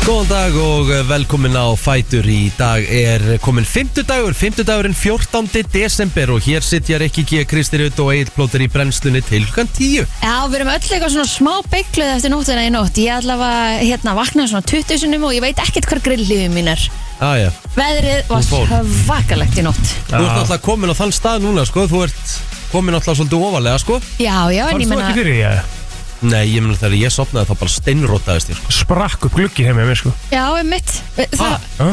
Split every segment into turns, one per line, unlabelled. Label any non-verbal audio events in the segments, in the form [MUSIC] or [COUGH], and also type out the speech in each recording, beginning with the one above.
Góðan dag og velkomin á Fætur Í dag er komin fimmtudagur Fimmtudagurinn 14. desember Og hér sittja Rikki G. Kristirut og Egil Plóter í brennslunni til hlukan 10
Já, við erum öll eitthvað svona smá beigluð eftir nóttina í nótt. Ég allavega hérna vaknaði svona 20 sinum og ég veit ekkert hvar grillífið mín er.
Aja,
Veðrið var
Hún fór.
svakalegt í nótt.
þú ert náttúrulega komin á þann stað núna sko Þú ert komin náttúrulega svolítið ofalega sko
Já, já, en ég
Varst þú
menna...
ekki fyrir því að
Nei, ég meina þegar ég sopnaði þá bara steinrótaðist ég sko
sprakk upp gluggi heim með mér sko?
Já, einmitt.
Ha?
Það,
Ha?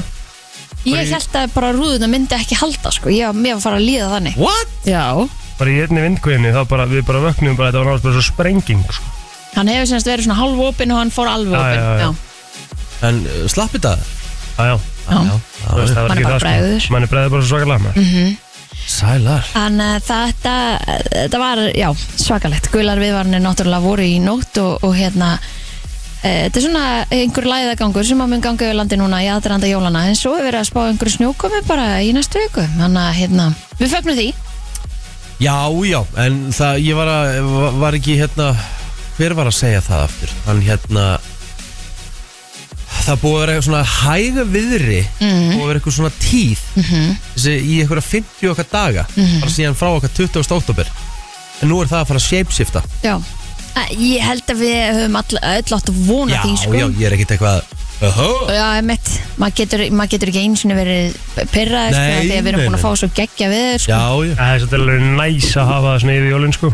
ég held að bara rúðuna myndi ekki halda, sko. Ég var mér var að fara að líða þannig.
What?
Já.
Bara í einni vindkvæðinni þá bara við bara vöknum bara þetta var náttúrulega bara svo sprenging sko.
Hann hefur semst verið svona halv opinn og hann fór alveg
Já,
opinn.
já, já.
En uh, slappi það?
Já, já,
Já.
þú veist, það var
Mann er
ekki
bara
það, sko.
bregður.
Mann er bregður bara svo svakalega maður
Mhm.
Sælar
Þannig að þetta, þetta var já, svakalegt. Gular viðvarnir náttúrulega voru í nótt og, og hérna e, þetta er svona einhver læðagangur sem að mun ganga yfir landi núna í aðdraðanda jólana en svo er verið að spá einhver snjókomi bara í næstu viku. Þannig að hérna, við fögnum því.
Já, já, en það, ég var að, var- var ekki hérna, hver var að segja það aftur? Hann hérna, það búið að vera eitthvað svona hæga viðri, búið að vera eitthvað svona tíð, þessi í eitthvað 50 okkar daga, bara síðan frá okkar 20. oktober. En nú er það að fara að shapeshifta.
Já. Eh, Ég held að við höfum all, öll átt að vona
Já,
því sko.
já, ég er ekkert eitthvað, öhó,
Já, emitt, maður getur, maður getur ekki eins og verið pyrraðið sko,
Nei,
þegar við erum
nei,
búin að
nei.
fá svo geggja við sko.
já, já.
Það er svolítið alveg næs að hafa það svona yfir jólun sko.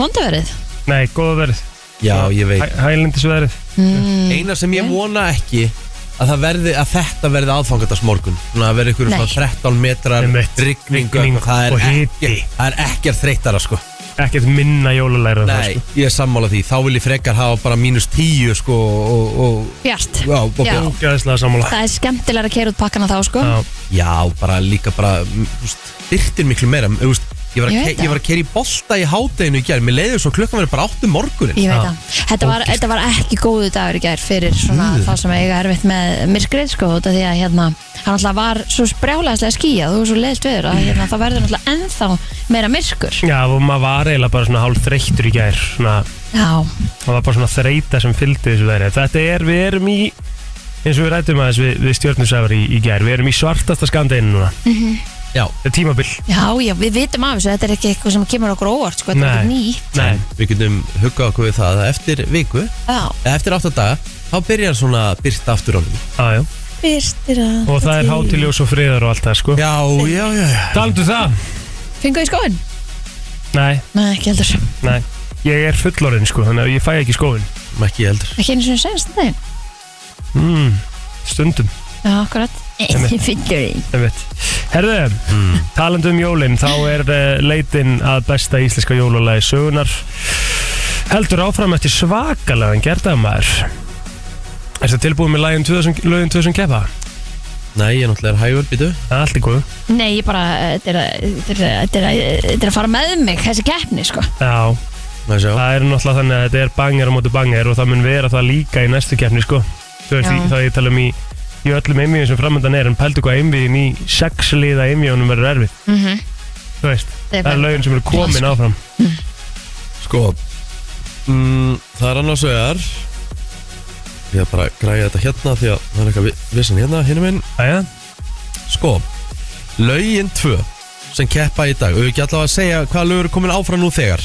vondaverið.
Nei, góða verð
Já, ég veit.
Hæ- Hælendisverð
Eina sem ég vona ekki, að það verði, að þetta verði aðfangatast morgun. Svona að verði ykkur
Nei.
svona 13 metrar
Einmitt.
rigningu,
Rigning
það er
og
ekki,
hiti.
það er ekkert þreytara sko.
Ekkert minna jólulæra
Nei, ég er sammála því, þá vil ég frekar hafa bara mínus tíu sko og, og,
Bjart.
Já, og
Já.
bjart.
Gæðislega sammála
Það er sko. skemmtilega að keira út pakkana þá sko.
Já.
já, bara líka bara, mm, þú veist, byrtir miklu meira þú veist, ég var að,
Ég
ke
veit það.
ég var að keri í bolta í hádeginu í gær, mér leiður svo klukkan verið bara 8 um morgunin
Ég veit
Já.
það. Þetta var, þetta var ekki góðu dagur í gær fyrir svona
Guð.
þá sem eiga erfitt með myrkrið sko út af því að hérna hann alltaf var svo sprjálæðislega skýjað og svo leiðist viður að hérna það verður alltaf ennþá meira myrkur.
Já, og maður var eiginlega bara svona hálf þreyttur í gær svona,
Já,
maður var bara svona þreyta sem fylgdi þessu veðri Þetta er, við erum í eins og við rættum aðeins við, við stjórnusæfari í, í gær við erum í svartasta skandinu núna
Já,
Þetta er tímabil
já, já, við vitum af þessu, þetta er ekki eitthvað sem kemur okkur á óvart sko, þetta er ekki ný.
Nei.
við getum huggað okkur við það að eftir viku,
Já,
eða eftir 8 daga þá byrjar svona byrta aftur á ný
Á, já.
fyrstir að...
og það er hátiljós og friðar og allt það sko
Já, já, já, já
Taldu um það?
Fingu í skóin?
Nei,
Nei, ekki heldur.
nei Ég er fullorinn sko, þannig að ég fæ ekki skóin
ekki heldur
Ekki einu sinni senast þetta.
mm, Stundum,
Já, akkurat. [LAUGHS]
Einmitt.
Fyllurinn.
ég veit Herðu,
Mm.
talandi um jólin þá er uh, leitin að besta íslenska jólulagi sögunar heldur áfram eftir svakalegan gerðamæður Er þetta tilbúið með lagin 2000 lögin 2000 kepa?
Nei, ég náttúrulega er hægur, býtu
Það er allt í góðu
Nei, ég bara, þetta er að- þetta er að- þetta er að- þetta er að fara með mig, þessi keppni sko.
Já,
Má ég sjá.
það er náttúrulega þannig að þetta er banger á móti banger og það mun vera það líka í næstu keppni sko. Þú veist,
Já.
í- þá ég tala um í, í öllum einvíðum sem framöndan er en pældu hvað einvíðin í sexliða einvíðunum verður erfið
Mm
Þú veist, það
bara-
er lögin sem eru
Já,
komin
sko.
áfram
Sko mm, Það er annars vegar Ég er bara að græja þetta hérna Því að það er eitthvað vi- vissin hérna Hérna minn
Æja,
Sko Lögin 2 sem keppa í dag Við ekki allavega að segja hvaða lögur er komin áfram nú þegar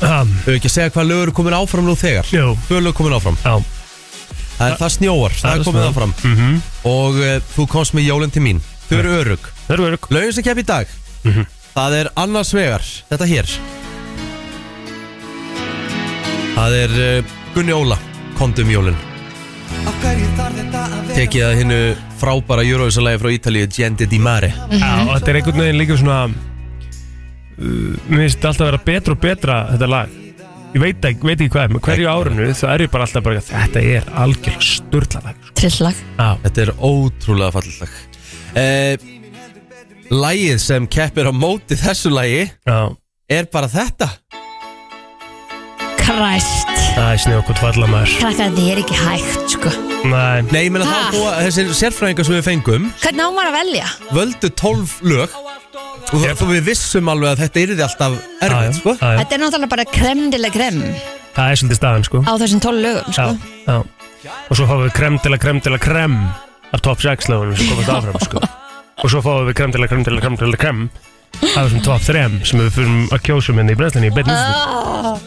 um,
Við ekki að segja hvaða lögur er komin áfram nú þegar
jú,
Tvö lög komin áfram
já
Það, er, það snjóar, það er komið áfram
mm -hmm.
Og uh, þú komst með jólinn til mín Þau eru örug
Það eru verið
Lögin sem keppa í dag
Mhm.
Það er annars vegar Þetta hér Það er uh, Gunni Óla Kondum jólinn tekið að hinnu frábæra Eurovision-lægi frá Ítalíu, Gente di Mare
Mhm. Já, og þetta er einhvern veginn líka svona uh, Mér finnst þetta alltaf að vera betra og betra þetta lag Ég veit ekki, veit ekki hvað er, með hverju árinu þá er ég bara alltaf bara, þetta er algjörlega sturla lag sko.
Trillag.
Já,
Þetta er ótrúlega fallilt lag eh, Lægið sem keppir á móti þessu lægi
já
er bara þetta
Kræst
Það er snjókot falla maður
Krakkar, þið er ekki hægt sko
Nei,
Nei, ég meina
Ha?
þá búa þessir sérfræðingar sem við fengum
Hvernig á maður að velja?
völdu 12 lög og yep. við vissum alveg að þetta yrði alltaf
já,
erfitt, sko
já, já.
Þetta er náttúrulega bara kremdileg krem
það er svolítið staðan sko
á þessum tólu lögum
Já,
sko
já og svo fáum við krem til að krem til að krem af top 6 lögunum sem komast áfram sko. og svo fáum við krem til að krem til að krem til að krem af þessum top 3 sem við fyrum að kjósum hérna í brenslinni í beinni útsendingu.
Ah,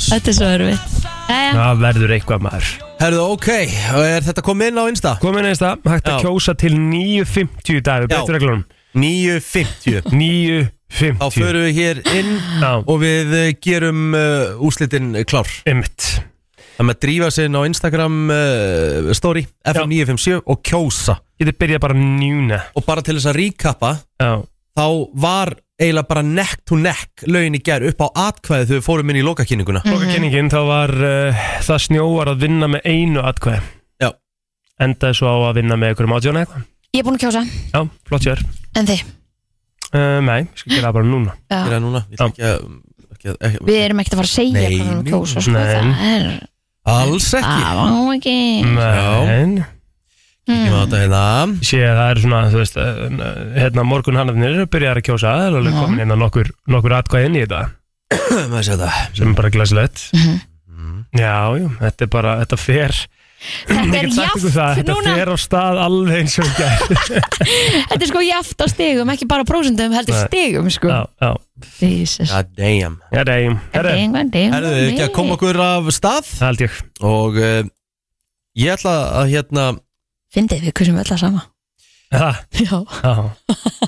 Þetta er svo erfitt Jæja,
það verður eitthvað maður
Herðu, ok, er þetta komið inn á Insta?
komin eins það, hægt að
Já.
kjósa til 9.50 í dag, við
Já.
betur reglunum
9.50 Þá
9.50
förum við hér inn
Já,
og við eh, gerum uh, úslitin klár
ymmit
Það með að drífa sig inn á Instagram uh, story FM957 og kjósa
Ég þið byrja bara njúna
og bara til þess að recappa
Já,
þá var eiginlega bara neck to neck lögin í ger upp á atkvæði þegar við fórum inn í lokakynninguna
Mhm.
loka
[CLEARS THROAT]
þá var uh, það snjóar að vinna með einu atkvæði
Já.
Endaði svo á að vinna með einhverjum átjónu eitthvað
ég er búin að kjósa
Já, flott sér
En þið,
uh, Nei, ég skal gera það bara núna
Gera
já,
það núna, ég ætla ekki að, ekki að ekki,
við erum ekkert að fara að segja
Nei,
hvað við erum að kjósa sko,
nei.
Það er,
Alls ekki
það var nú ekki
Men,
Ég má
Mm.
þetta hérna
ég sé að það er svona, þú veist uh, hérna morgun hannafnir eru að byrja að kjósa Það er alveg
Já.
komin inn að nokkur, nokkur atkvæði inn í þetta
Maður sé þetta.
sem er bara glæsilegt
Mhm.
Já, jú, þetta er bara, þetta fer
Þetta
Ég
er
get sagt ykkur það,
jaft
Þetta
núna
fer á stað alveg eins og gæð
Þetta er sko jaft á stegum, ekki bara prósundum heldur
Nei.
stegum sko
Já, já,
Jesus.
God damn
já, dægjum Herre,
Herðu, við ekki að koma okkur af stað
það held ég
og uh, ég ætla að hérna
Fyndið, við kursum öll að sama
Já,
Já,
já,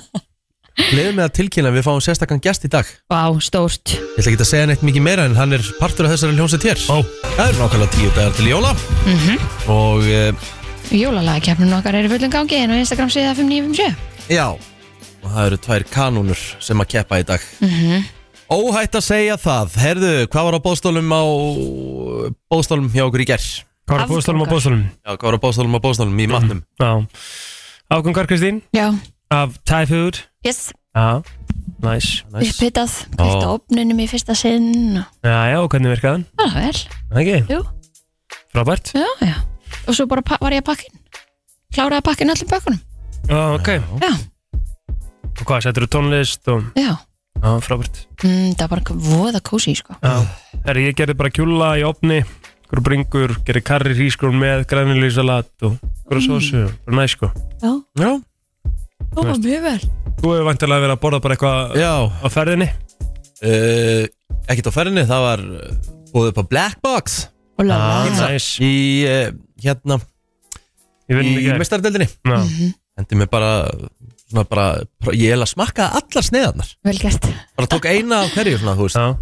leiðum með að tilkynna að við fáum sérstakann gest í dag
Vá, stórt
Ég ætla ekki að segja neitt mikið meira en hann er partur af þessari hljómsveit hér
Ó.
Það er nákvæmlega tíu dagar til jóla
mm
og uh,
Jólalagakefnun okkar er í fullum gangi en á Instagram síða 5957
já og það eru tvær kanúnur sem að keppa í dag
mm
Óhætt að segja það, herðu, hvað var á bóðstólum á bóðstólum hjá okkur í gerð?
hvað var bóðstólum og
Afgangar.
bóðstólum?
Já, hvað var á bóðstólum á bóðstólum í matnum?
Mm, Já, ágangar Kristín
Já,
af Thai food
yes,
Já, næs
Nice.
upphittað Kvist á
Ó.
opnunum í fyrsta sinn og-
Já, já, og hvernig virkaði hann?
Það var Ah, vel,
Það ekki,
jú,
frábært
já, já Og svo bara pa- var ég að pakkin Kláraði að pakkin öllum bökunum
Já, ok,
Já,
og hvað, settur þú tónlist og
já
Já, frábært
mm, Það var bara voða kósi, sko
Já, herri, ég gerði bara kjúla í opni Hverju bringur, gerði karri hrísgrún með grænilísalat og
Mm.
hverju sósu Bara næs, sko
Já,
Já,
það var mjög vel
Þú hefur vantilega verið að borða bara eitthvað
já
á ferðinni
uh, ekkert á ferðinni, það var búið upp á Black Box
Og
Ah,
lála
Næs,
í, uh, hérna,
ég vinn
í
ekki
mestardeldinni
Já,
Endi mig bara, svona bara, ég hef að smakka allar sneiðarnar
Vel gert
Bara tók eina af hverju, svona, þú veist
já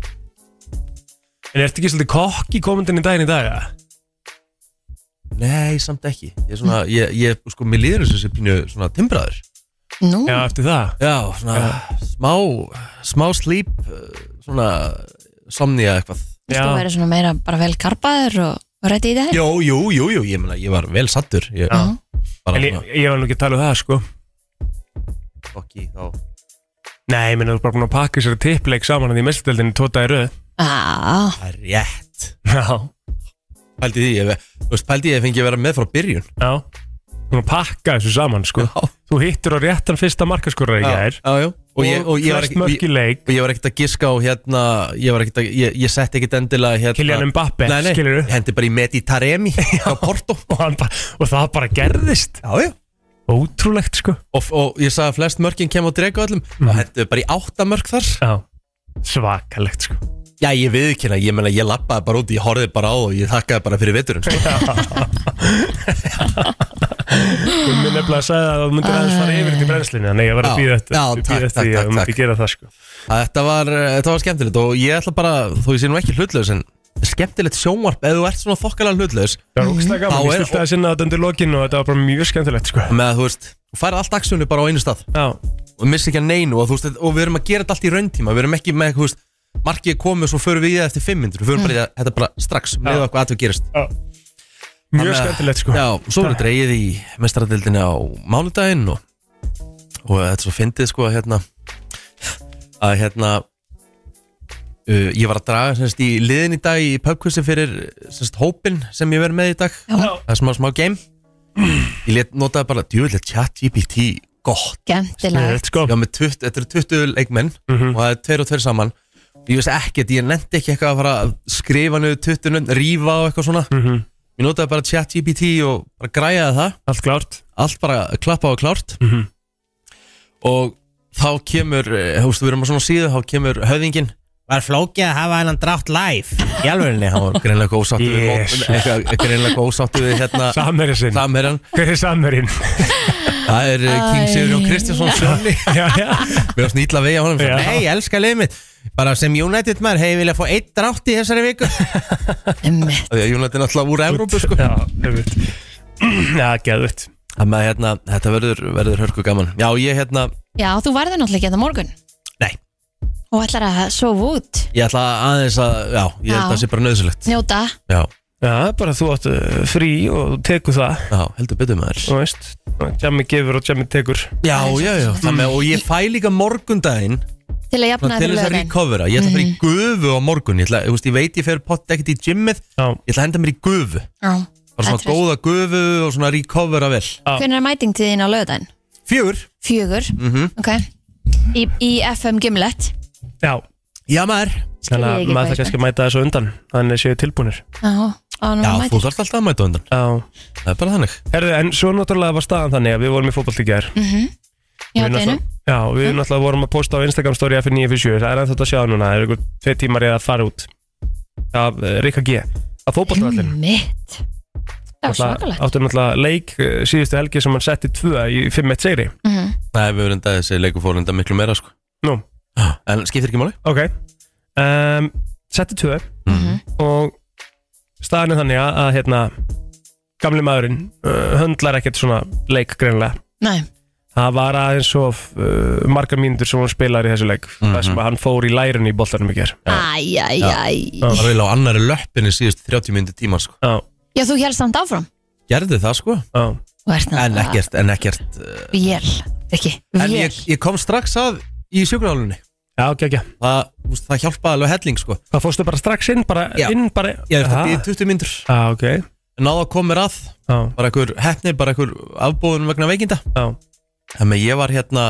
En ertu ekki svolítið kokki komundin í daginn í dag, eða?
Nei, samt ekki Ég er svona, ég, ég sko, mér líður þessu sem pínu svona timbraður
Nú,
Já, eftir það
Já, svona smá, smá slíp Svona somnía eitthvað
þú
já.
verður svona meira bara vel karpaður og og rætti í þetta
Jú, jú, jú, jú, ég meina, ég var vel sattur Ég
Já.
bara
En ég,
svona,
ég var nú ekki að tala um það, sko
fokki, þá
Nei, minn, þú er bara búin að pakka þessari tippleik saman að því mestöldinni tóta í röð
Já,
Það er rétt
Já,
Pældi því, ég, þú veist, pældi því ég fengi að vera með frá byrjun
já Búin að pakka þessu saman, sko
Já,
Þú hittir á réttan fyrsta markaskorra í gær
já, já Og ég, og ég var
flest mörk
ekki
í leik
Og ég var ekkert að giska á hérna Ég var ekkert að, ég, ég setti ekkert endilega hérna
Kylian Mbappe,
Nei, nei,
skilurðu?
ég hendi bara í Medi
[LAUGHS]
Taremi á Porto
og, hann bara, og það bara gerðist
Já, já
Ótrúlegt sko
Og, og ég sagði að flest mörkin kem á drega öllum mm. og hendur bara í átta mörk þar
Já. Svakalegt sko
Já, ég viðkynna, ég meina, ég lappaði bara út ég horfið bara á það og ég þakkaði bara fyrir veturinn
[LAUGHS]
sko.
Ég minn nefnilega að segja að þú myndir aðeins fara yfir þetta í brennslinu Þannig ég var
Já,
að býða
já,
eftir-
takk,
býða eftir
takk, takk,
því að þú myndir
takk.
gera það sko
þetta, var, eh, þetta var skemmtilegt og ég ætla bara, þó ég sé nú ekki hlutlaus en skemmtilegt sjónvarp, ef þú ert svona þokkalega hlutlaus
Það var ógstlega
Þá
gaman, ég
er-
stilt aðeins inn á þetta undir lokin og þetta var bara mjög skemmtilegt sko
með að þú veist, þú færi allt aksjónu bara á einu stað
Já,
og missi ekki að neinu og, þú veist, og við erum að gera þetta allt í rauntíma við erum ekki með, þú veist, markið er komið og svo förum við í það eftir 500, við förum bara í það- þetta bara strax með okkur að gerist
mjög skemmtilegt sko
Já, svo verður dreigið í mestaradildinni á mánudaginn og, og þetta er svo fyndið sko að hérna að hérna uh, ég var að draga semst í liðin í dag í pubquizzi fyrir semst hópin sem ég verð með í dag
Já.
það er smá smá game ég let, notaði bara djúvillig chat GPT gott,
skemmtilegt
Sniðugt, sko
ég var með 20, þetta eru 20 leikmenn
Mhm.
og það er tveir og tveir saman ég veist ekkert, ég nefndi ekki eitthvað að fara að skrifa niður 20 nöfn, rífa og eitthvað svona
Mhm.
Mér Ég notaði bara chat GPT og bara græjaði það
allt klárt
allt bara klappa og klárt
Mhm.
og þá kemur, eh, þú veist, við erum á svona síðu þá kemur höfðingin
Var flókið að hafa hennan drátt live Í alvörinni
hann var greinlega ósáttu við
Jesus.
mót- eitthvað- greinlega ósáttu við hérna
Samherja sinn,
samherjan,
hver er samherjinn?
það er eh, King
Æ.
Sigurjón Kristjánsson Sjóni,
[LAUGHS] já, já,
við erum snýtla vegi á honum
Já.
Nei, ég elska liðið mitt Bara sem United maður hefði viljað fá eitt drátt í þessari viku
Einmitt.
Því að Jónat er náttúrulega úr Evrópu sko
já, hefut [CLEARS THROAT] Já, geðut
Þannig að hérna, þetta verður, verður hörku gaman Já, ég hérna,
Já, þú varður náttúrulega ekki þetta morgun
nei,
og ætlar að sofa út,
ég ætla aðeins að Já, ég held að
Já.
það sé bara nöðsilegt
njóta
Já,
Já, bara þú átt uh, frí og tekur það
já, heldur betur maður
Þú veist, Jammi gefur og Jammi tekur
Já, já, já, þannig að og ég fæ líka morgundaginn
til að jafna
Svona
Mm.
til
fyrir
þess að
lögðin
recovera Ég ætla að fara
Mm.
í gufu á morgun Ég, ætla, ég, veist, ég veit ég fer pott ekkert í gymmið
Já,
Ég ætla að henda mér í gufu Bara svona
Hvernig
góða gufu og svona recovera vel
er mæting til þín á lögðin?
Fjör
Fjögur,
Mhm.
ok Í, í FM Gimlet
já
Já maður
Þannig
Skil ég
að
ekki
maður það
hvað
kannski að mæta þessu undan Þannig séu tilbúnir
Já, á nú
Já, þú
mæting
þarft alltaf að mæta á undan
Já
Það er bara þannig
Herðu, en svo náttúrulega var staðan þannig að við vorum í fótbolti í gær
Mhm. Já,
Við
deinu
náttúrulega- Já, við náttúrulega vorum að posta á Instagram story F957 Það er ennþátt að sjá núna, það eru ykkur tvei tímar eða að fara út Af uh, Rikka G Af fótboltavallinu
Mitt Það var svakalegt
Áttu náttúrulega leik eh, síðustu helgi sem hann setti tvö í 5-1 segri
Mhm.
Nei, við verðum þetta þessi leikur fór enda miklu meira sko
Nú,
En skiptir ekki máli
ok um, Setti tvö
Mhm.
og staðan er þannig að, að hérna, gamli maðurinn uh, höndlar ekkert svona leik greinlega
Nei,
Það var aðeins svo uh, margar mínútur sem hann spilaði í þessu leik
Mhm.
þar sem að hann fór í lærun í boltanum í ger
æj, æj, æj
Það var eiginlega á annari löppinni síðust 30 myndi tíma sko
Já,
Já, þú hélst samt áfram
Gerði það sko
já,
Þú ert
En
náttúrulega
ekkert, en ekkert uh,
Vél, ekki,
En
vél
ég, ég kom strax að í sjúkrahálunni
já, ekki, ekki
Það, þú veist, það hjálpaði alveg helling sko
Það fórstu bara strax inn, bara
Já.
inn bara,
Ég er þetta
Ah.
í 20 myndur
Já, ok,
Náða að koma mér að
já,
Bara einhver hefni, bara einhver afbóðun vegna veikinda
já,
Þannig að ég var hérna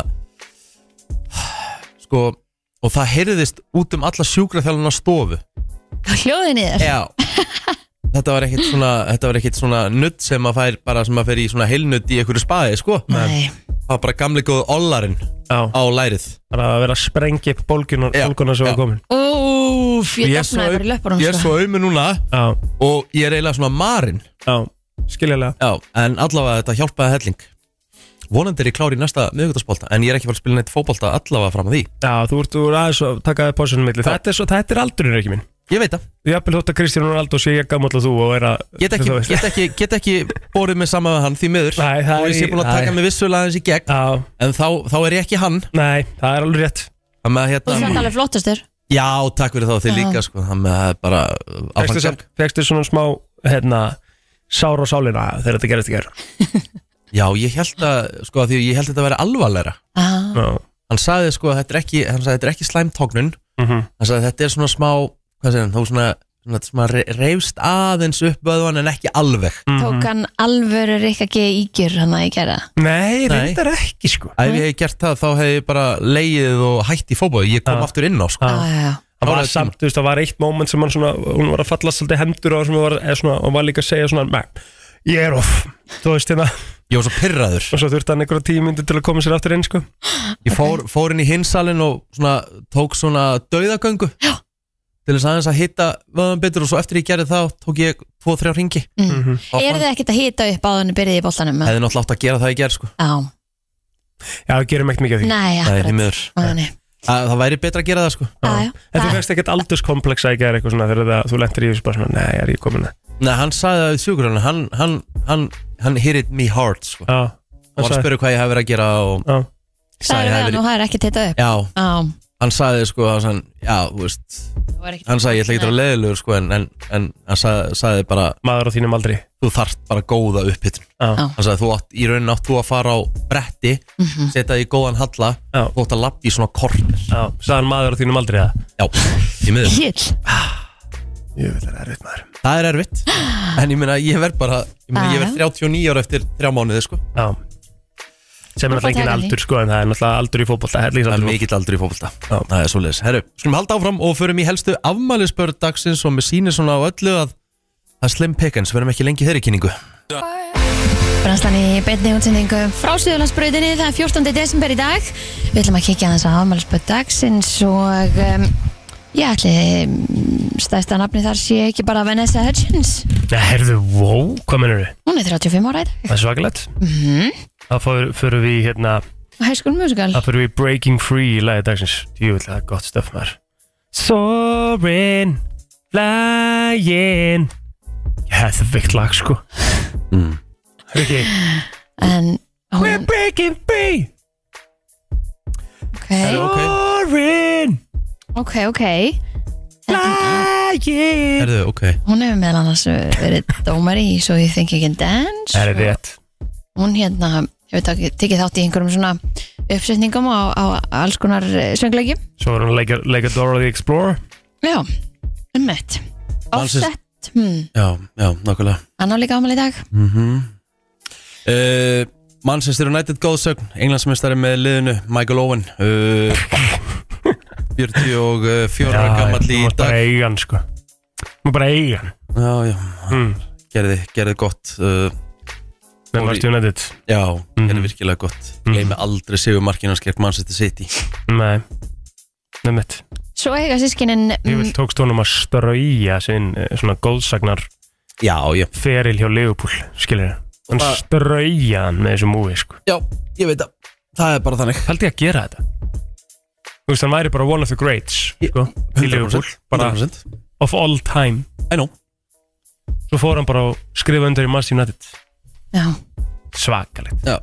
[SIGHS] Sko Og það heyrðist út um alla sjúkraþjálfuna stofu
Hljóðin í þér
Já Þetta var ekkit svona, þetta var ekkit svona nutt sem að fær bara sem að fer í svona heilnutt í einhverju spaði, sko.
Nei,
Það var bara gamli góðu ollarinn
já
á lærið.
Bara að vera að sprengja upp bólgunar,
Já,
bólgunar sem
já.
var komin
úf, ég
er svo-
dafnaði bara í sko. löpunum
Ég er svo auðmi núna
Já,
og ég er eiginlega svona marinn.
já, skiljalega
Já, en allavega þetta hjálpaði helling. Vonandi er ég klár í næsta miðugutaspólta, en ég er ekki farið að spila neitt fótbolta allavega fram að því.
Já, þú ert úr aðeins að taka þér pásunum milli
Já.
þetta er, svo, þetta er aldurinn ekki minn
Ég veit það.
Jafnvel þótt að Kristján Ronaldo sé ég gamall og þú og er að
Get ekki,
þú veist.
get ekki, get ekki borið mig saman með hann því miður.
Nei, það
og ég sé
er-
búin að taka
nei.
mig vissulega aðeins í gegn,
Já,
en þá, þá er ég ekki hann.
nei, það er alveg rétt
Það með að
Þú ert
hérna...
samt alveg flottastur
Já, takk fyrir það þið líka, sko. Það með að bara... uh, áfram
Fekstu,
gegn.
samt, fekstu svona smá hérna, sár á sálina þegar þetta gerist ekki
[LAUGHS] Já, ég held að, sko, að því ég held að þetta væri alvarleira.
ah.
Já,
Hann sagði, sko, að þetta er ekki, hann sagði, þetta er ekki slæmtóknun.
Mhm.
Hann sagði, þetta er svona smá, hvað segir hann, þú svona, svona, þetta er svona re- reifst aðeins upp vöðvan en ekki alveg.
Tók hann alvöru Rikka G. Ígjur hann að ég gera
Nei,
Nei.
reyndar ekki sko
Ef ég hef gert það, þá hef ég bara leið og hætt í fótbolta. Ég kom
Já.
aftur inn á, sko.
Já, já, já
Það
Það
var
var
alveg
samt, þú veist, það var eitt moment sem hann svona, hún var að falla svolítið hendur og, sem var, eða svona, og var líka að segja svona "Nei, Ég er off, þú veist hérna
Ég var svo pyrraður.
og svo þurfti hann einhverja tíu myndir til að koma sér aftur inn sko
Ég fór, fór inn í hinsalinn og svona, tók svona dauðagöngu
Já.
til þess aðeins að hitta vöðan betur og svo eftir ég gerði það tók ég 2-3 ringi
Mm.
Mhm.
Þá
Er
fann-
þið ekkert að hita upp á þannig byrjið í boltanum? eða?
hefði náttúrulega átt að gera það í gerð sko
Já,
Já, við gerum ekkert mikið af því
Það
nei,
er því
akkurat
miður
Nei,
Að Það væri betra að gera það sko
já, já
En þú
Það-
veist ekkert aldurskompleksa í gerð eitthvað svona þegar það, þú lentir í þessu bara svona, nei, er ég komin að
Nei, hann sagði það í sjúkurinn hann, hann, hann, hann hit it me hard sko
Já,
og var að spyrja hvað ég hef verið að gera og
Já.
Það
sagði ég hafi
er við hann
verið-
og það er ekki tita upp
Já,
Já,
hann sagði sko hann, sagði, Já, þú veist
það var ekki
Hann sagði ég ætla ekki að vera leiðilegur sko en, en, en hann sagði, sagði bara
maður á þínum aldri
þú þarft bara góða upphittun
Já,
Hann sagði þú átt í raunin átt þú að fara á bretti
Mhm.
setja því góðan halla
Já.
þú átt að lappa í svona korner
já, sagðan maður á þínum aldri það
Já, í miður
Hill
Jú, það er erfitt maður
Það er erfitt En ég meina, ég verð bara Ég, meina, ég verð 39 ára eftir 3 mánuði sko.
Já Sem er
Bara
náttúrulega engin
taka því.
aldur sko En það er náttúrulega aldur í fótbolta
Það er
Hellisaldur
mikill aldrei í fótbolta Það er svoleiðis Herru, skulum halda áfram og förum í helstu afmælisbörð dagsins og mér sýnir svona á öllu að Það er Slim Pickens, verðum ekki lengi í þeirri kynningu
Brænslan í beinni útsendingu frá Suðurlandsbrautinni, það er 14. desember í dag. Við ætlum að kikja aðeins á afmælisböð dagsins og um, ég ætli um, stæsta nafni þar sé ekki bara Vanessa Hudgens.
Nei, herðu, wow, hvað mennur þið?
Hún er 35 ára í dag.
Það er svakalegt
Mhm.
Það fyrir, fyrir við í, hérna,
High School Musical.
það fyrir við í Breaking Free í lagi dagsins Jú, það er gott stöf maður Soarin' Flying Já, þetta er veikt lag, sko
Mm.
Rikki,
En
We're
hún,
breaking free
ok,
ok.
Soarin'
ok, ok.
Flying
Herðu, ok
Hún hefur meðal annars uh, verið dómari í So You Think You Can Dance.
Það er rétt
hún hérna hefur takið- tekið þátt í einhverjum svona uppsetningum á, á alls konar uh, söngleikjum
Svo var hún að leika, leika Dora the Explorer
Já, ummitt
Valsins-
Offset, hmm,
Já, já, nákvæmlega
hann á líka ámæli í dag
mm uh, Manchester United góðsögn Englandsmeistari með liðinu Michael Owen uh, 44 ára gammal í
Nú er bara
dag
eigan sko Nú er bara eigan
Já, já,
mm.
gerði, gerði gott uh,
Menn varst United
Já,
Mhm.
gerði virkilega gott Gleimi aldrei sigur markinanskert Manchester City
Nei Nei mitt
Svo eiga mm, sískinin
Ég vil tókst honum að strauja sinn eh, svona góðsagnar
Já, já,
feril hjá Leopold skilur Hann
Það-
strauja hann með þessu múi sko
já, ég veit að Það er bara þannig
Haldi ég að gera þetta? Þú veist hann væri bara one of the greats sko í Leopold
100%,
bara
100%
of all time
I know
Svo fór hann bara að skrifa undir í Mass United
já,
Svakalegt
Já,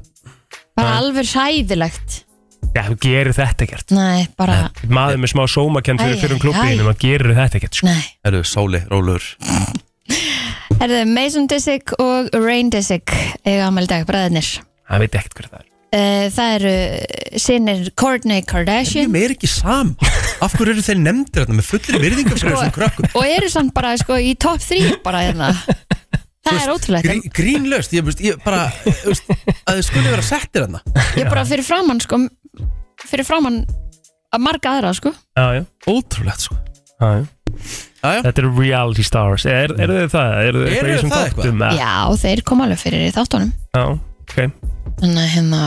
bara
Nei.
alveg sæðilegt
Já, þú gerir þetta ekkert
Nei, bara,
maður með smá sómakend fyrir
Æ,
fyrir um
æ, æ.
klubbiðinu, maður gerir þetta ekkert sko.
nei
herru, sáli, rólur
Er það Mason Disick og Rain Disick eiga ámæli í dag, bræðinir
það veit ekkert hver það er
Uh, það eru sinir Kourtney Kardashian
Ég meir ekki sam Af hverju eru þeir nefndir þarna með fullri virðingum fyrir
Sko-
þessum krökkum
og eru samt bara sko, í top 3 bara hérna Það Sko, er ótrúlegt,
Grí, grínlaust, ég, veist, ég bara þú veist, að þið skulle vera settir hann
ég er bara fyrir framann sko, fyrir framann að marga aðra sko
já, já.
ótrúlegt sko
Já, já.
Já, já.
þetta eru reality stars er, eru þið það? eru þið
Eru
eitthvað í
þið
þessum
það
þáttum? eða?
já, þeir kom alveg fyrir í þáttunum
já, ok
þannig að hérna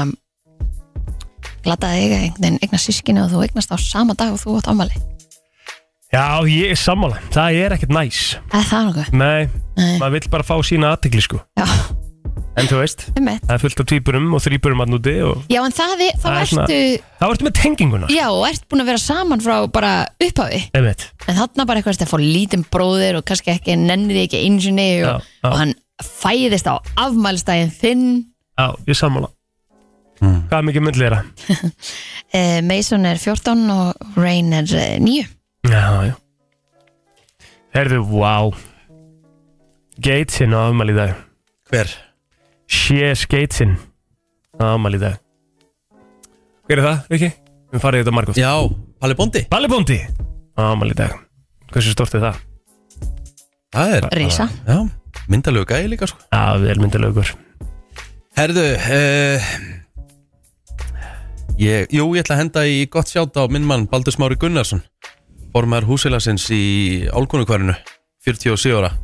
glataði ég einhvern veginn eignast sískinu og þú eignast á sama dag og þú átt ámali
já, ég er sammála, það er ekkert næs
eða það er nokkuð
nei,
Nei,
maður vill bara fá sína aðtegli sko
já,
en þú veist,
einmitt.
það er fullt af tvíburum og þrýburum að núti og
já, en það er, þá
Það er svona-
ertu
það vartu með tenginguna sko.
já, og ert búin að vera saman frá bara upphafi
einmitt,
en þarna bara eitthvað ertu að fá lítinn bróðir og kannski ekki nennið ekki einsinni
já,
og,
já,
og hann fæðist á afmælstæðin þinn
já, ég er sammála
Mm.
hvað mikið myndli er það?
eh, Mason er 14 og Rain er eh, 9
já, já herðu, wow Gatesin á afmæli í dag
Hver?
Sjés Gatesin Amal hérna í dag Hver er það, Riki? Við farið þetta margótt
Já, Palli Bondi
Balli Bóndi Amal í dag Hversu stort er það?
Það er,
Risa
já, myndalegu gæði líka sko
Já, við erum myndalögur
Herðu uh, ég, Jú, ég ætla að henda í gott sjátt á minn mann Baldur Smári Gunnarsson Formar húsilagsins í Álkunukvarinu 47 ára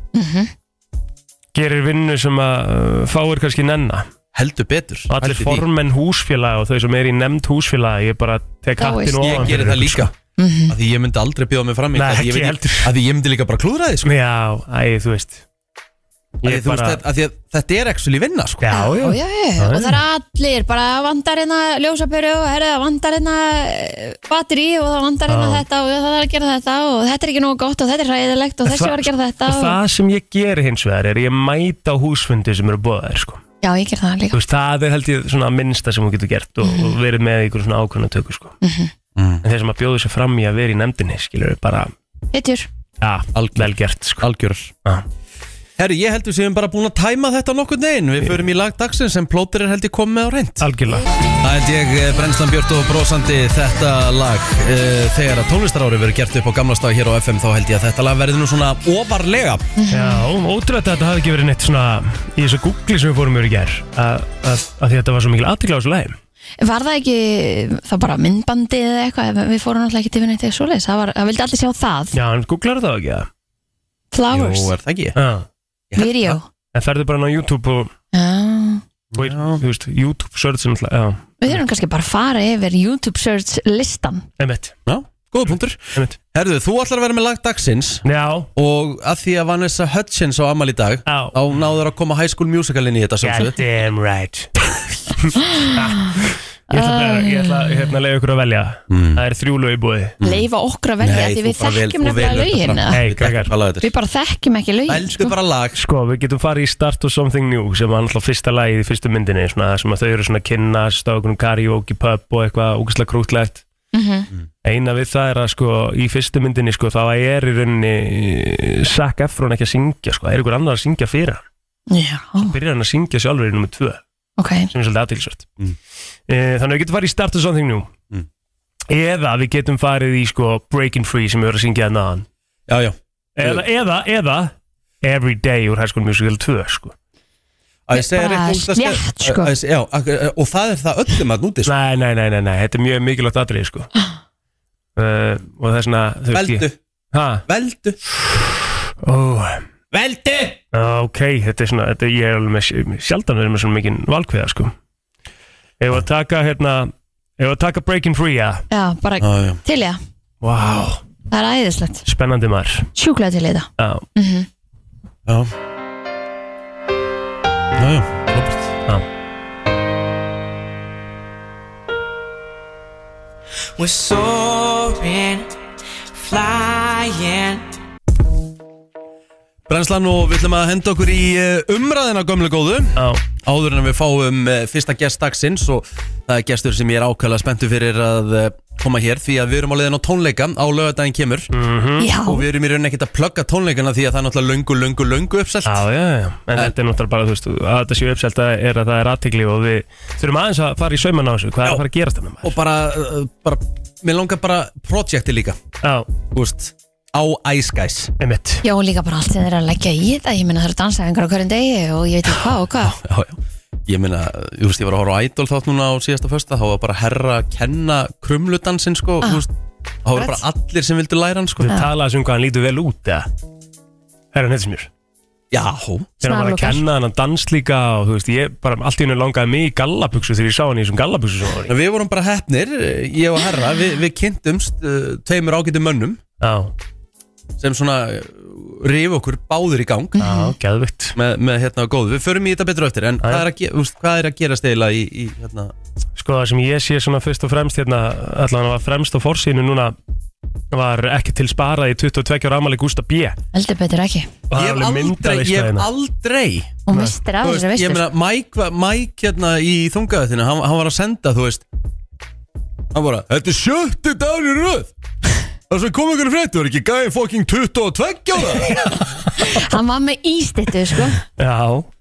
Gerir vinnu sem að uh, fáir kannski nenna
Heldur betur
Allir
pældu í því.
formenn húsfélaga og þau sem er í nefnd húsfélaga Ég bara tek
Dáist.
hattin
Ég gerir
ofan fyrir
það
ykkur,
líka
sko.
Mhm.
Af Því ég myndi aldrei bjóða mig fram í
Nei,
þetta, af því ég
ekki
myndi-
heldur.
Af því ég myndi líka bara klúðra því sko
Já, æ, þú veist
Af því
Ég
þú veist
bara
þetta- af því að Þetta er actually vinna sko
Já,
Já,
já,
já, já, já. og það er allir bara vandar hérna ljósaperu og herri, það vandar hérna eh, batterí og það vandar hérna
Já.
þetta og það er að gera þetta og þetta er ekki nógu gott og þetta er ræðilegt og þessi
Það-
var að gera þetta
Og
og...
það sem ég geri hins vegar er ég mæta á húsfundi sem eru bóðaðir sko
Já, ég ger það
þú
líka
veist, það er held ég svona að minnsta sem hún getur gert og,
Mhm.
og verið með ykkur svona ákvörna tökur sko.
Mm.
en þeir sem að bjóðu sér fram í að vera í nefndinni skilur við bara,
Hittjur,
ja,
Algjör.
vel gert sko.
Algjör
Já.
Herri, ég heldur sem við erum bara búin að tæma þetta nokkur neginn Við förum í lag dagsins sem plóter er heldur komið á reynd
algjörlega
Það held ég eh, brennslan Björn og brósandi þetta lag uh, Þegar að tónlistarári verður gert upp á gamla stað hér á FM Þá held ég að þetta lag verður nú svona ofarlega
Já, ótrúlega að þetta hafi ekki verið neitt svona í þessu googli sem við fórum yfir í gær að að- að því þetta var svo mikil aðtikla á þessu lægum
var það ekki þá bara myndbandi eða eitthvað, við fórum alltaf ekki til vinna eitthvað svoleiðis, það, var, það vildi allir sjá það
Já, hann googlar það ekki það
Flowers,
Jú, er það ekki?
Já,
Vídeó
En ferðu bara inn á YouTube og,
Já.
og þú veist, YouTube search sem alltaf, já,
Við þurfum kannski bara að fara yfir YouTube search listan
emitt,
Já, góða punktur
emitt
Herðu, þú ætlar að vera með lag dagsins
Já,
og að því að Vanessa Hudgens á Amal í dag
Já.
þá náður að koma High School Musical inn í þetta
God
sjálfsögðu
damn right
Ah.
Ég ætla
Ah.
bara ég ætla, hérna, að leiða ykkur að velja Það er þrjú lög í búið
Leifa Mm. okkur að velja því við
Mm. þú bara vel-
þekkjum
þú
nefnilega
velur þetta
lögin
bara.
eða?
Nei,
Við þekkjum
krakkar.
hvað lag þetta er.
Við bara þekkjum ekki lögin
Elsku bara lag
Sko, við getum farið í Start of Something New sem var náttúrulega fyrsta lagið í fyrstu myndinni svona, sem að þau eru svona að kynnast á okkur karaoke pub og eitthvað ógæslega krútlegt
Mhm.
mm Eina við það er að sko í fyrstu myndinni sko þá er í rauninni eh, Zac Efron ekki að syngja sko, það er ykkur annar að syngja fyrir hann
Já,
byrjar hann að syngja sjálfur í nummer 2
ok
sem er svolítið aðtilsvört
Mm.
Þannig að við getum farið í Start of Something New
Mm.
eða við getum farið í sko Breaking Free sem við erum að syngja þarna aðan
Já, já,
eða, eða, eða Every Day úr High School Musical 2 sko.
að ég segja
Bara
rétt úr það
slétt, sko.
að ég segja- Já, ak- e, og það er það öllum að núti sko.
nei, nei, nei, nei, nei, þetta er mjög mikilvægt atrið sko.
Ah.
uh, og það er svona þú veist
Veldu,
ég- Ha,
veldu,
ó,
veldu
ok, þetta er svona þetta, er- ég er alveg með, sjaldan verið með svona mikinn valkveða sko. ef að taka hérna, ef að taka Breaking Free ja.
Já, bara
Já, já,
til ég
wow,
Það er æðislegt
spennandi maður
Sjúklega til í þetta
já,
Mhm. já Já, já, Robert
We're soaring, flying.
Brennslan og við ætlum að henda okkur í eh, umræðina gömlu góðu
já,
áður en að við fáum eh, fyrsta gest dagsins og það er gestur sem ég er ákvæmlega spenntu fyrir að eh, koma hér því að við erum á leiðin á tónleika á lögadaginn kemur
Mhm.
Já,
og við erum í rauninni ekkert að plugga tónleikana því að það er náttúrulega löngu, löngu, löngu uppselt
já, já, já. en þetta er náttúrulega bara, þú veist, að þetta séu uppselt að er að það er aðtikli og við þurfum aðeins að fara í sauman á þessu, hvað er
Já.
að fara að gerast þannig
og bara, eh, bara, mér langar bara projekti líka,
maður? Já,
þú veist á Ice Guys
einmitt.
já og líka bara allt sem þeir eru að leggja í það Ég meina það eru dansaðingar á hverjum degi og ég veit ekki hvað og hvað
já, já. Ég meina, þú veist, ég var að horfa á Idol þátt núna á síðasta fösta, þá var bara herra að kenna krumludansin, sko, þú veist þá var bara allir sem vildu læra hann, sko
Þau tala þessu um hvað hann lítur vel út eða Herran Hetsmjör
Já,
Þegar hann var að
Snarlokar.
kenna hann að dans líka og þú veist, ég bara allt í hennu langaði mig í gallabuksu þegar ég sá hann í þessum gallabuksu sem hann var í
við vorum bara hefnir, eh, ég og herra við, við kynntumst uh, tveimur ágæti mönnum
Já,
sem svona uh, rif okkur báður í gang
já, geðvitt
með, með hérna góðu, við förum í þetta betur á eftir en
já.
hvað er, að, ge- þú veist, hvað er að gera stela í, í hérna,
Sko það sem ég sé svona fyrst og fremst hérna, allan hann var fremst á forsýnu núna var ekki til sparað í 22 ára ámali Gústa B og
Eldur betur ekki
það er
ég
alveg
hef aldrei,
myndaveist
ég hef
hérna
aldrei
Og mistir af
Þú
þessari
veist, ég
veistur
meina, Mike, var- Mike hérna í þungaðutina hann, hann var að senda, þú veist hann bara, þetta er sjöttu dagur í röð það sem kom ykkur frétt, þú er ekki gæði fokking 22
[LAUGHS]
ára
Hann var með ístittu sko
Já,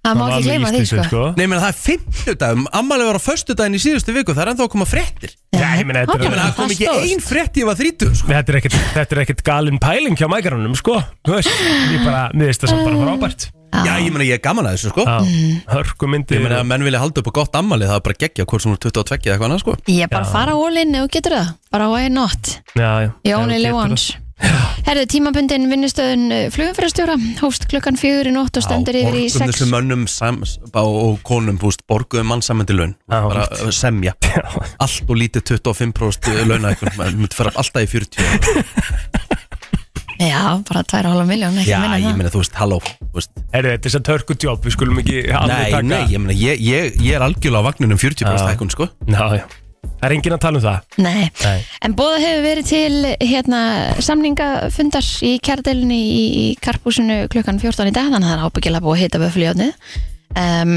má ekki
var með
gleyma því,
ístissu,
sko.
Nei, menn það er 50 dagum, ammali var á föstu daginn í síðustu viku það er ennþá að koma fréttir ég
Já, ég meina, þetta
Hann
er-
meina, það kom ekki
stóðst.
ein frétt ég var 30 sko.
Nei, Þetta er ekkert, þetta er ekkert galin pæling hjá mækarunum, sko Þú veist, ég bara, mér veist það sem bara frábært
já, ég meina, ég er gaman að þessu, sko
Já, hörku
ég meina, að menn vilja halda upp á gott ammali það er bara geggja hvort sem hún er 22 eða eitthvað annað, sko
Ég er bara að fara á ólinn ef þú getur það Bara why not
Já, já.
You
Ef
only
þú
live
getur það.
once Herðu tímabundin vinnustöðun flugumfærastjóra Hófst klukkan fjögur í nótt og stendur yfir í
borgum
sex
þessum mönnum sam, og, og konum, búst, borguðum mannsamendi laun
Já,
bara uh, semja allt og lítið 25% launa eitthvað, maður myndi fara alltaf í 40 ára.
Já, bara 2,5 miljón
Já, ég meina, þú veist, halló þú veist.
Herru, þetta er þess að törku jobb, við skulum ekki alveg
Nei,
taka
nei, ég meina, ég, ég, ég er algjörlega á vagninum 40% hækkun, sko
Já, já Það er enginn að tala um það
Nei.
Nei.
en bóða hefur verið til hérna, samningafundar í kjærdelinni í í karpúsinu klukkan 14 í dag, þannig að það er ábyggilega búið að hita vöfljóðnið. Um,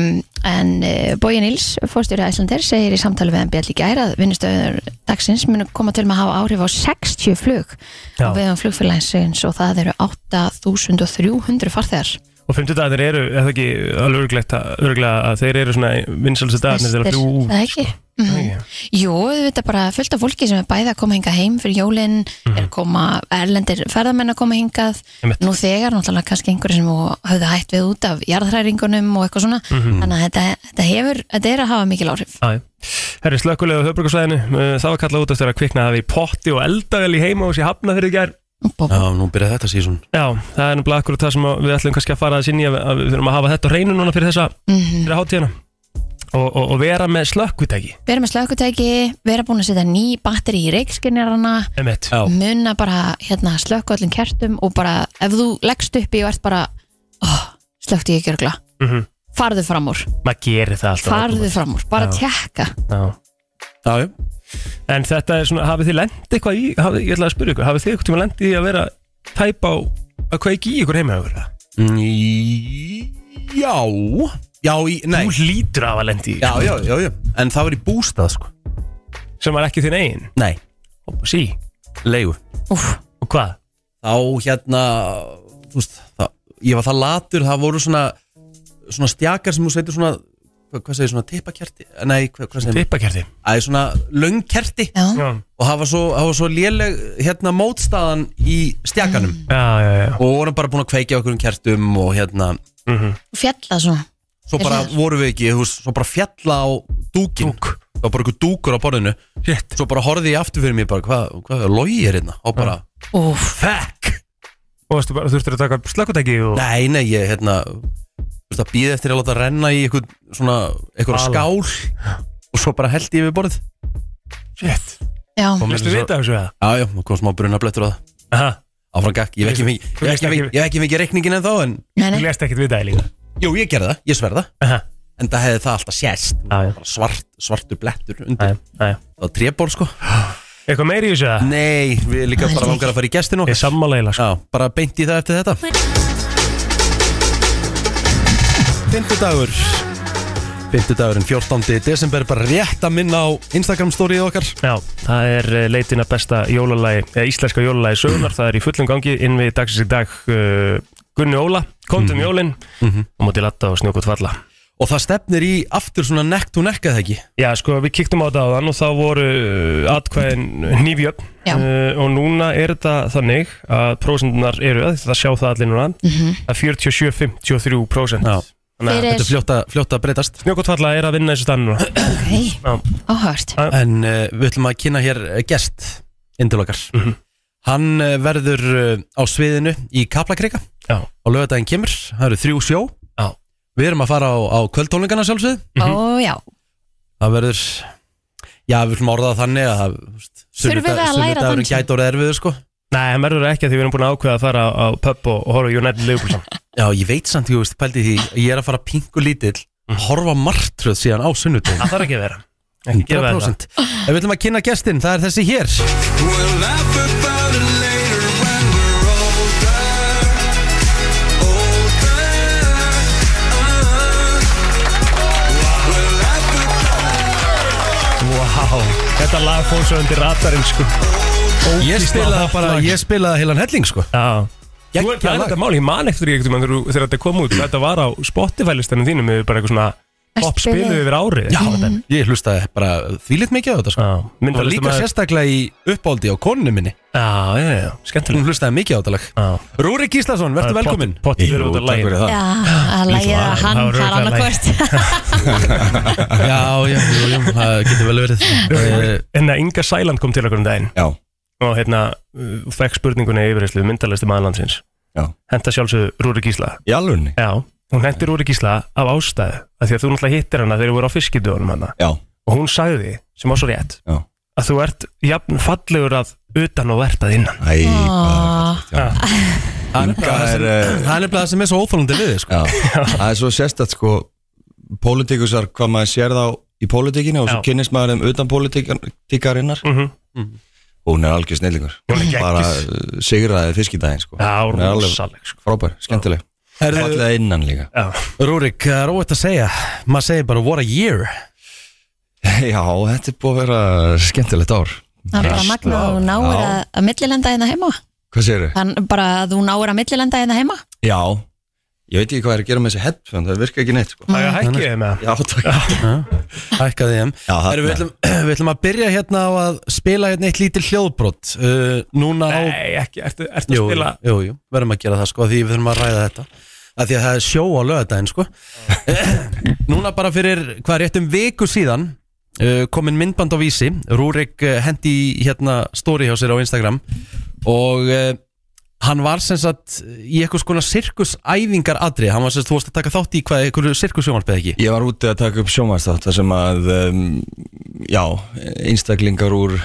en uh, Bói Níls, fórstjóri Æslander, segir í samtali við MBL í gæra að vinnustöður dagsins munu koma til með að hafa áhrif á 60 flug á
Já.
vegum flugfélagsins og það eru 8.300 farþegar.
Og 50 dagarnir eru, er það ekki alveg örglegt að, örglega að þeir eru svona vinsalsi dagarnir til að fljú
Bestir, eða ekki? Mhm. Jú, þetta er bara fullt af fólki sem er bæði að koma hingað heim fyrir jólinn, er að koma erlendir ferðamenn að koma hingað
Einmitt.
nú þegar náttúrulega kannski einhverjir sem höfðu hætt við út af jarðhræringunum og eitthvað svona, þannig að þetta, þetta hefur þetta er að hafa mikil áhrif.
Herri, slökkulega á höfbrukarsvæðinu, það var kallað út eftir að kviknaði í potti og eldavel í heima og sér hafna fyrir gær
Bob.
Já, nú byrjaði þetta síðan
Já, það er nefnilega akkurat það sem að við ætlum kannski að fara þess inn í að við, að við þurfum að hafa þetta á reynu núna fyrir þessa
Mhm.
fyrir hátíðina og, og, og vera með slökkvitæki
Vera með slökkutæki, vera búin að setja ný batteri í reikskinnjarana
emitt.
Já,
muna bara hérna, slökku öllum kertum og bara ef þú leggst upp í og ert bara oh, slökkti ég ekki örgla
Mm
farðu fram úr,
Maður gerir það alltaf
farðu fram úr bara tjekka
Já.
já, já.
En þetta er svona, hafið þið lendið eitthvað í hafið, Ég ætla að spyrja ykkur, hafið þið eitthvað tíma lendið í að vera tæpa á að kveiki í ykkur heima hjá ykkur? eða?
Í- Já Já, í, nei
Þú hlýtur að hafa lendið í
Já, já, já, já En það var í bústað, sko
sem var ekki þinn eigin
Nei,
og sí,
leigu
Úf,
og hvað?
Þá, hérna Þú veist, það, ég var það latur Það voru svona Svona stjakar sem þú sveitir svona Hvað, hvað segir, svona tippakerti? Nei, hvað, hvað segir
Tippakerti
Æ, svona löngkerti
já,
Já,
Og hafa svo, hafa svo léleg hérna mótstaðan í stjakanum
já, já, já.
Og vorum bara búin að kveikja okkur um kertum Og hérna
Mm
fjalla svona
svo
Er
bara
það?
vorum við ekki þú veist, svo bara fjalla á dúkin
Dúk.
það var bara einhver dúkur á borðinu
Shit.
svo bara horfði ég aftur fyrir mér bara hvað hva, logi er hérna og bara
Úf,
fuck
Og varstu bara, þurftur að taka slökkutæki og
nei nei ég hérna þú veist að býða eftir að láta renna í einhvern svona einhverja
Ala.
skál og svo bara held ég við borðið
Shit
já,
Kom-
Vistu vita af þessu eða?
já já og kom smá brunablettur á það
Aha
áfram gakk ég vekki mikið
Þú
ég
lést
vekki mikið
ekki-
ég vekki mikið reikningin en þá en
nei,
Þú
nei
lest ekkert vita það líka
jú ég gerði það ég sverða
Aha
en það hefði það alltaf sést
Já, já.
Bara svart svartur blettur undir
Æja, æja
á trébor sko
Eitthvað meiri í þessu eða?
nei við líka
Það er
bara
ekki.
langar að fara í gestin
Ég
okkar
er sammála eila sko
Já, bara beint í það eftir þetta Fymtudagur Fymtudagurinn 14. desember bara rétt að minna á Instagram stórið okkar
Já, það er eh, leitin að besta jólalagi, eða íslenska jólalagi sögunar, það er í fullum gangi inn við dagsins í dag uh, Gunni Óla, komdum
Mhm.
mm. jólin og mútið latta og snjókut falla.
Og það stefnir í aftur svona nekt og nekka það ekki
Já, sko, við kíktum á þetta áðan og þá voru uh, atkvæðin nýfjöfn
Já.
og núna er þetta þannig að prósendunar eru, að það sjá það allir núna, að 47-53%
Já.
Þannig
Mhm.
að
Fyrir-
Þetta er fljótt að, fljótt að breytast
snjókut falla er að vinna þessu stann núna.
ok,
Já.
áhört
En uh, við ætlum að kynna hér eh, gest inn til okkar
Mhm.
Hann eh, verður eh, á sviðinu í Kaplakrika
Já.
Á lögadaginn kemur, það eru þrjú sjó
Já. Mhm.
Við erum að fara á, á kvöldtónleikana sjálfsögð
ó já,
það verður já, við viljum orða það þannig að það, þú veist,
Þurfum við að
sunnudag-
læra
sunnudagurinn
dansinn?
gæti orðið erfiður sko
Nei, hann verður ekki að því við erum búin að ákveða að fara á, á pub og, og horfa á United Liverpool saman.
já, ég veit samt, ég veist, pældi því ég er að fara pingu lítill horfa martröð síðan á sunnudaginn
Mhm. Það þarf ekki að vera. Ekki að vera.
100% Ef við viljum að kynna gestin, það er þessi hér
We'll laugh about it later when we're older, older. We'll laugh
Vá, þetta lag fór svo undir radarinn sko
ég spilaði bara, ég spilaði heilan helling sko
Já Þú er
Geggjað
það er
lag.
þetta mál, ég man eftir ég þegar, þú- þegar þetta kom út Þetta var á Spotify-listanum þínum Við bara eitthvað svona
Að
pop
spila.
spiluð yfir árið
já,
Mhm.
ég hlustaði bara þvílitt mikið á þetta sko
já
og líka sérstaklega í uppáldi á konunum minni
Já, já, já, skemmtileg
hún hlustaði mikið á þetta lag
Já.
Rúri Gíslason, verður
Það er
velkomin
pott- pottur verið út af laginu.
það
já, að lægið
lag,
að hann
það
það er
var örugglega
annað hvort
Já, já, jú, jú, það getur vel verið Eh,
[LAUGHS] En að Inga Sæland kom til okkur um daginn
Já,
Og hérna, uh, fekk spurningunni yfirherslu Myndalisti maðurlandsins
Já.
Henta sjálfsög Rúri Gísla
í alvörni
Já, hún hendi Rúri Gísla af ástæðu af Því að þú náttúrulega hittir hana þegar þú voru á fiskidögunum hana
Já,
og hún sagði, sem var svo rétt
Já.
að þú ert jafn fallegur að utan og verð að
[LAUGHS]
innan
æ,
Ó.
hvað er þetta?
Það er nefnilega [CLEARS THROAT] það
Það
sem-
er, eh,
það er nefnilega það sem er svo óþólandi við þig, sko.
Já, það er svo sérstætt sko Pólitíkusar, hvað maður sér þá í pólitíkinu og svo
Já.
kynnist maður þeim utan pólitíkarinnar
mm -hmm.
Hún er algjör snillingur
Hún er geggjuð.
Bara eh, sigraði fiskidaginn sko
Já,
Hún er alveg
rosaleg sko.
frábær, skemmtileg
Herðu,
Fallega innan líka [LAUGHS]
Já,
Rúrik, það er óvægt að segja maður segir bara what a year
Já, þetta er búið að vera skemmtilegt ár
það er bara magna að þú náir
Já.
að, að millilenda hérna heima
Hvað segirðu?
Þann, bara að þú náir að millilenda hérna heima
Já, ég veit ekki hvað er að gera með þessi headphone Það virka ekki neitt sko
það er hérna. hækkið þeim með
Já, takk Já,
hækkaði þeim Herru,
það
við, ætlum, [CLEARS THROAT] við ætlum að byrja hérna á að spila hérna eitt lítil hljóðbrot uh, núna á
Nei, ekki, ertu, ertu að
jú,
spila
jú, jú, verðum að gera það sko því við þurfum að ræða þetta að því að það er sjó á lögadaginn sko núna bara fyrir hvað rétt um viku síðan uh, komin myndband á vísi Rúrik uh, hendi í, hérna story hjá sér á Instagram og uh, hann var sem sagt í eitthvað skona sirkusæfingar aðri hann var sem sagt, þú varst að taka þátt í hvað, eitthvað sirkusjómarbeð ekki
Ég var úti að taka upp sjónvarsþátt þar sem að, um, já, einstaklingar úr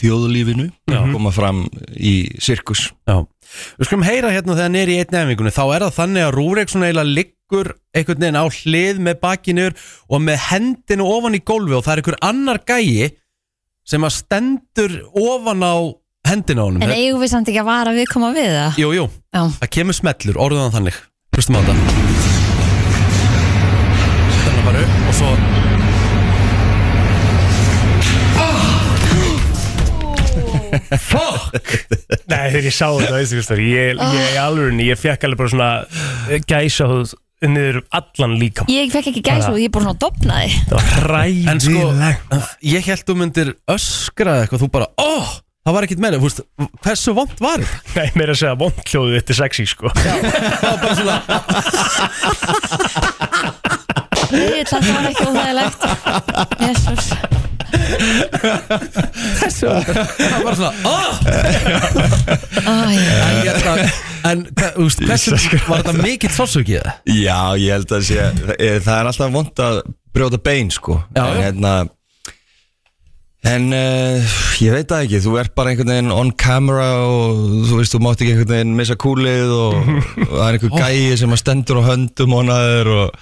þjóðlífinu koma fram í sirkus.
Mhm. Já, við skulum heyra hérna þegar hann er í einni efingunni þá er það þannig að Rúrik svona eiginlega liggur einhvern veginn á hlið með bakinur og með hendinu ofan í gólfi og það er einhver annar gæi sem að stendur ofan á hendinu á honum
En eigum við samt ekki að vara við koma við það?
Jú, jú,
Já,
það kemur smellur, orðuðan þannig Hlustum á þetta Þetta er bara upp og svo
Nei, þegar ég sá þetta, veistu hvað stóri Ég, ég, alveg, ég fekk alveg bara svona gæsa hóð niður um allan líkam
ég fekk ekki gæs og ég er bara svona að dopna þig
Það var
En sko,
hræðilegt
ég held þú myndir öskra eitthvað, þú bara, óh, það var ekkert meira þú veist, Hversu vond var þetta?
[LAUGHS] Nei, mér er að segja vondljóðu þetta er sexy, sko [LAUGHS]
Ég ætla að það var ekki
[LAUGHS]
óþægilegt Jesus.
Það var svona, óh
Æ,
En, ég ætla, en hva- þú veist, hversu var þetta mikill sársökið?
Já, ég held að sé, eh, það er alltaf vond að brjóta bein, sko.
Já, já.
en, hérna, en uh, ég veit það ekki, þú ert bara einhvern veginn on camera og þú veist, þú mátt ekki einhvern veginn missa kúlið
[LAUGHS]
og, og það er einhver gæi sem að stendur á höndum honaður og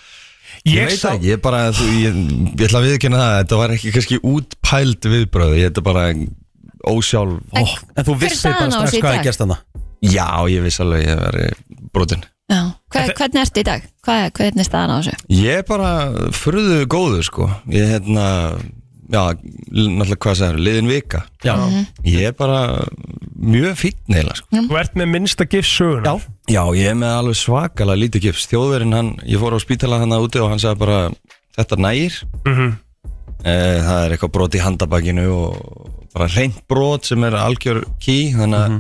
Ég, veit það ekki, ég bara, þú, ég, ég ætla að viðkynna það, þetta var ekki kannski útpæld viðbröð, ég þetta bara ósjálf,
Oh, en þú
hver er
vissir bara
staðan
strax
á þessu í
hvað er
dag?
gerst hana
já, ég viss alveg, ég var brotin.
já. Hva, Hvernig ertu í dag? Hva, hvernig er staðan á þessu?
Ég er bara furðu góður sko Ég er hérna Já, l- náttúrulega hvað segir, liðin vika
Já,
Ég er bara mjög fínn heila sko
Þú ert með minnsta gifs söguna
Já.
Já, ég er með alveg svakalega lítið gifs Þjóðverinn hann, ég fór á spítala hann úti og hann sagði bara Þetta nægir
Mhm.
Eh, Það er eitthvað brot í handabakinu og bara reynt brot sem er algjör ký Þannig að
Mhm.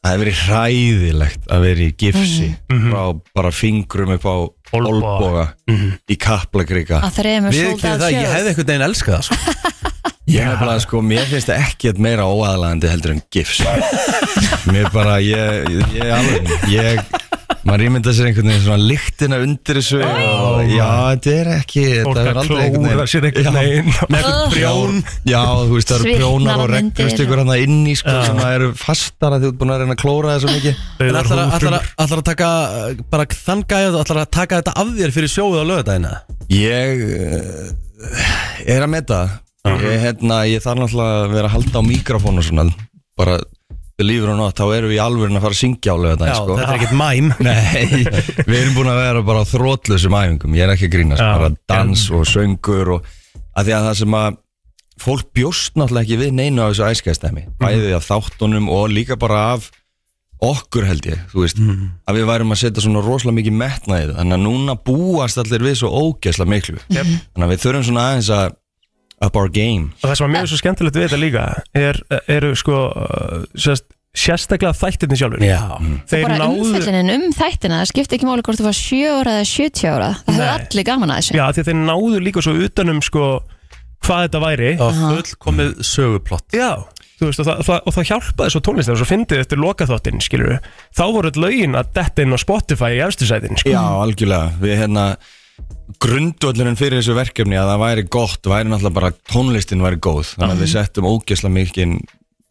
það hefur verið hræðilegt að vera í gifsi Frá bara fingrum upp á
Mhm. Olnboga. Mhm.
olboga Í kaplakrika
Að þreymur
við kynum
soldað
það, ég
sjöð
hefði einhvern veginn elskað það sko.
[LAUGHS] Ég er bara sko, mér finnst það ekkert meira óaðlandi heldur en gifs
[LAUGHS]
Mér bara, ég, ég, ég alveg, ég maður ímynda sér einhvern veginn svona lyktina undir þessu og já, þetta er ekki
Fólk
þetta er
að
aldrei einhvern
klóra sér einhvern
Já,
veginn
Með eitthvað brjón
já, þú veist, það eru
Svitnar
prjónar og
á myndir.
regnust ykkur hann inn í sko, sem það eru fastara því þú ert búin að reyna að klóra þessu mikið
En ætlar að- ætlar að- ætlar að taka uh, bara þann gæð ætlar að taka þetta af þér fyrir sjóið á lögadagina
Ég eh, er að meta það. ég, hérna, ég þarf náttúrulega að vera að halda á mikrofónu svona bara, lífur og nátt, þá erum við í alvörin að fara að syngja á lögðan
Já,
sko.
þetta er ekkert mæm [LAUGHS]
[LAUGHS]
Nei, við erum búin að vera bara á þrótlausum æfingum, ég er ekki að grínast
Já.
bara dans og söngur og að því að það sem að fólk bjóst náttúrulega ekki við neinu á þessu æskæðstæmi bæði af þáttunum og líka bara af okkur held ég, þú veist að við værum að setja svona rosalega mikið metnaðið þannig að núna búast allir við svo ógeðslega miklu
Jep.
Mhm.
þannig að við þurfum svona aðeins að up our game
Og það sem er mjög svo skemmtilegt við þetta líka er, eru sko uh, sérst, sérstaklega þættirni sjálfur
Já,
Þeir
bara
náðu
umfyllinin um þættina það skipti ekki máli hvort þú var 7 ára eða 70 ára það hefur
Nei.
allir gaman að þessu
Já, af því að þeir náðu líka svo utanum sko hvað þetta væri
það var fullkomið söguplott
Já, þú veist, og það, það, og það hjálpaði svo tónlistin og svo fyndið eftir lokaþóttin, skilur við þá voru öll lögin að detta inn á Spotify í efstu sætin, sko
Já, algjörlega, við hérna grundvöllurinn fyrir þessu verkefni að það væri gott, væri náttúrulega bara tónlistin væri góð, þannig að við settum ógeðslega mikinn,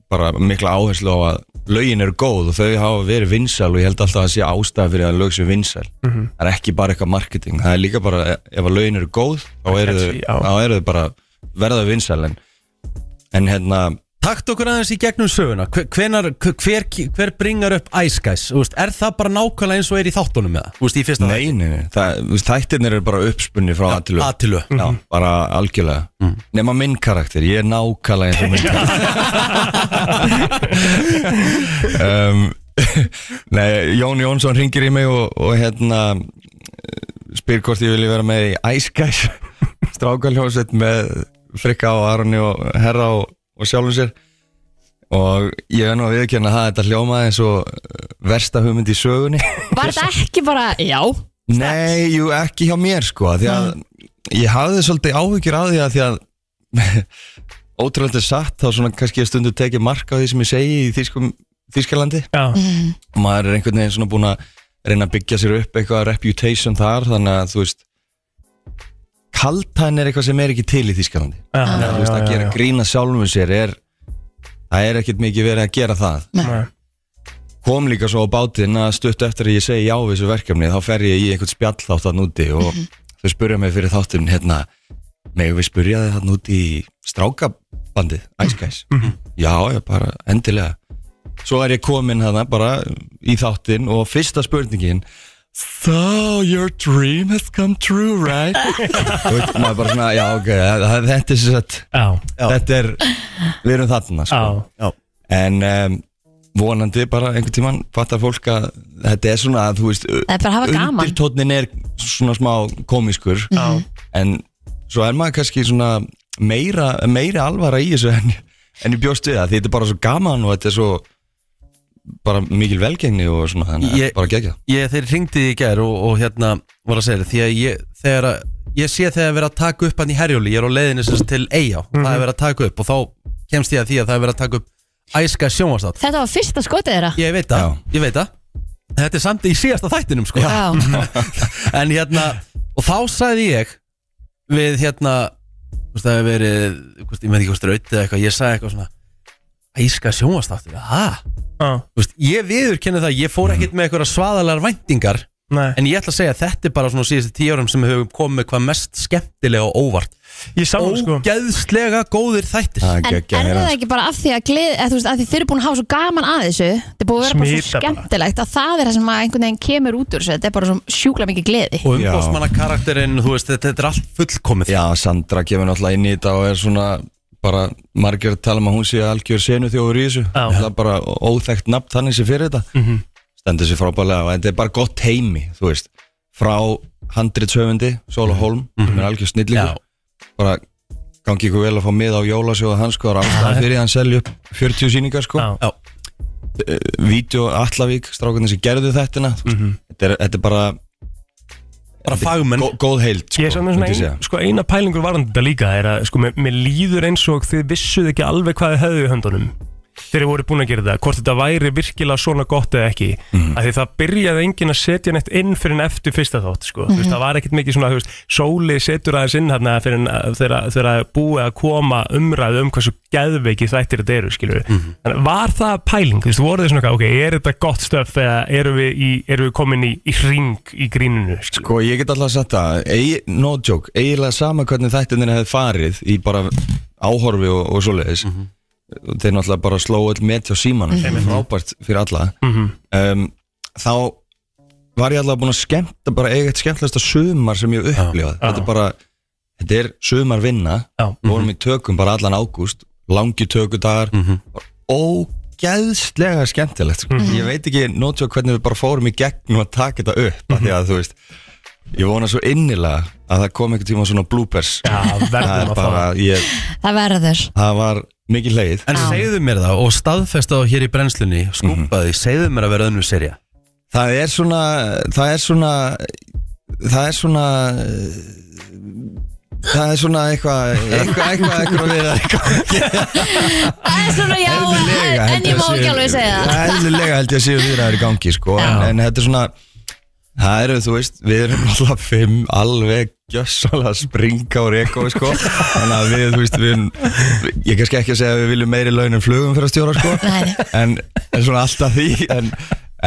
bara mikla áherslu á að lögin eru góð og þau hafa verið vinsæl og ég held alltaf að það sé ástæða fyrir að lög séu vinsæl
Mhm.
Mhm.
það er ekki bara eitthvað marketing, það er líka bara e, ef að lögin eru góð, þá eru þau
Catchy, já.
þá eru þau bara verða vinsæl en, en hérna
Takt okkur aðeins í gegnum söguna Hver, hvenar, hver, hver bringar upp Ice Guys? Þú veist, Er það bara nákvæmlega eins og er í þáttunum með það? Þú veist, í fyrsta
Nei, nei, nei, það, þú veist, þættirnir eru bara uppspunni frá ja, aðtilu
aðtilu
Já, bara algjörlega
Mm.
Nefna minn karakter, ég er nákvæmlega eins og
[LAUGHS]
minn karakter um, [LAUGHS] Nei, Jón Jónsson ringir í mig og, og hérna eh, spyr hvort ég vilji vera með í Ice Guys [LAUGHS] strákaljónsveit með Frikka og Aroni og Herra og, og sjálfum sér og ég er nú að viðkjanna það þetta hljómaði eins og eh, versta hugmynd í sögunni [LAUGHS]
var þetta ekki bara, já
Nei, jú, ekki hjá mér sko af Því að ég hafði svolítið áhyggjur af því að því að [LAUGHS] ótrúlega satt þá svona kannski að stundu tekið mark á því sem ég segi í þýskum Þýskalandi
Já,
og maður er einhvern veginn svona búin að reyna að byggja sér upp eitthvað reputation þar þannig að þú veist kaltæn er eitthvað sem er ekki til í Þýskalandi
já,
þannig að þú
já,
veist að
já,
gera
já.
grína sjálfum sér er það er ekkert mikið verið að gera það
Nei.
kom líka svo á bátinn að stutt eftir að ég segi já við þessu verkefni þá fer ég í einhvern spjall þátt þarna úti og þau spurja mig fyrir þáttin hérna megum við spurja þið þarna úti í strákabandið, Ice Guys já, já, bara endilega svo er ég komin þarna bara í þáttin og fyrsta spurningin So your dream has come true, right? Þú veit, maður bara svona, já, ok, það- þetta er sér sett
Já,
þetta er, við erum þarna sko.
já,
en um, vonandi bara einhvern tíman fattar fólk að þetta er svona að þú veist
Það er bara að hafa gaman. Mhm.
undirtótnin er svona smá komiskur
já,
en svo er maður kannski svona meira, meira alvara í þessu en, en ég bjóst við það því þetta er bara svo gaman og þetta er svo bara mikil velgengni og svona þannig
Ég-
ég... bara gegja
ég, þeir ringdi í gær og, og hérna var að segja þér, því að ég, þegar að ég sé þegar að vera að taka upp hann í herjóli ég er á leiðinni sem sagt til Eyjá, það er verið að taka upp og þá kemst ég að því að það er verið að taka upp æska sjónvarstátt,
Þetta var fyrsta skotið þeirra
ég veit það,
Já.
ég veit það þetta er samt í síðasta þættinum sko
Já,
[LAUGHS] en hérna, og þá sagði ég við hérna þú veist það hefur verið, hvort, ég með ekki hvort rautið eitthvað, ég sagði eitthvað svona æska sjónvarstátt, það
já,
ég viður það, ég fór ekkert með eitthvað svaðalar væntingar
nei
En ég ætla að segja að þetta er bara svona síðustu tíu árum sem við höfum komið hvað mest skemmtilega og óvart
Ég sá það sko
Ógeðslega góðir þættir
Það
en er
geggjað að heyra.
það ekki bara af því að, glið, að, þú veist, að því þeir eru búin að hafa svo gaman að þessu Það er búið að vera bara svo
Smita bara.
skemmtilegt að það er það sem að einhvern veginn kemur út úr þessu Þetta er bara svo sjúkla mikið gleði
Og umbóðsmanna karakterinn, þú veist, þetta, þetta er allt fullkomið
Já, Sandra kemur náttúrulega inn í þetta og er svona bara margir að tala um að hún sé algjör senu þjóður í þessu
Já.
það er bara óþekkt nafn þannig sem fyrir þetta
Mhm.
stendur sér frábælega og þetta er bara gott heimi þú veist, frá handritsöfundi Sóla
Mhm.
Holm, sem er algjör snillingur bara gangi ykkur vel að fá mið á jólasjóða hans sko, rástaðan fyrir því að hann selja upp 40 síningar sko
Já,
Já.
Eh, Vídeó Allavík, strákunni sem gerðu þetta
Mhm.
þetta, er, þetta er bara
Bara fagmenn
gó, góð heild sko,
Ég er svona
myndi ég
svona
segja.
ein, sko, eina pælingur varðan þetta líka er að sko, mér, mér líður eins og þið vissuð ekki alveg hvað þið höfðu í höndunum þegar þið voru búin að gera þetta, hvort þetta væri virkilega svona gott eða ekki
Mhm.
mm. að því það byrjaði enginn að setja neitt inn fyrir en eftir fyrsta þátt, sko,
Mhm.
þú veist, það var ekkert mikið svona, þú veist, sóli setur aðeins inn hérna fyrir en að- þegar að- þegar að búið að koma umræðu um hversu geðveiki þættir þetta eru, skilur við,
Mhm.
þannig að var það pæling, þú veist, voru þið svona, eitthvað, ok, er þetta gott stöf eða erum við, í, erum við komin í, í ring í gríninu, skilur
Sko ég get alltaf sagt það, eigi, no joke, eiginlega sama hvernig þættinir hefði farið í bara áhorfi og, og svoleiðis
Mhm.
þeir náttúrulega bara slóu öll með hjá símanum sem er
Mm-hmm.
frábært fyrir alla um, þá var ég alltaf búin að skemmta bara eiga eitt skemmtilegasta sumar sem ég hef upplifað þetta er bara, þetta er sumarvinna
Já. Mm-hmm.
við vorum í tökum bara allan ágúst langi tökudagar mm -hmm.
Mm-hmm.
ógeðslega skemmtilegt sko. ég veit ekki nótjók hvernig við bara fórum í gegnum að taka þetta upp mm því
Mm-hmm.
að þú veist ég vona svo innilega að það kom einhver tíma svona bloopers
Já,
það
verðum
er
að fá
bara, ég,
Það verður
það var mikið leið
En
Já.
segðu mér það og staðfesta þá hér í brennslunni Skúpaði, segðu mér að vera önnur serja
Mhm. Það er svona Það er svona Það er svona eh, Það er svona eitthvað Eitthvað, eitthvað, eitthvað við eitthvað
Það er svona já, en, en ég má ekki alveg segja það
Eðlilega held ég að séu viðræður í gangi sko en, en þetta er svona Það eru, þú veist, við erum alltaf fimm alveg gjössalega að springa og reka sko Þannig að við, þú veist, við erum Ég er kannski ekki að segja að við viljum meiri laun en flugum fyrir að stjóra sko
Nei, nei.
en, en svona alltaf því en,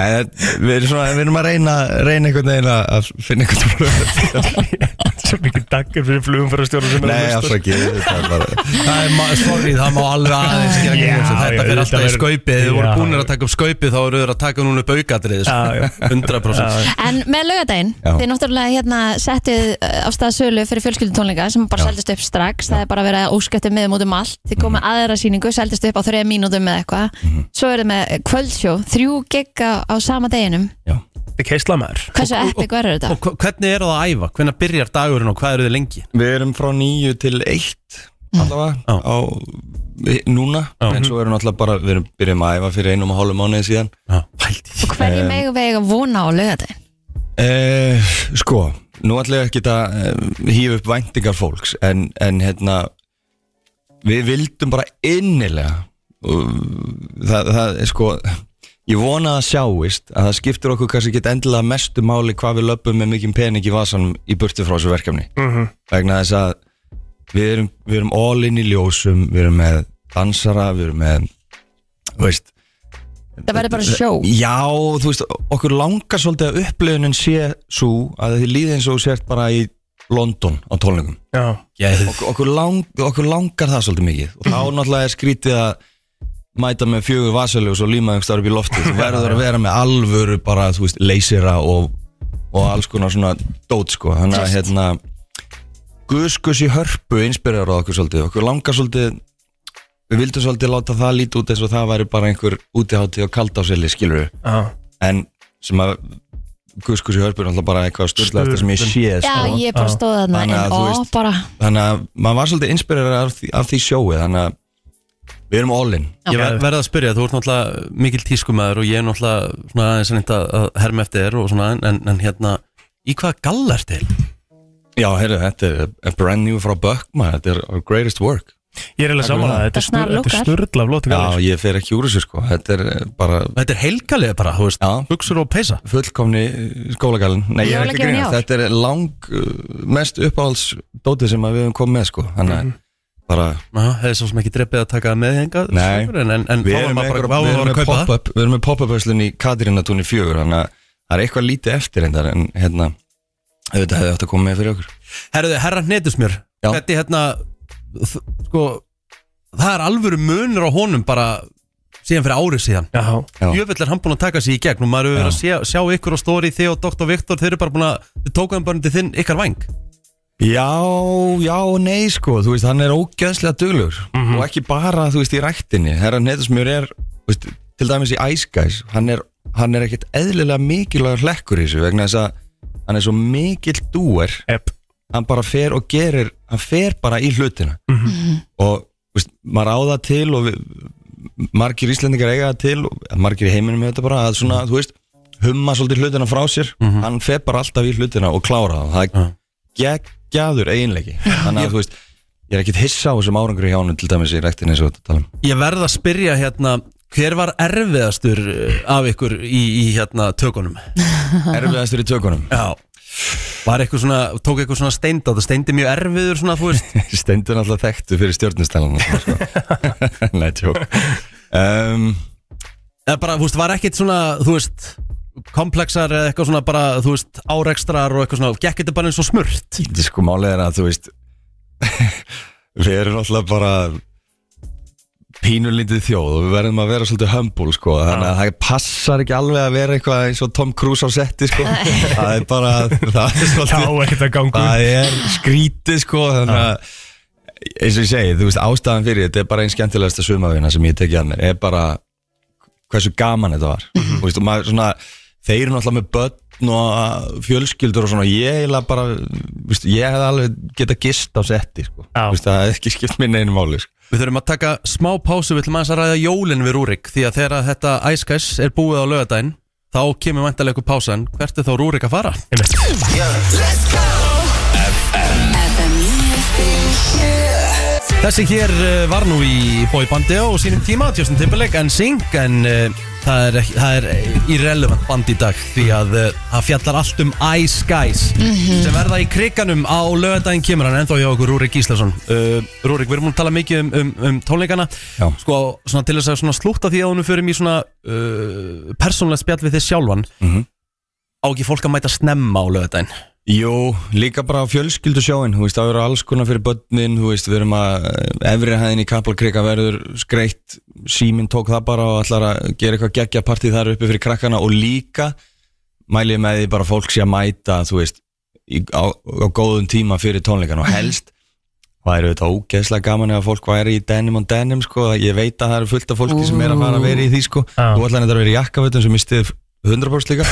en við, erum svona, við erum að reyna reyna einhvern veginn að- að finna einhvern flugum
[LAUGHS] Svo mikið daggir fyrir flugum fyrir að stjóra sem
Nei,
að hlusta.
afsaki Það er bara
Það er, ma- sorry, það má alveg aðeins gera
Já,
grín þessu. Þetta
já,
fyrir
þetta
alltaf í
verður-
skaupið Þið voru
Já.
búinir að taka upp skaupið þá eru þeir að taka núna upp sko. aukatrið
Já, já.
[LAUGHS] 100%
En með laugadaginn,
Já.
þið náttúrulega hérna settið uh, á stað sölu fyrir fjölskyldutónleika sem bara seldist upp strax, það er bara verið að óskættu miðum út um allt, þið komið
Mhm.
aðra síningu seldist upp á þreja mínútum eða eitthvað svo er þið með eh, kvöldsjó, þrjú gigga á sama deginum,
Þetta er keisla maður
hversu
Og- og-
epic verður þetta?
Og hva- hvernig er það að æfa? Hvernig byrjar dagurinn og hvað eru þið lengi?
Við erum frá nýju til eitt
Mhm.
allavega
Já.
á, við- núna en svo erum alltaf bara, við erum byrjum að æfa fyrir einum og hálfum mánuði síðan
Pældi
Og hverju
Eh.
megu vega vona á laugadaginn?
Eh, sko, nú ætla ég ekki að eh, hýfa upp væntingar fólks en, en hérna við vildum bara innilega og það, það er sko það Ég vona að það sjáist að það skiptir okkur kannski ekki endilega mestu máli hvað við löpum með mikinn pening í vasanum í burtu frá þessu verkefni
Mhm.
vegna þess að við erum, við erum all in í ljósum, við erum með dansara, við erum með þú veist,
Það verður bara sjó
já, þú veist, okkur langar svolítið að upplifunin sé svo að þið líði eins og þú sért bara í London á tónleikum
Já,
okkur, okkur, lang, okkur langar það svolítið mikið og þá náttúrulega er skrítið að mæta með fjögur vasaljós og líma einhverstaður upp í lofti þú verður að vera með alvöru bara, þú veist, leysira og, og alls konar svona dót, sko, þannig að hérna guðskus í hörpu inspirar á okkur svolítið, okkur langar svolítið við vildum svolítið láta það líti út eins og það væri bara einhver útiháttið og kaldásili, skilur við,
já,
en sem að guðskus í hörpu er alltaf bara eitthvað styrlaðasta sem ég sé, sko
Já, ég bara
Já.
stóð þarna
Þannig að
en
þú
ó,
veist-
bara
þannig að maður var svolítið inspirerar af, því- af því sjóið þannig að við erum all in
Ég ver, verð að spyrja, þú ert náttúrulega mikil tískumæður og ég er náttúrulega svona aðeins reynd að að herma eftir þér og svona en, en, en hérna, í hvaða galla er til?
já, heyrðu, þetta er a brand new frá Böckma þetta er our greatest work
ég er eiginlega
Takk fyrir
saman að
það.
þetta er
Það snar
stur- þetta er
lukkar.
sturla af lótu
já, ég fer ekki úr þessu sko þetta er eh, bara
Þetta er helgalið bara, þú veist,
já,
buksur og peysa
fullkomni eh, skólagalinn nei, ég er ekki að
Jólagjöfin í
grínast
ár.
þetta er lang eh, mest uppáhalds dótið sem að við höfum komið með sko þannig
Mm,
að bara
Já, hefði svo sem ekki dreppið að taka það með hengað
Nei.
en, en, en
við erum með
bara,
einhverja-
bara,
við
bara
erum
að
með
kaupa það
pop-up við erum með pop-up verslun í Katrínatúni fjögur þannig að það er eitthvað lítið eftir reyndar, en hérna auðvitað hefði átt að koma með fyrir okkur
Herðu, herra hnetusmjör
Já.
Þetta er hérna þ- sko, Það er alvöru munur á honum bara síðan fyrir árið síðan
Já,
Já.
Jöfell er hann búin að taka sig í gegn og maður hefur verið að sjá, sjá ykkur á stóri þið og Dr. Viktor þeir eru bara búin að þið tókaðum bara undir þinn ykkar væng
Já, já, og nei sko, þú veist, hann er ógjöðslega duglur og ekki bara, þú veist, í ræktinni Herra Netusmjör er, þú veist, til dæmis í Ice Guys, hann er, hann er ekkert eðlilega mikilvægur hlekkur í þessu vegna þess að hann er svo mikill dúer,
epp
hann bara fer og gerir, hann fer bara í hlutina og, þú veist, maður á það til og við, margir íslendingar eiga það til, og, margir í heiminum með þetta bara, að svona, þú veist humma svolítið hlutina frá sér, hann fer bara alltaf í hlutina og klára það, það
Já.
geggjaður eiginleiki þannig að þú veist, ég er ekkit hissa á þessum árangur hjá hann til dæmis í rektin eins og þetta tala um
Ég verð að spyrja hérna hver var erfiðastur eh, af ykkur í, í hérna tökunum
[LAUGHS] erfiðastur í tökunum,
Já Var eitthvað svona, tók eitthvað svona steind á það steindi mjög erfiður svona, þú
[LAUGHS]
veist
stendur náttúrulega þekktu fyrir stjórnistælan sko.
[LAUGHS]
[LAUGHS] nei, tjók um,
eða bara, þú veist, var ekkit svona, þú veist komplexar eða eitthvað svona bara, þú veist árekstrar og eitthvað svona, gekk þetta bara eins og smurt
þetta er sko málið er að þú veist [LAUGHS] við erum náttúrulega bara pínulítið þjóð og við verðum að vera svolítið humble sko, þannig að það passar ekki alveg að vera eitthvað eins og Tom Cruise á setti sko, það er bara það er
Já,
svolítið
ekkert að ganga
það er skrítið sko þannig að eins og ég segi, þú veist, ástæðan fyrir þetta er bara einn skemmtilegasta sumavina sem ég tekið að mér er bara hversu gaman þetta var þú veist, og maður svona þeir eru náttúrulega með börn og fjölskyldur og svona, ég eiginlega bara þú veist, ég hefði alveg getað gist á setti sko.
Já.
Þú veist, það hefði ekki skipt minni einu máli sko.
Við þurfum að taka smá pásu, við ætlum aðeins að ræða jólin við Rúrik því að þegar að þetta Ice Guys er búið á lögadaginn þá kemur vantarlega ykkur pásan hvert er þá Rúrik að fara? Þessi hér eh, var nú í bóibandi á sínum tíma, Justin Timberlake en Sing en eh, það er, ekki- það er irrelevant band í dag því að eh, það fjallar allt um Ice Guys sem verða í kriganum á lögadaginn kemur hann ennþá hjá okkur Rúrik Gíslason uh, Rúrik, við erum múin að tala mikið um, um, um tónleikana
Já.
sko, svona til þess að svona slúta því að hún fyrir mér svona uh, persónlega spjall við þið sjálfan
Mhm.
á ekki fólk að mæta snemma á lögadaginn
Jú, líka bara fjölskyldu sjóin, þú veist, það eru alls konar fyrir börnin, þú veist, við erum að eh, efri hæðin í Kaplakrika verður skreitt, síminn tók það bara og ætlar að gera eitthvað geggja partíð þar uppi fyrir krakkana og líka mæli ég með því bara fólk sé að mæta, þú veist, í, á, á góðum tíma fyrir tónleikan og helst væri þetta ógeðslega gaman ef að fólk væri í denim on denim, sko, ég veit að það eru fullt af fólki sem er að fara að vera í því, sko,
Já.
þú ætlar þetta að vera í jakkafötum sem mistið 100% líka.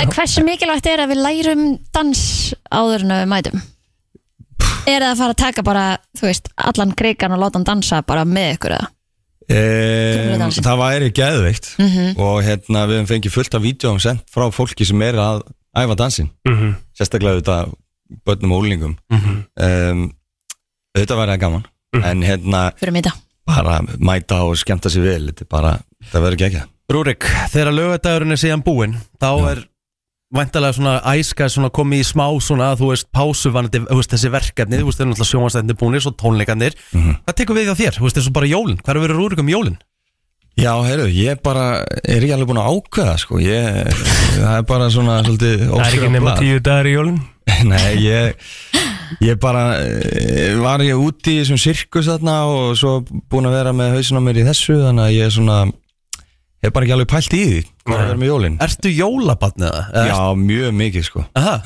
En hversu mikilvægt er að við lærum dans áður en að við mætum? Er það að fara að taka bara, þú veist, allan krigan og láta hann dansa bara með ykkur eða?
Ehm,
dansinn.
það væri geðveikt og hérna við höfum fengið fullt af vídjóum sendt frá fólki sem er að æfa dansin
Mhm.
sérstaklega auðvitað börnum og úlingum mm
Mhm.
auðvitað væri það gaman en hérna
Fyrir mig þetta.
bara mæta og skemmta sér vel þetta er bara, það verður ekki ekki
Rúrik, þegar lögadagurinn er síðan búinn þá er væntalega svona æska svona komið í smá svona þú veist pásuvanandi, þú veist þessi verkefni þú veist þeir eru náttúrulega sjónvannstættinni búinir, svo tónleikarnir hvað tekur við hjá þér, þú veist þessu bara jólin hvað er verið Rúrik um jólin?
Já, heyrðu, ég bara er ekki alveg búin að ákveða sko. ég, það er bara svona svolítið
Það er ekki
óskrifað
nema
blað.
tíu dagar í jólun
[LAUGHS] Nei, ég, ég bara eh, var ég úti í þessum sirkus þarna og svo búin að vera með hausin á mér í þessu þannig að ég er svona hef bara ekki alveg pælt í því að vera með jólin
Ertu jólabatn eða? Eða
Já, mjög mikið sko
ertu- Aha,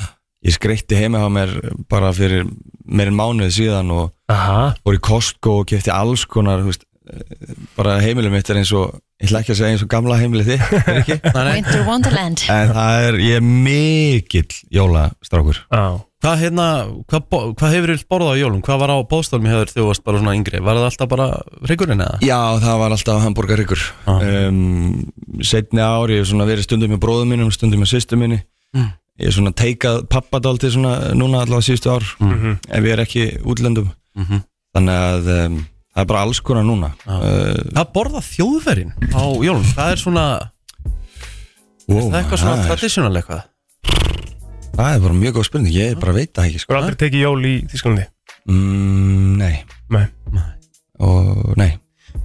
Ég skreytti heima á mér bara fyrir meir en mánuði síðan og
Aha,
fór í Costco og kefti alls konar þú veist, eh, bara heimilið mitt er eins og ég ætla ekki að segja eins og gamla heimilið þið
[LAUGHS]
er ekki? Nei, nei.
Winter Wonderland
en það er, ég er mikill jólastrákur
á
hvað hérna, hvað, bo- hvað hefur þér borðað á jólum? Hvað var á bóðstólmi hefur þegar þú varst bara svona yngri? Var það alltaf bara hryggurinn eða?
Já, það var alltaf hambúrgaryggur
Ah.
um, Setni ár, ég hef svona verið stundum með bróðum mínum, stundum með sýstum minni
Mm.
Ég hef svona teikað pappadáldi svona núna allavega síðustu ár ef ég er ekki útlendum
Mhm.
Þannig að um, það er bara alls konar núna uh,
Hvað borða þjóðverinn á jólum? Hvað er svona,
wow,
það er eitthvað svona
það, er,
traditional eitthvað?
það er bara mjög góð spurning, ég bara veit það ekki sko.
Þú er aldrei tekið jól í Þísklandi
mm, Nei,
Nei
og nei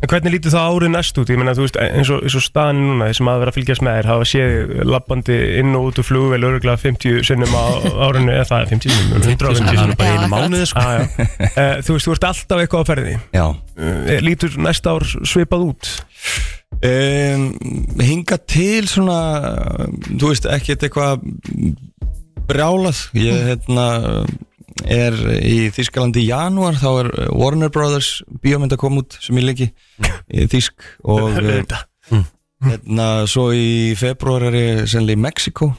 En hvernig lítur það árið næst út? Ég meina, þú veist, eins og, eins og staðan er núna, þessum að vera að fylgjast með þér, hafa séð lappandi inn og út úr flugvel örgulega 50 sinnum á [LAUGHS] árinu, eða það er 50 sinnum, 150
Það
sinnum.
er bara
Já,
einu
akkurat.
mánuði sko
Ah, já. Eh, þú veist, þú ert alltaf eitthvað á ferði.
Já
Eh, Lítur næsta ár svipað út?
Um, hinga til svona um, þú veist, ekkert eitthvað brjálað ég
Mm.
hérna um, er í Þískalandi í janúar þá er uh, Warner Brothers bíómynd að koma út sem ég leiki í Þísk
[LAUGHS]
og uh,
Auðvitað.
hérna svo í februar er ég sennilega í Mexiko uh,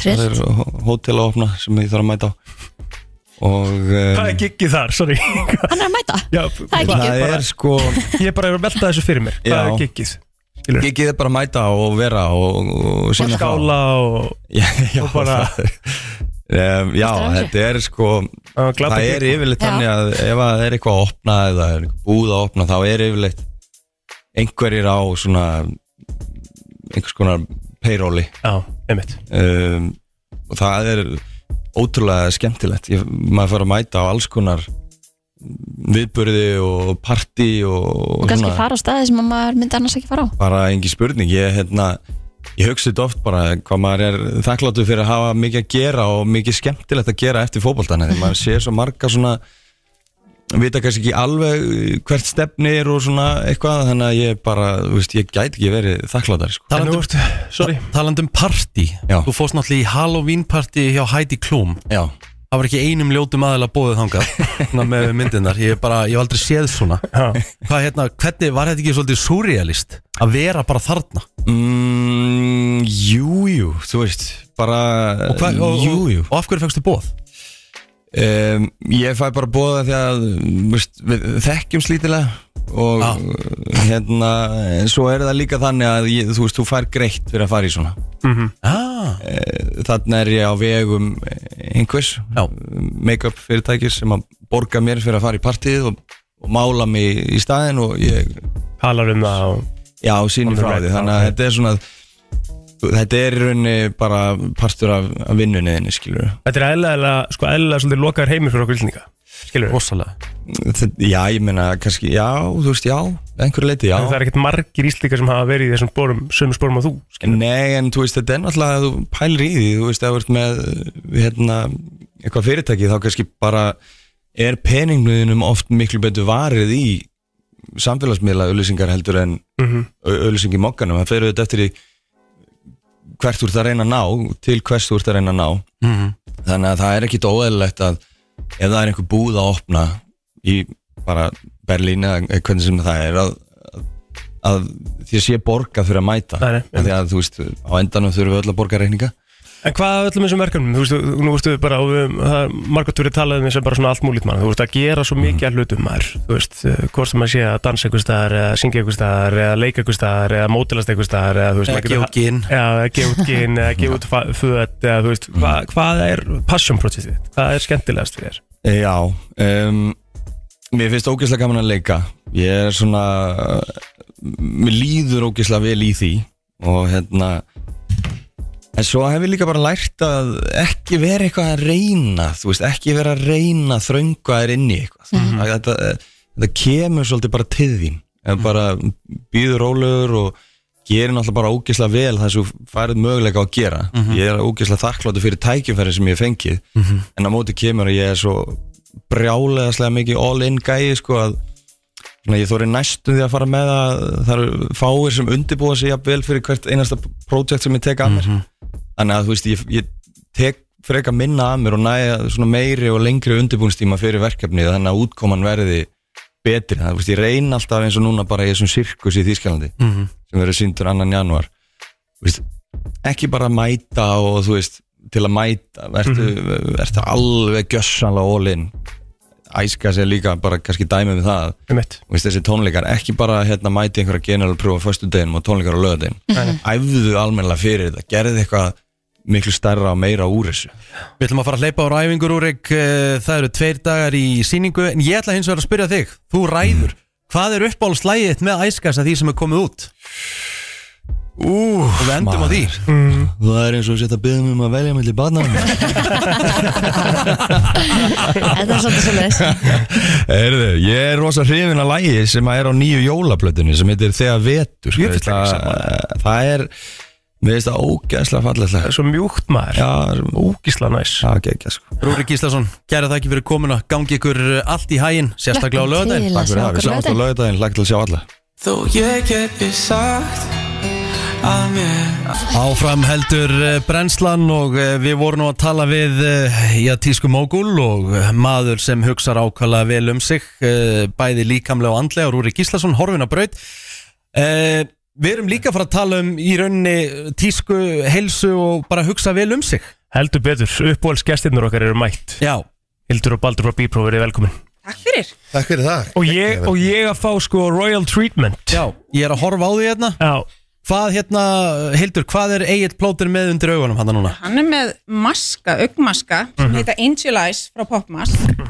það er
Trillt
hó- hótel að opna sem ég þarf að mæta á og
Hvað er
um,
giggið þar? Sorry.
Hann er að mæta
já,
er
hvað-
það
bara-
er sko
Ég er bara að velta þessu fyrir mér. Hvað
Já.
er giggið? Skilur.
ekki þið bara að mæta og vera og, og sína frá.
Skála og
já, já,
[LAUGHS] Og bara-
það, um, já
Eftir
þetta er sko
uh, glata
það er yfirleitt
Já.
þannig að ef að það er eitthvað að opna eða er einhver búð að opna þá er yfirleitt einhverjir á svona einhvers konar payróli
Já, einmitt.
um, og það er ótrúlega skemmtilegt Ég, maður fara að mæta á alls konar viðburði og partí og,
Og kannski fara á staði sem að maður myndi annars ekki fara á
bara engi spurning ég, hérna, ég hugsi þetta oft bara hvað maður er þakkláttur fyrir að hafa mikið að gera og mikið skemmtilegt að gera eftir fótboltana þegar maður sér svo marga svona vita kannski ekki alveg uh, hvert stefni er og svona eitthvað þannig að ég bara, þú veist, ég gæti ekki verið þakkláttar sko.
En
Talandi
þú ert, sorry.
Taland um party
Já.
Þú fórst náttúrulega í Halloween party hjá Heidi Klum
Já,
Það var ekki einum ljótum aðeila bóðið
[LAUGHS]
þangað svona með myndirnar, ég hef bara, ég hef aldrei séð svona
Já.
Hvað hérna, hvernig, var þetta ekki svolítið surrealist að vera bara þarna?
mm, jú, jú, þú veist bara,
Og, hvað, og,
jú, jú
og, og af hverju fegstu bóð?
um, Ég fæ bara bóða því að um, veist, við þekkjum slítilega og
Já.
hérna en svo er það líka þannig að ég, þú veist, þú fær greitt fyrir að fara í svona
Ah,
þannig er ég á vegum einhvers
Já.
make-up fyrirtækis sem að borga mér fyrir að fara í partíð og, og mála mig í staðin og ég
Talar um það og...
já,
On
sýnir
the
frá
right,
því þannig að
okay.
þetta er svona þetta er í rauninni bara partur af, af vinnunni þinni skilur
Þetta er eðlilega, sko, eðlilega svolítið lokaður heimur fyrir okkur íslendinga. Skilur.
rosalega
já, ég meina kannski, já, þú veist, já einhverju leiti, já
En það er ekkert margir íslíkar sem hafa verið í þessum spórum, sömu spórum og þú skilur.
Nei, en þú veist, þetta er náttúrulega að þú pælir í því, þú veist, ef þú ert með hérna, eitthvað fyrirtæki þá kannski bara er peningnuðinum oft miklu betur varið í samfélagsmiðla auðlýsingar heldur en
Mhm.
auðlýsing í mokkanum, það fer auðvitað eftir í hvert þú ert að reyna að ná til hvers þú ert að reyna að ná
mm
þannig að það er ekkit óæðilegt að ef það er einhver búð að opna í bara Berlín eða hvernig sem það er að, að því að sé borga fyrir að mæta
Nei, nei,
Af því að þú veist, á endanum þurfum við öll að borga reikninga
En hvað af öllum þessum verkefnum? Þú veist, þú- nú veistu bara, og við, það er margótt verið talað um þess að bara svona allt múlít mann Þú veist, að gera svo mikið af hlutum maður Þú veist, eh, hvort sem maður sé að dansa einhvers staðar eða syngja einhvers staðar eða leika einhvers staðar eða mótilast einhvers staðar eða þú veist,
Eða
maður getur-
gefa út gin.
Já, eða gefa út gin, eða gefa út fa- föt eða þú veist, hva,
Mhm.
hvað er passion projectið? þitt? Hvað er skemmtilegast fyrir þér?
E, Já um, Mér finnst ógeðslega gaman að leika Ég er svona uh, mér líður ógislega vel í því og hérna en svo hef ég líka bara lært að ekki vera eitthvað að reyna þú veist, ekki vera að reyna að þrönga þér inn í eitthvað mm. þetta, þetta kemur svolítið bara til þín en bara býður rólegur og gerir náttúrulega bara ógislega vel það sem þú færið möguleika á að gera ég er ógislega þakkláttur fyrir tækjumferði sem ég hef fengið en á móti kemur að ég er svo brjálega mikið all-in gæi sko að Svona, ég þóri næstum því að fara með að það eru fáir sem undirbúa sig jafnvel fyrir hvert einasta prójekt sem ég tek að mér þannig að þú veist, ég, ég tek freka minna að mér og næja svona meiri og lengri undirbúinstíma fyrir verkefnið þannig að útkoman verði betri þannig að þú veist, ég reyna alltaf eins og núna bara í þessum sirkus í Þýskalandi sem verður sýndur annan januar Þú veist, ekki bara mæta og þú veist til að mæta, verður mm alveg gjössanlega all-in æska sér líka bara kannski dæmið með það
um mitt
Þú veist, þessi tónleikar, ekki bara hérna, mæti einhverja general pröfa á föstudeginum og tónleikar á lögadegin æfðu almennilega fyrir þetta, gerðu eitthvað miklu stærra og meira úr þessu
Við ætlum að fara að hleypa á ræfingur Úrik eh, Það eru tveir dagar í síningu En ég ætla hins vegar að spyrja þig Þú ræður Hvað er uppáhaldslægið þitt með æskast að því sem er komið út?
Ú,
Og við endum á því
Það er eins og setja að byggðum um að velja melli barna
Þetta er svolítið svolítið
Erðu, ég er rosa hrifin að lægi sem að er á nýju jólablötunni sem heitir Þegar vetur
Ég finnst það ekki
það, það er, mér finnst það ógæðslega
Það
fallega
er svo mjúkt maður
Já,
Ógísla næs
það gekkja sko
Rúrik Gíslason, kæra þakki fyrir komuna Gangi ykkur eh, allt í hægin Sérstaklega á lögadegin
Til
Takk
að
fyrir það, við sjáumst á
sjá okkur
lögadaginn,
laugardaginn.
lagt til að sjá alla
Þó ég geti sagt að mér
Áfram heldur eh, brennslan og eh, við vorum nú að tala við eh, já, tísku mógul og eh, maður sem hugsar ákvæmlega vel um sig eh, bæði líkamlega og andlega Rúri Gíslason, horfin að braut Eh, Við erum líka að fara að tala um í rauninni tísku, heilsu og bara hugsa vel um sig
Heldur betur, uppbúhaldsgestinnur okkar eru mætt
Já,
Hildur og Baldur frá Bípró verið velkomin
Takk fyrir.
Takk fyrir það hérna.
og ég, og ég að fá sko royal treatment
já, ég er að horfa á því hérna
Já,
Hvað hérna, Hildur, hvað er Egil plótir með undir augunum hann núna?
Hann er með maska, augmaska, sem
Mhm.
heita Angel Eyes frá Popmask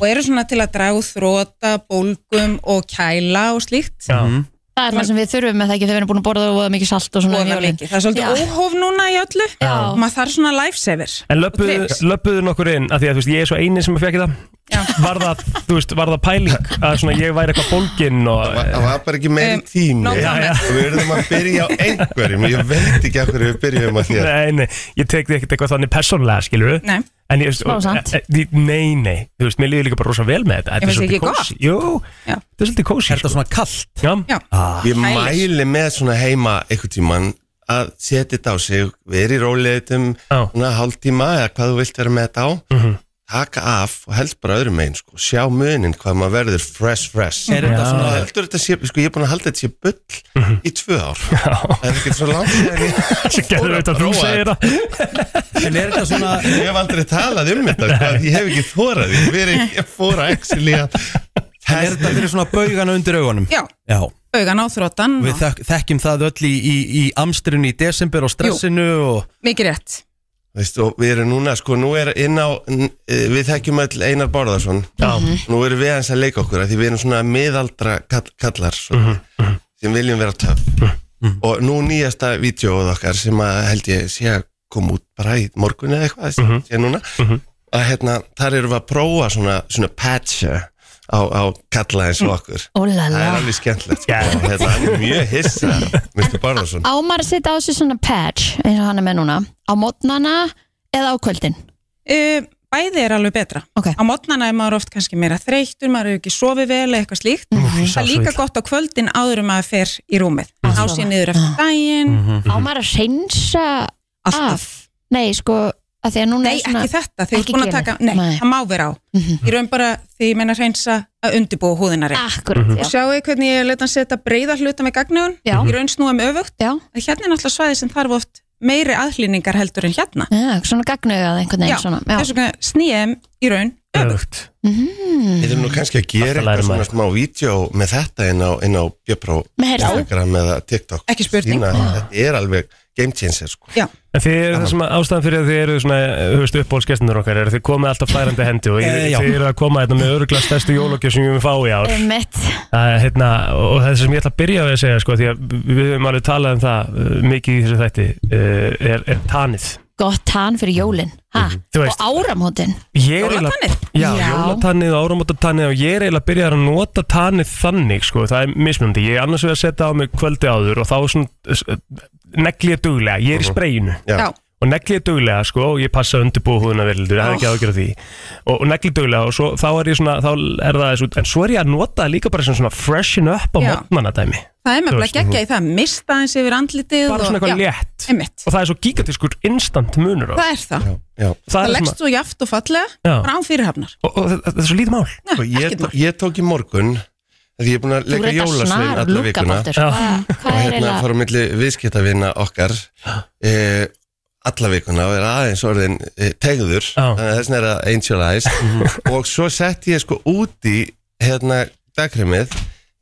og eru svona til að draga úr þróta, bólgum og kæla og slíkt.
já
Það er það sem við þurfum með það ekki þegar við erum búin að borða og mikið salt og svona
Og
um
það
jólin.
mikið. Það er svolítið
Já.
óhóf núna í öllu
Já.
og maður þarf svona lifesaver.
En
Og
löpuðu
tricks.
löpuðu nokkur inn að því að þú veist, ég er svo einin sem fekk
Já.
það var það, þú veist, var það pæling að svona ég væri eitthvað bólgin og
Það var bara ekki meiri
Um,
tími
no comment.
Og við erum að byrja á einhverjum Ég veit ekki af hverju við byrjum að þér
Nei, nei, ég tek því ekkert eitthvað þannig persónulega, skilur við
Nei.
En ég,
Smá samt.
e- e- Nei, nei, þú veist, mér líður líka bara rosa vel með þetta Þetta
Ég finnst
svolítið
ekki
kósí. Jú,
Já.
þetta er svolítið kósi
Er sko. þetta svona kallt?
Já,
Já,
Ah.
Ég mæli með svona heima einhvern tíman að setja þetta á sig Veri róleitum
Já. Mhm.
svona hálftíma eða hvað þú vilt vera með þetta á Taka af og helst bara öðrum megin sko. Sjá munin hvað maður verður fresh fresh
Er þetta
Og
svona,
heldur þetta sé, sko ég er búin að halda þetta sé bull í tvö ár Það er ekki svo langt þegar ég
Mhm. [LAUGHS] Svo gerður þetta að þú
prófa
segir það
en er þetta svona
Ég hef aldrei talað um þetta sko, að Ég hef ekki þórað Ég, verið, ég fóra actually að
En er þetta fyrir svona baugana undir augunum?
já, Mhm.
Já.
augan á þrótan,
Við
og-
þek þekkjum það öll í, í, í amstrinu í desember og stressinu og
mikið rétt.
Veist, og Við erum núna, sko, nú er inn á n- eh, Við þekkjum öll Einar Bárðarsson
Já, Mhm.
Nú erum við hans að leika okkur af Því við erum svona miðaldra kall, kallar svona,
Mhm,
sem viljum vera töf og nú nýjasta vídjóð okkar sem að held ég sé að koma út bara í morgun eða eitthvað
Mhm.
sé núna að hérna, þar erum við að prófa svona, svona patcher á, á kalla eins
Mm.
og okkur Það
Ólala.
er alveg skemmtilegt sko.
Já.
Þetta hann er mjög hissa
[LAUGHS]
Mr. Barðarsson
Ámar að setja á sig svona patch eins og hann er með núna á mótnana eða á kvöldin
Uh, bæði er alveg betra.
Ok.
Á mótnana er maður oft kannski meira þreyttur, maður hefur ekki sofið vel eða eitthvað slíkt.
ég sá
Það er
svo
líka
illa.
gott á kvöldin áður en maður fer í rúmið.
Að
Ná
sofa. Ah.
sér niður eftir daginn,
Ámar að reynsa
alltaf.
af Nei, sko, að því að núna
Nei,
er svona
ekki þetta, þegar þú
Ekki
ert búin að
gelið.
taka Nei,
Nei. Mhm.
það má vera á Ég raun bara, því ég meina hreinsa að undibúa húðina reynd
Akkurat,
Mhm.
Og sjáu hvernig ég leta hann setja breyða hluta með gagnugun
Já.
Ég raun snúa um öfugt
já, já,
En Hérna er náttúrulega svæði sem þarf oft meiri aðhlýningar heldur en hérna
já, svona gagnugað einhvern veginn svona Já,
þess vegna snýjum í raun
Öfugt
Mhm.
Við erum nú kannski að gera
Alltaf lærir
eitthvað svona
maður.
smá vídjó með þetta inn á, inn á Bjöbró
með heyrðu
Instagram eða TikTok
Ekki spurning.
Sýna að Þetta er alveg game changer sko.
Já,
En þið eru það sem að- ástæðan fyrir að þið eru svona, höfust uppbólskestinur okkar, er að þið komið alltaf flærandi hendi og
Eh,
ég,
já.
þið eru að koma hérna með öruglega stærstu jólokjur sem ég mun fá í ár.
Eh,
Einmitt.
Það er hérna, og það er sem ég ætla að byrja á að segja, sko, því að við höfum alveg talað um það uh, mikið í þessu þætti, uh, er, er tanið.
gott tann fyrir jólin ha?
Mhm. Þú
og
veist,
áramótin
ég er eiginlega- Já,
Já.
jólatannið og áramótatannið og ég er eiginlega að byrja að nota tannið þannig sko, það er mismunandi, ég er annars vegar að setja á mig kvöldi áður og þá svona uh, s- negli ég duglega, ég er í spreyinu
Já.
Mhm. Já.
og negli ég duglega sko og ég passa undirbúið húðuna vel, þú hefði
Oh.
ekki ágjörð því og, og negli ég duglega og svo, þá er ég svona þá er það þessu, en svo er ég að nota það líka bara sem svona freshen up á
Já.
mótmanna dæmi
það er með
veist,
að gegja í það, mista eins yfir andlitið
bara
og-
svona eitthvað
já,
létt
Einmitt,
og það er svo gigantiskur instant munur á.
það er það,
Já.
það
það er
leggst
svona,
þú jaft og fallega,
Já.
bara án fyrirhafnar
og, og það það er svo lítið mál
Nei,
Og Sko, ég,
ekkert mál.
ég tók í morgun af Því ég er búin að
þú
leika
reyndar
jólasvein
snar
alla
lúka
vikuna
bóttur
Já.
og
hvað er
hérna
eiginlega
fara á milli viðskiptavina okkar e, alla vikuna og er aðeins orðin e, tegður
Já. Mhm.
þannig að þessin er að angelize og svo sett ég sko úti hérna dagkrimið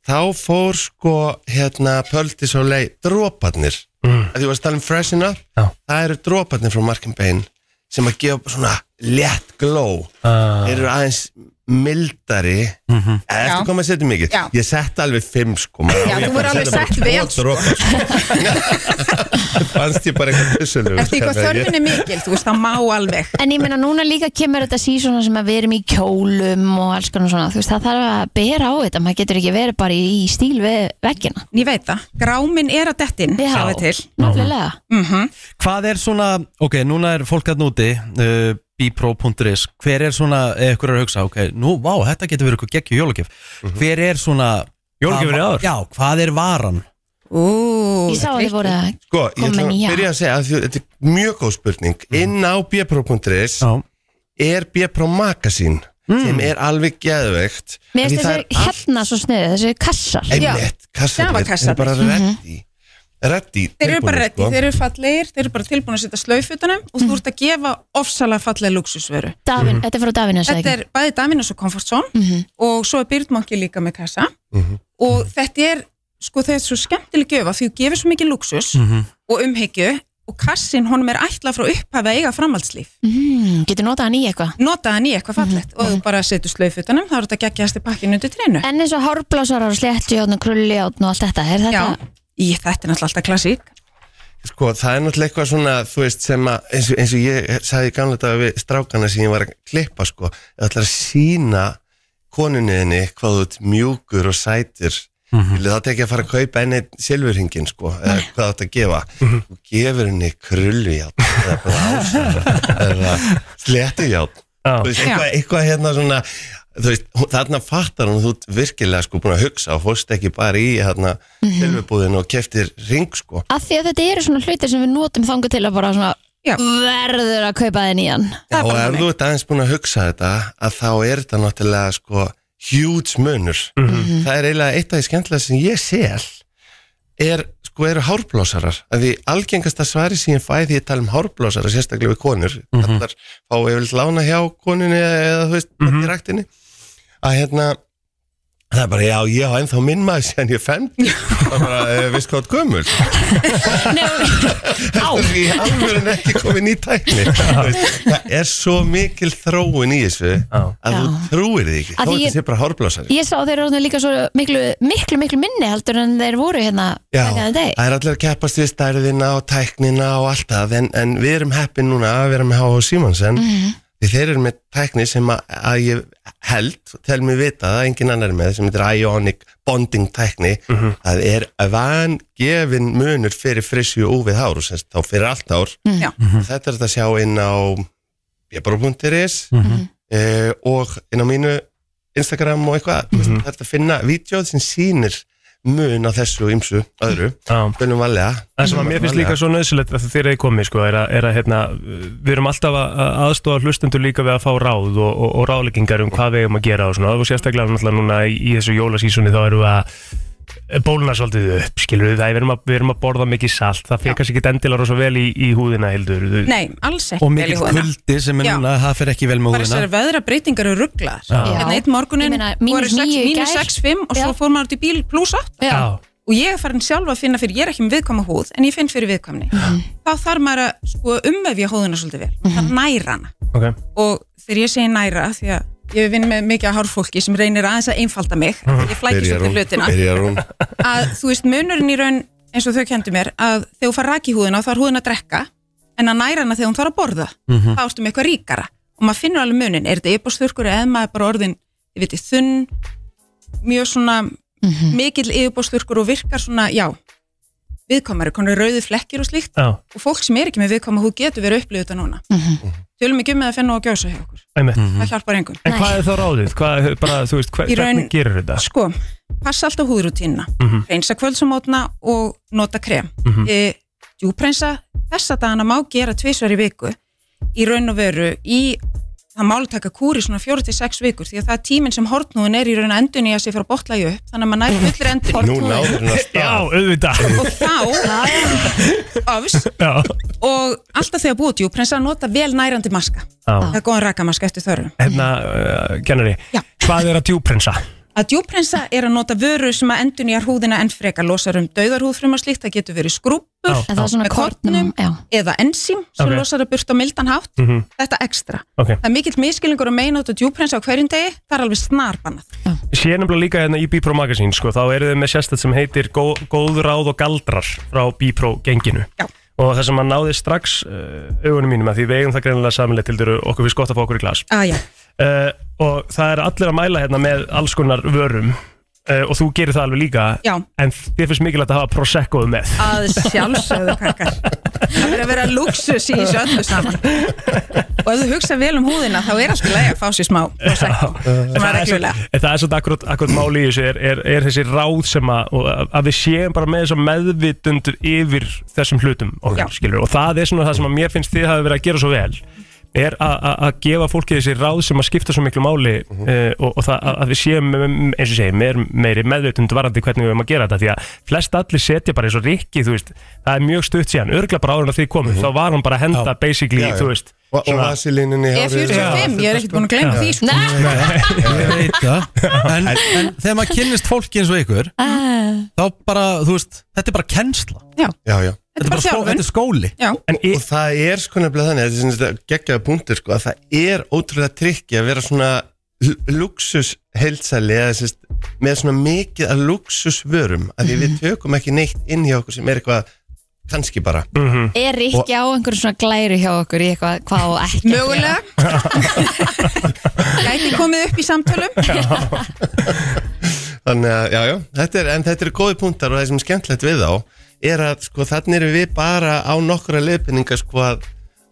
þá fór sko hérna pöldi svo leið droparnir mm. að því varst að tala um freshen up
Já.
það eru droparnir frá Markin Bain sem að gefa svona létt glow
uh,
Þeir eru aðeins mildari mm
Mhm.
-hmm. eftir
Já.
koma að setja mikið
Já.
ég sett alveg fimm sko maður.
Já,
Og ég
þú voru
bara
alveg
setti bara
sett
tvo
vel, sko.
dropa,
[LAUGHS]
sko. fannst ég bara eitthvað pussulegur
Eftir hvað þörfin er mikil, þú veist, það má alveg
En ég meina núna líka kemur þetta sísona sem að við erum í kjólum og alls konar svona þú veist það þarf að bera á þetta maður getur ekki verið bara í stíl við veggina
En Ég veit það, gráminn er að dettin,
Já.
sjáðu til
Náttúrulega
Mhm.
Hvað er svona, ok, núna er fólk að núti uh, bipro.is Hver er svona, ekkur er að hugsa, ok, nú, vá, þetta getur verið eitthvað geggju jólagjöf Hver er svona
Mhm. Jólagjöfin í ár?
Já, hvað er varan?
Ú,
Ég sá að þið voru að
sko, ég
Komin
ætla að
í, já.
byrja að segja að því, þetta er mjög góð spurning
Mm.
inn á bpro.is
Já.
er bpro magazine
Mm.
sem er alveg geðveikt
Mér
Því
finnst
það er
þessi hérna svo sniðu, þessi kassar
Já.
einmitt, kassarnir
Gjafakassarnir.
eru bara reddi reddi sko.
Þeir eru bara
sko.
reddi, þeir eru fallegir, þeir eru bara tilbúin að setja slaufutunum og þú ert að gefa ofsalega fallega luxusveru.
Mm.
Mhm.
Davin, Þetta er frá Davin Mhm. að
Þetta
segja
er bæði Daminus og Comfortzone og svo er Byrdmanki líka með kassa og
Mhm.
þetta er, sko þetta er svo skemmtileg gjöfa því þú gefur svo mikið luxus
Mhm.
og umhyggju og kassin honum er ætlað frá upphafi að eiga framhaldslíf.
mm, Getur notað hann í eitthvað Mhm,
Nota hann í eitthvað fallegt og þú bara setur slaufutunum, þá er þetta geggjast í pakkinu undir trénu.
En eins og hárblásar og sléttjón og krulljón og allt þetta, er þetta
Já, í þetta er náttúrulega alltaf klassík.
Sko, það er náttúrulega eitthvað svona, þú veist, sem að, eins og, eins og ég sagði í gamla dag við strákana sem ég var að klippa, sko, ég ætlar að sína konuninni hvað þú ert mjúkur og sætir, mm
Mhm.
-hmm. þá tek ég að fara að kaupa enni silfurhingin, sko, eða hvað þú átt að gefa,
Mhm.
og gefur henni krullujátt, eða bara
[LAUGHS]
ásar, eða sléttujátt,
Já.
þú veist, eitthvað, eitthvað hérna svona, þú veist, hún- þarna fattar hún að þú ert virkilega, sko, búin að hugsa og fórst ekki bara í, hérna, mm og keftir ring, sko,
Af því að þetta eru svona hlutir sem við notum þangu til að bara svona
Já.
verður að kaupa þenni í hann
Það
Já,
er
og
bara
ef
þannig.
þú ert aðeins búin að hugsa þetta að þá er þetta náttúrulega sko huge munur
Mhm.
það er eiginlega eitt af því skemmtilega sem ég sel er, sko, eru hárblósarar að því algengasta svari sem ég fæ því ég tala um hárblósarar, sérstaklega við konur mm -hmm. allar fá yfirleitt lána hjá konunni eða þú veist, mm í ræktinni að hérna það er bara, já, ég á ennþá minn maður sem ég fenn það er bara, eh, veist hvað þú ert gömul Þetta er í alveg ekki komið ný tækni Þú veist, Það er svo mikil þróun í þessu að þú
Já.
trúir því ekki
Að
Þó
því
þetta
ég-
sé bara hárblásari
Ég sá að þeir eru orðnir líka svo miklu, miklu, miklu minni heldur en þeir voru hérna
Já,
þennan
það
deg
er allir að keppast við stærðina og tæknina og allt það en, en við erum heppin núna að vera með H.H. Simonsen
Mhm.
því þeir eru með tækni sem að, að ég held, tel mér vita að engin annar er með sem þetta er Ionic Bonding tækni það er vangefin munur fyrir frisju og úfið hár og sem sagt þá fyrir allt hár
Já.
Mhm.
þetta er þetta að sjá inn á bjabro.is
Mhm.
Mhm.
eh, og inn á mínu Instagram og eitthvað mm
Mhm.
-hmm. þetta að finna vídjóð sem sýnir mun á þessu og ymsu öðru
Já.
Bölum valega
Það sem að mér finnst líka svo nöðsilegt að þeir eru komið sko, er að, er að hérna, við erum alltaf að að aðstofa hlustendur líka við að fá ráð og, og, og ráðleggingar um hvað við eigum að gera og svona og sérstaklega náttúrulega núna í, í þessu jólasísunni þá erum við að bóluna svolítið upp, skilur við það, við erum að, við erum að borða mikið salt, það fekast ekki endilega rosa vel í, í húðina heldur Þú-
Nei, alls ekki
Mm. Og
vel í
mikill
húðina.
kuldi sem er
Já.
núna, það fer ekki vel með
bara þessari
húðina
veðrabreitingar eru rugglar
Já.
hérna eitt
Ég
morgunin
meina,
voru
mínus
6,
níu í
mínus
gær.
6, 5 og svo
Já.
fór maður út í bíl pluss 8
Já.
Já,
og ég er farin sjálf að finna fyrir, ég er ekki með viðkvæma húð en ég finn fyrir viðkvæmni þá þarf maður að sko, umvefja húðuna svolítið vel
Mhm.
mm það næra hana
Ok.
og þegar ég segi næra, því að ég vinn með mikið að hárfólki sem reynir aðeins að einfalda mig ég flækist
Byrjar hún,
svolítið hlutina
byrjar hún
að þú veist munurinn í raun eins og þau kendi mér að þegar þú far rak í húðina þá er húðin að drekka en að næra hana þegar hún þarf að borða þá ertu með eitthvað ríkara og maður finnur alveg munin, er þetta yfirbóðsþurkur eða maður er bara orðin, ég veit, þunn mjög svona mikill yfirbóðsþurkur og virkar svona, já viðkomari, konar rauði flekkir og slíkt
Já,
og fólk sem er ekki með viðkoma, hún getur verið upplifið þetta núna tölum ekki um með að fennu og gjósa hjá okkur
einmitt
Mhm.
það hjálpar engum
Mhm. En hvað er þá ráðið? Hvað, bara, þú veist, hvað,
Í raun-
hvernig gerir þetta? Mhm.
Sko, passa alltaf húðrútínuna reynsa kvölds og mótna og nota krem e, djúpreinsa þessa dagana má gera tvisvar í viku í raun og veru í það máli taka kúri svona 4-6 vikur því að það er tíminn sem hortnúðin er í raun að endunni að sé frá botlagi upp þannig að maður nær fullir
[LAUGHS]
endunni
Nú náður hún að
Já,
stað
auðvitað
og þá ofs
Já,
og alltaf þegar búið djúpreinsa nota vel nærandi maska
já
það er góðan rakamaska eftir þörfum
Hérna, uh, kennari
Já.
Hvað er að djúprensa?
Að djúprensa er að nota vöru sem að endunýjar húðina enn frekar, losar um dauðarhúðfrum og slíkt, það getur verið skrúpur
En það er svona
Með
kornum,
kornum.
já.
eða ensím sem
Ok.
losar að burta mildan hátt,
Mhm.
þetta ekstra.
Ok
Það er mikill miskilingur að meina út að djúprensa á hverjum degi, það er alveg snarbannað.
Sér nefnilega líka hérna í Bipro Magazine sko, þá eru þau með sérstætt sem heitir Gó, Góð ráð og galdrar frá Bipro genginu
Já.
og það sem að náði strax uh, augunum mínum að því vegum það greinilega samanlega til þeirra okkur finnst gott að fá okkur í glas
Ah, já.
uh, og það er allir að mæla hérna með alls konar vörum uh, og þú gerir það alveg líka
Já.
en þér finnst mikilvægt að hafa Proseccoð með
Að sjálfsögðu kakar. Það verður að vera luxus í þessu öllu saman. Og ef þú hugsa vel um húðina, þá er alltaf leið að fá sér smá prosecco, sem er
það er,
reglulega.
svo- en það er svolítið akkurat, akkurat máli í þessu er, er, er þessi ráð sem að, og að- að við séum bara með þessum meðvitundur yfir þessum hlutum okkar,
Já.
skilur, og það er svona það sem að mér finnst þið hafi verið að gera svo vel er að- að að gefa fólki þessi ráð sem að skipta svo miklu máli
Mhm.
uh, og, og það, að, að við séum, um, eins og ég segi, meir, meiri meðvitund varandi hvernig við erum að gera þetta því að flest allir setja bara eins og rikki, þú veist það er mjög stutt síðan, örgla bara áður en að þið komið þá var hann bara að henda basically,
Mhm. Já, já.
þú veist
Og, og vasilíninni í hárið.
E45, ég er ekkert búin að glemja því, sko.
Ég veit það en, en þegar maður kynnist fólki eins og ykkur
Ah.
Þá bara, þú veist, þetta er bara kennsla Þetta
Já, já
Þetta er bara
skó-
þjálfun.
þetta er skóli
Já,
en í,
Og það er sko nefnilega þannig, þetta er svona geggjaða punktur sko, að það er ótrúlega trikki að vera svona luxus heilsali eða sérst, með svona mikið að luxus vörum, að því
Mhm.
við tökum ekki neitt inn hjá okkur sem er eitthvað kannski bara,
Mhm.
Er Rikki á einhverjum svona glæru hjá okkur í eitthvað hvað og ekki?
mögulega. Gæti komið upp í samtölum.
þannig að já, já, þetta er, en þetta eru góði punktar og það sem er skemmtilegt við þá er að sko þannig erum við bara á nokkra leiðbynninga sko að,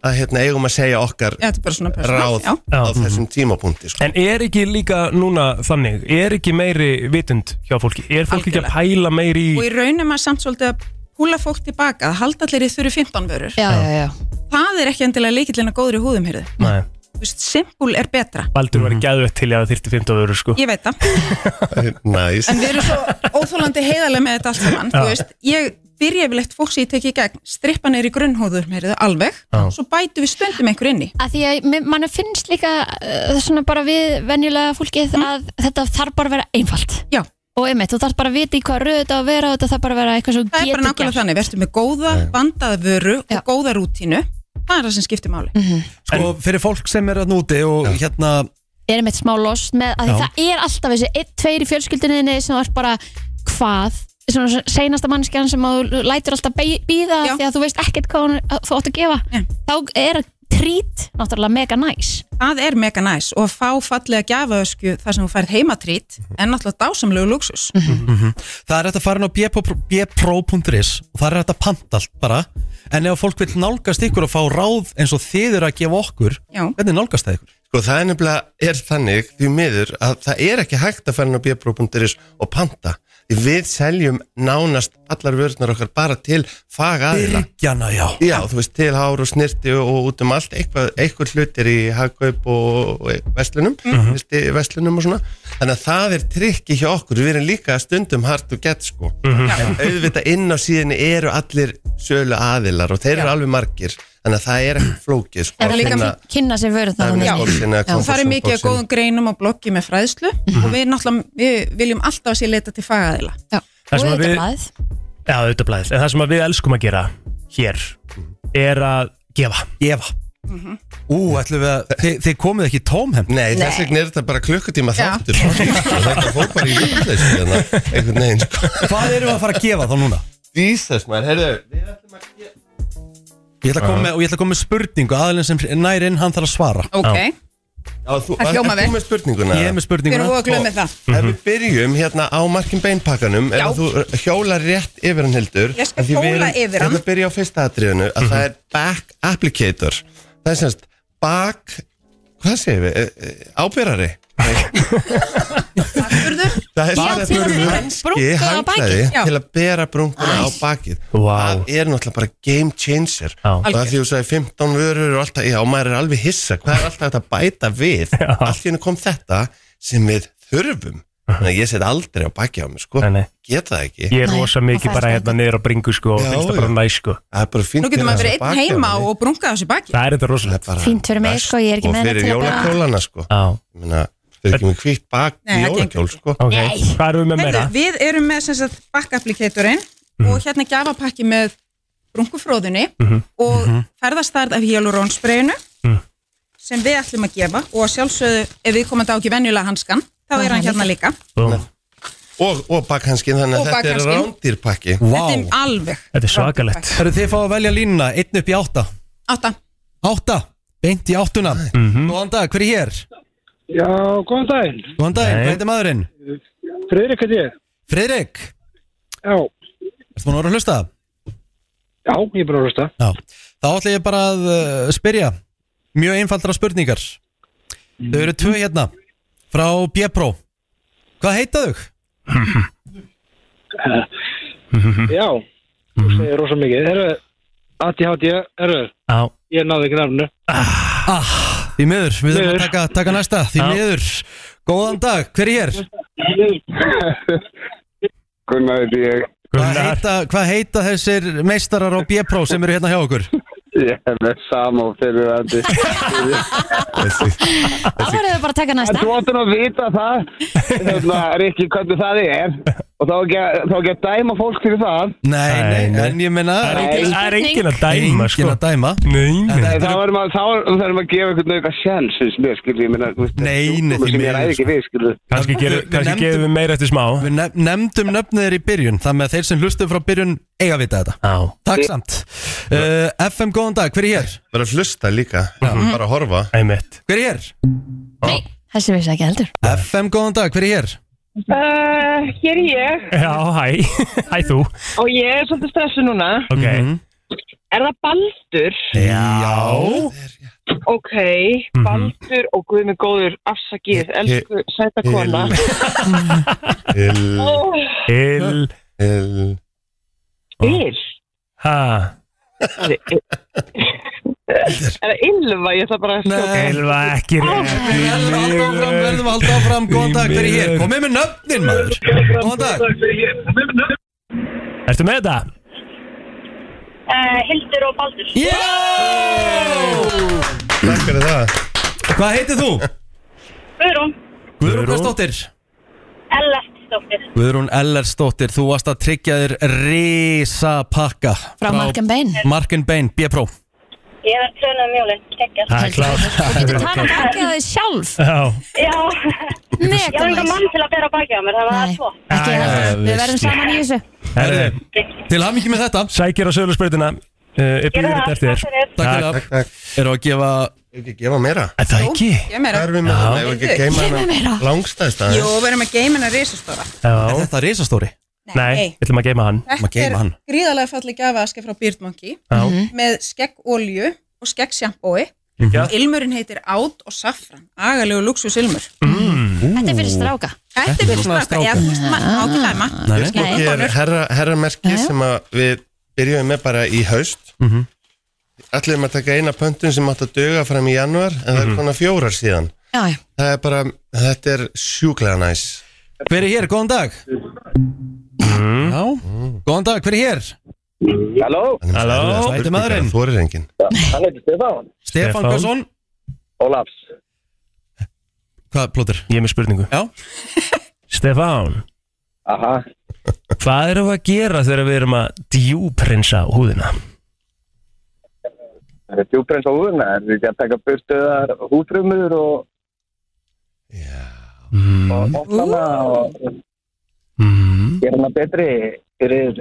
að hérna eigum að segja okkar
Já, Þetta er bara svona personal.
ráð
Já. Mhm.
Já.
á þessum tímapunkti sko.
En er ekki líka núna þannig, er ekki meiri vitund hjá fólki? Er fólki ekki að pæla meiri
og
í...
í raunum að samt svolítið að húla fólk tilbaka að halda allir í þurru 15 vörur
Já, já, já.
það er ekki endilega leikillin að góðri húðum hérðu
Nei,
þú veist, simpul er betra
Baldur
Mhm.
var gæðvett til að það þyrfti 15 öru sko.
[LAUGHS]
ég veit það,
Næs,
en við erum svo óþólandi heiðarlega með þetta allt saman þú veist, ég byrja yfirleitt fólk sem ég teki í gegn strippa neyri grunnhúður hérðu alveg svo bætu við stundum einhver inni
Að því að mér- mann finnst líka uh, svona bara við venjulega fólkið að þetta þarf bara að vera einfalt.
Mm. Já.
Og einmitt, þú þarf bara að vita í hvað röðu þetta á að vera og þetta þarf bara að vera eitthvað svo
það er bara
getur
nákvæmlega þannig, verður með góða vandaða vöru
Já. Mhm.
og góða rútínu það er það sem skiptir máli
Sko, fyrir fólk sem er að núti og hérna
Er einmitt smá lost með, að því
Já.
það er alltaf þessi einn, tveir í fjölskyldinni sem er bara hvað svona seinasta mannskjan sem að þú lætur alltaf býða
Já.
því að þú veist ekkert hvað hún, að þú átt að gefa
Nei.
þá er trít náttúrulega mega næs
það er mega næs og að fá fallega gjafaösku þar sem þú færð heimatrít en náttúrulega dásamlegu luxus
Mhm.
Mhm.
Það er hægt að fara inn á bpro- bpro.is og það er hægt að panta allt bara En ef fólk vil nálgast ykkur og fá ráð eins og þið eru að gefa okkur
Já.
Hvernig nálgast það ykkur?
Sko það er nefnilega er þannig því miður að það er ekki hægt að fara inn á bjöbró.is og panta. Því við seljum nánast allar vörðnar okkar bara til fagaðila.
Byrgjana, já
Já, þú veist, til hár og snirti og, og út um allt, eitthvað, eitthvað hlutir í hagkaup og, og vestlunum,
Mhm.
mm -hmm. vestlunum og svona. Þannig að það er trikki hjá okkur, við erum líka stundum hart og gett sko.
Mhm.
En auðvitað inn á síðinni eru allir sölu aðilar og þeir eru alveg margir. Þannig að það er ekki flókið sko.
er
að
það líka
finna-
að kynna sér vörð
Það er með boxin eða
og það er
kompassin,
mikið að
boxin.
góðum greinum og bloggi með fræðslu og við náttúrulega við viljum alltaf að sé leita til fagaðila
Það sem að
auðvitað
við-
blaðið.
Já, auðvitað blæðið. En það sem að við elskum að gera hér er að gefa. Eh,
Gefa.
Mhm.
Ú, ætlum við að, þið, þið komið ekki tómhemd
Nei, þess vegna er þetta bara klukkutíma þáttur Þetta fór bara í vitleysið hérna, einhvern veginn sko.
Hvað erum við að fara að gefa þá núna?
Jesus, maður, heyrðu
Ég ætla að koma með, og ég ætla að koma með spurningu Aðalinn sem nær inn, hann þarf að svara
Ok,
Já, þú,
Það hljómar
ert þú
vel.
með spurninguna
Ég er með
við erum
spurninguna
búin að glömma það
Ef við byrjum hérna á Markin Beinpakkanum
Já.
Ef þú hjólar rétt yfir hann heldur
Ég skal
af því við
hjóla
erum-
yfir hann.
Ef við byrjum á fyrsta atriðinu að
Mhm.
það er back applicator Það er semst back Hvað segir við? Eh, eh, Ábyrrari
Afturður,
Það
Já,
er sem sagt
til að bera
hanski,
brúnkuna á
handklæði
bakið. Já.
til að bera brúnkuna á bakið
Vá.
Það er náttúrulega bara game changer
Já.
og það því þú sagði 15 vörur og alltaf, já, maður er alveg hissa hvað er alltaf þetta að bæta við allt í hennu kom þetta sem við þurfum þannig að ég set aldrei á bakið á mig sko,
Nei, nei.
geta það ekki
Ég er
Nei,
rosa
og
mikið
það
bara
er
hérna niður á bringu sko og
Já,
finnst það
já.
bara næ sko.
það er bara fínt
nú getur
til
maður
þess
verið
að
einn
bakið á
heima
manni.
og brunga þessu baki
Það er þetta rosalega.
Það er bara
Fínt fyrir mig,
best.
sko, ég er ekki með þetta
og fyrir
til að bara-
jólakjólana sko
Já,
Ég meina, þau eru ekki með hvítt bak
Nei,
í
það gengur
jólakjól sko
ok. Hvað erum við með meira?
Heyrðu, Við erum með sem sagt bakkaplikatorinn og hérna gjafapakki með brunkufróðunni og ferðastart af hyalurónspreyinu sem við ætlum að gefa og að sjálfsögðu ef við komum þetta á ekki venjulega hanskan þá er hann hérna líka
Búm.
og, og bakhanskin, þannig
Og
að þetta er
bakhanskinn.
rándýrpakki
Þetta er
Vá,
alveg
Þetta er svakalegt.
Herru, þið fá að velja línuna, einn upp í átta
Átta
Átta, beint í áttuna
Mhm.
Góðan dag, hver er hér?
Já, góðan daginn.
Góðan dag,
Nei.
hvað heitir maðurinn?
Friðrik heit ég.
Friðrik,
Já,
ertu búin að vera að hlusta?
já, ég er bara að hlusta.
Já, þá ætla ég bara að uh, spyrja mjög einfaldra spurningar Þau eru tvö hérna frá Bjepro Hvað heita þau?
[LAUGHS] Já, þú segir rosa mikið. Herru, ADHD, herru,
Já,
ég náði ekki nafnu.
Ah, Því miður, við erum að
Miður.
taka, taka næsta Því
Já.
miður, góðan dag, hver er hér?
Gunnar heit ég.
Hvað
Gunnar.
heita, hvað heita þessir meistarar á Bjepro sem eru hérna hjá okkur?
Ég er með Samo fyrir andi.
Þá verðum við bara að taka
En
næsta
þú áttur að vita það, hérna, Rikki, hvernig það er. Og þá ekki að- þá ekki að dæma fólk fyrir það.
Nei, nei,
Nei, nei.
en ég menna
Það er engin- það er engin að
Ah,
dæma sko.
Engin að dæma
Nei, nei.
En þá erum að, þá erum að gefa einhvern auka sjans, finnst mér, skilur, ég meina, þú veist,
Nei,
þetta er
nei,
sjúkdómur
því
sem ég
miður, sko.
ræði ekki við, skilur.
Kannski
Við-
gerum-
við
kannski
nefndum-
gefum við meira eftir smá.
Við nef nefndum nöfnið þér í byrjun Þannig að þeir sem hlustu frá byrjun eiga að vita þetta
Já.
Takk samt uh, FM, góðan dag, hver er hér?
bara að hlusta líka, bara að horfa
Einmitt.
Hver er hér?
Þessi vissi ekki heldur
FM, góðan dag, hver er hér?
[LAUGHS] Uh, hér er ég
Já, hæ. [LAUGHS] Hæ þú.
og ég er svolítið stressu núna.
Ok.
Mhm.
Er það Baldur?
Já
Ok,
Mhm.
Baldur og Guðmi góður afsakið, elsku sæta kona.
il,
Ó,
Il.
il,
Yl,
Ha.
er það Ylva? Ég ætla bara að
Nei,
Elva ekki rétt. Því
Verðum að halda áfram,
miður.
verðum að halda áfram Góðan dag, hver er hér?
Því miður.
Komið með nöfnin, maður Góðan dag
Ertu með þetta?
Uh, Hildur og Baldur.
Já!
takk fyrir það
Hvað heitir þú?
Guðrún,
Guðrún Guðsdóttir
Ellertsdóttir.
Guðrún Ellersdóttir, þú varst að tryggja þér risa pakka
Frá Mark and Bain
Mark and Bain, B-Pro
Ég er trönað mjólinn, kekkjast.
Það er
Þú
klart.
talar ekki að þið sjálf
Já.
Já, ég var enga
Nekulegt
mann til að bera bakið á mér, það var
Nei,
svo.
ekki
Já, já,
heldur Við verðum saman í þessu
Herðu,
Til hamingi með þetta
Sækir á sögulegsbrautina.
eh,
Uh, ég býður þetta eftir þér.
Takk
fyrir.
fyrir
Takk, takk.
það Eru að gefa
Ef ekki gefa meira
Er það ekki?
Ég meira
Hvað erum við með það? Ef ekki geima
Gefum meira.
hana langstæðst
Jú,
aðeins
við erum að geima hennar risastóra
Er
Já.
þetta risastóri?
Nei, við ætlum að geima hann.
Maður
Þetta
geymir
er
hann.
gríðarlega falleg gafaðaskja frá Beardmonkey
Já.
Mhm.
með skeggolju og skeggsjampói
Geggjað.
Ilmurinn heitir át og saffran agalegu luxusilmur
Mm.
Þetta er fyrir stráka
Þetta er fyrir
svona
stráka, ég þú veist maður ágæðlega maður
Nei, nei.
Ég er
Konur.
herra, herramerki
Já, já.
sem að við byrjuðum með bara í haust
Mhm.
Allir um að taka eina pöntun sem átt að döga fram í januar en það er
Mhm.
svona fjórar síðan
Já, já
Það er bara, þetta er sjúklega næs
Hver er hér? Góðan dag
Mhm.
Já
Mm.
Góðan dag, hver er hér?
Halló,
Halló?
Það
Þetta er maðurinn.
Þú er engin
hann heitir Stefán.
Stefán
Stefán.
Guðsson
Ólafs.
Hvað, plótur?
[LAUGHS] Ég er með spurningu.
Já.
Stefán,
Aha,
Hvað erum við að gera þegar við erum að djúprinsa húðina?
Það er djúbrens á húðuna, það er ekki að taka burstuðar húðfrumur og
mm.
ofnana og mm. gera hana betri fyrir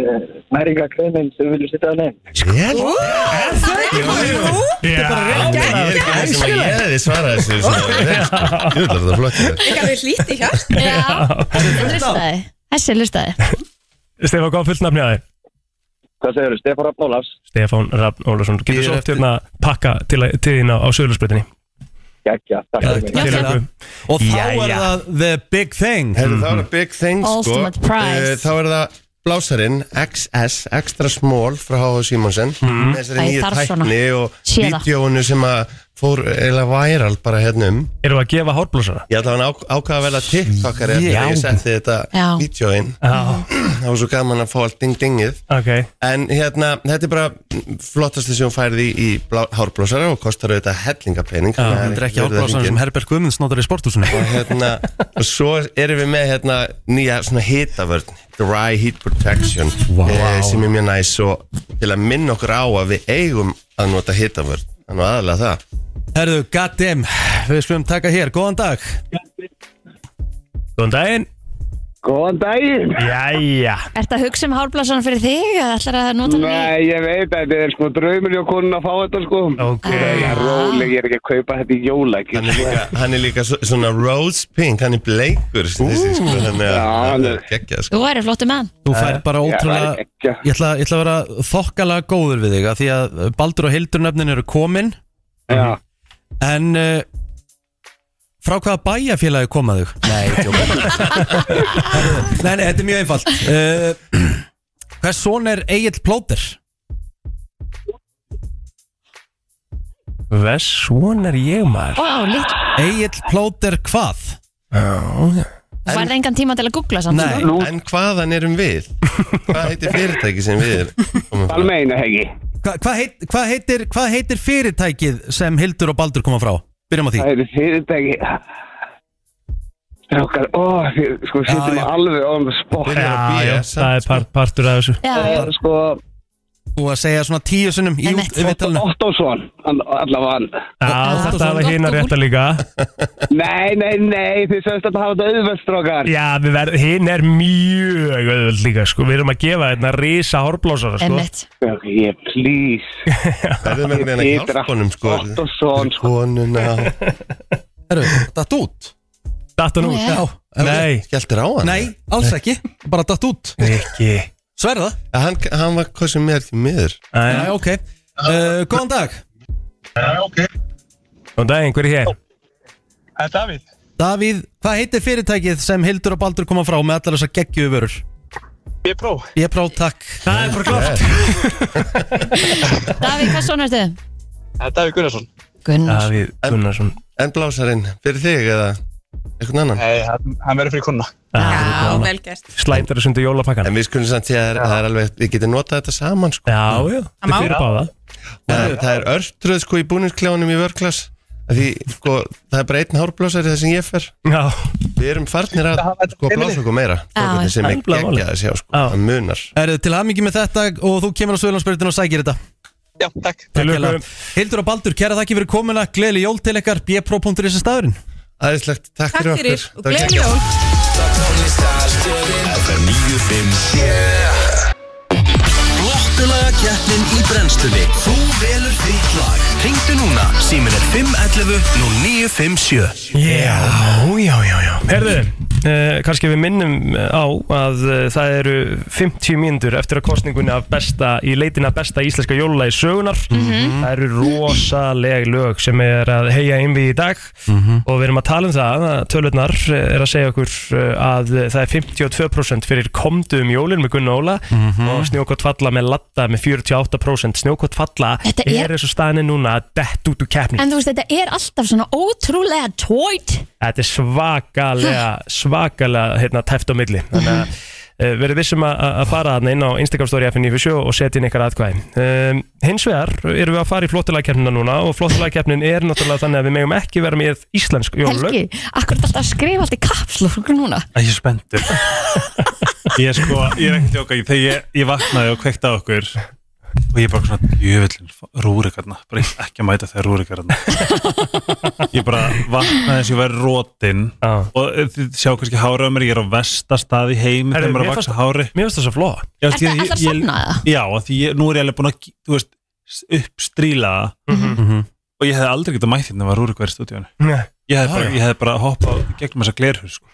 næringakreinin sem við viljum setja hann inn.
Sjálf?
Er það ekki?
Þetta er bara
Ég er ekki eins og ég hefði svarað þessu svona [LAUGHS] vel, sko. Jú, þetta er flott
Ég er alveg hlíti hér
Lustaði, þessi lustaði
Stefán, hvað fullt nafni að þér?
Hvað segirðu, Stefán Rafn Ólafs?
Stefán Rafn Ólafsson Getur
Bíður
svo oft
eftir-
hérna pakka til, að- til þín á, á sögulegsbreytinni
Gækja, takk
fyrir mig.
fyrir
Takk.
mig.
Og þá er
Jæja.
það the big thing
Herru, þá er það big thing sko.
Ultimate prize.
Eh, Þá er það blásarin XS, extra small frá H.H. Simonsen mm.
Mhm. Æ,
Þessari nýju
þarf svona.
tækni og
Sé það.
vídjóinu sem að fór eða væral bara hérna um
Erum við að gefa hárblásara?
Ég ætla hann ákvaða vel að tiktokari
Já.
þegar ég setti þetta
Já.
vídjóin Það var svo gaman að fá allt ding-dingið
okay.
En hérna, þetta er bara flottasti sem hún færði í, í blá, hárblásara og kostar auðvitað hellingapening
Já, þetta er ekki árblásan sem Herbert Guðmunds notar í sporthúsinu
og hérna og svo erum við með hérna nýja svona hitavörn Dry Heat Protection wow. sem er mjög næs og til að minna okkur á að við eigum að nota hitavörn þannig að aðalega það
Herðu, goddamn, við skulum taka hér, góðan dag
Góðan daginn
Góðan daginn
Jæja
Ertu að hugsa um hálblásan fyrir þig eða ætlar að nota hann í-
Nei, ég veit að þetta er sko draumur hjá konun að fá þetta sko
Ok
Ég er róleg, ég er ekki að kaupa þetta í jólagjöf
hann er líka, hann er líka svo, svona rose pink hann er bleikur þessi, sko, þannig að hann er geggja sko.
Þú væri flottu mann
Þú fær bara
Ég
ótrúlega,
væri
ég ætla, ég ætla að vera þokkalega góður við þig að Því að Baldur og Hildur nöfnin eru komin
Já
En uh, frá hvaða bæjarfélagi koma þau? Nei, ég tjóka Nei, nei, þetta er mjög einfalt uh, Hvers son er Egil Plóter?
Hvers son er ég maður?
Ó, lít
Egil Plóter hvað?
Já,
Þú færði engan tíma til að googla samt
en hvaðan erum við? hvað heitir fyrirtæki sem við erum?
meina hegi?
Hva, hvað, heit, hvað, heitir, hvað heitir fyrirtækið sem Hildur og Baldur koma frá? Byrjum á því
Það eru fyrirtæki Strákar, ó, þið sko sittum alveg on the spot
já, það er part, partur af þessu
Það er sko
Þú að segja svona tíu sinnum í út við talinu
Ottosson, allavega hann
Já, þetta var hina rétta líka
Nei, nei, nei, þið sögst að hafa þetta auðvöld, strákar
Já, við verðum, hinn er mjög auðvöld líka, sko Við erum að gefa hérna risa hárblásara, sko
Einmitt.
Ég, please
[LAUGHS] verðum einhvern veginn að hjálpa honum sko
Ottosson
konuna
Herru, datt út
Datt hann
Nú,
út?
já.
Nei
Skeltir á hann?
Nei, alls ekki, bara datt út
Rikki
Sverða?
Hann, hann var hvað sem er til miður
Nei, ok uh, Góðan dag
Góðan daginn, hver er hér?
Það er Davíð Davíð, hvað heitir fyrirtækið sem Hildur og Baldur koma frá með allar þessar geggjöfu vörur?
B-Pro
B-Pro, takk
Það er bara klart
Davíð, hvað svona ertu?
Davíð Gunnarsson
Gunnar
Davíð Gunnarsson
En blásarinn, fyrir þig eða einhvern annan?
Nei, hann, hann verður fyrir konuna
Ah,
Já, vel gert
Slætur þessu undir jólapakkan
En við skulum samt því að það er- það er alveg, við getum notað þetta saman sko
Já, já,
Það má. fyrir
báða
Það, það er örtröð sko í búninsklefanum í vörklass Því sko, það er bara einn hárblásari það sem ég fer
Já
Við erum farnir að sko blása okkur meira Það sem er geggjað að sjá sko, það munar
Erðu til hamingi með þetta og þú kemur á Söðlandsbyrjun og sækir þetta
Já, takk
Takk hérlega. Hildur og Baldur, kæra þakki fyrir komuna Gleðli jól til ykkar, bpro.is er staðurinn
Æðislegt, takk
Takk fyrir og gleðin jól
FM 957 Flottulaga keppnin í brennstunni Þú velur þitt lag Ringdu núna, símin er 511 0957
Já, já, já, já Herðu, uh, kannski við minnum eh, á að uh, það eru 50 mínútur eftir að kostningunni af besta, í leitina besta íslenska jólulega sögunar
Mhm.
Það eru rosaleg lög sem er að heia einvið í dag
Mhm.
og við erum að tala um það að tölurnar er að segja okkur eh, að það er 52% fyrir komdu um jólin með Gunn Óla og snjókott falla með Latta með 48% snjókott falla
Þetta
er
er-
eins og staðin núna að dett út úr keppni
En þú veist, þetta er alltaf svona ótrúlega tóit
Þetta er svakalega, svakalega hérna, tæft á milli Þannig að uh, verið vissum að- að að fara þarna inn á Instagram story FN97 og setja inn ykkar atkvæði um, hins vegar erum við að fara í flottulægkeppnina núna og flottulægkeppnin er náttúrulega þannig að við megum ekki vera með íslensk jólalög
Helgi, akkur er alltaf að skrifa allt í kapslur núna
Ég er spenntur [LAUGHS] Ég er sko, ég er ekki að tjóka Þegar ég, ég vaknaði og kveikti á okkur Og ég er bara svona, jöfullin Rúrikarna, bara ég ætla ekki að mæta þegar rúrikarna [LAUGHS] Ég bara vaknaði eins og ég væri rótin ah. Og þið sjá kannski hárið á mér Ég er á vesta stað í heimi
Herru,
Þegar maður er
mér
að
fannst-
vaksa hári
Mér finnst það svo flóa
Já,
Ertu-
því að ég-
ætlarðu að
ég-
safna það?
Já, af því ég, nú er ég alveg búin að þú veist, uppstríla mm og ég hef aldrei getað mætt hérna var rúri hverju stúdíónu
Mhm. Nei.
ég hef bara,
Já, já.
ég hef bara hoppað gegnum þessa glerhur sko.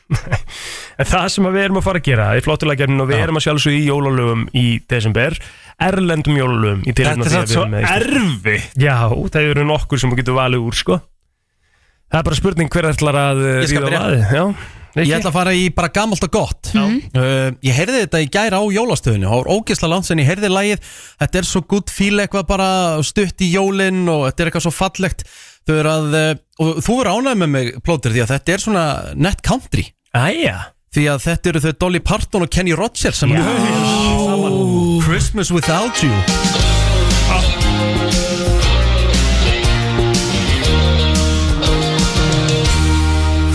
[LAUGHS] En það sem að við erum að fara að gera í flottulægjarnin og við erum að sjálfsög í jólalögum í desember, erlendum jólalögum í tilefni
Þetta
af
er
því
samt
að við
svo
erum með Ísland.
erfitt.
Já, það eru nokkur sem þú getur valið úr sko Það er bara spurning hver ætlar að uh,
Ég skal
ríða á
byrja.
vaðið Já,
Ég ætla að fara í bara gamalt og gott uh, Ég heyrði þetta í gæra á jólastöðinu Það var ógeðslega langt sem ég heyrði lagið Þetta er svo gutt fíl eitthvað bara stutt í jólin og þetta er eitthvað svo fallegt Þau eru að, uh, og þú verður ánægð með mig plótir því að þetta er svona net country
Æja
Því að þetta eru þau Dolly Parton og Kenny Rogers sem Já, Christmas Without You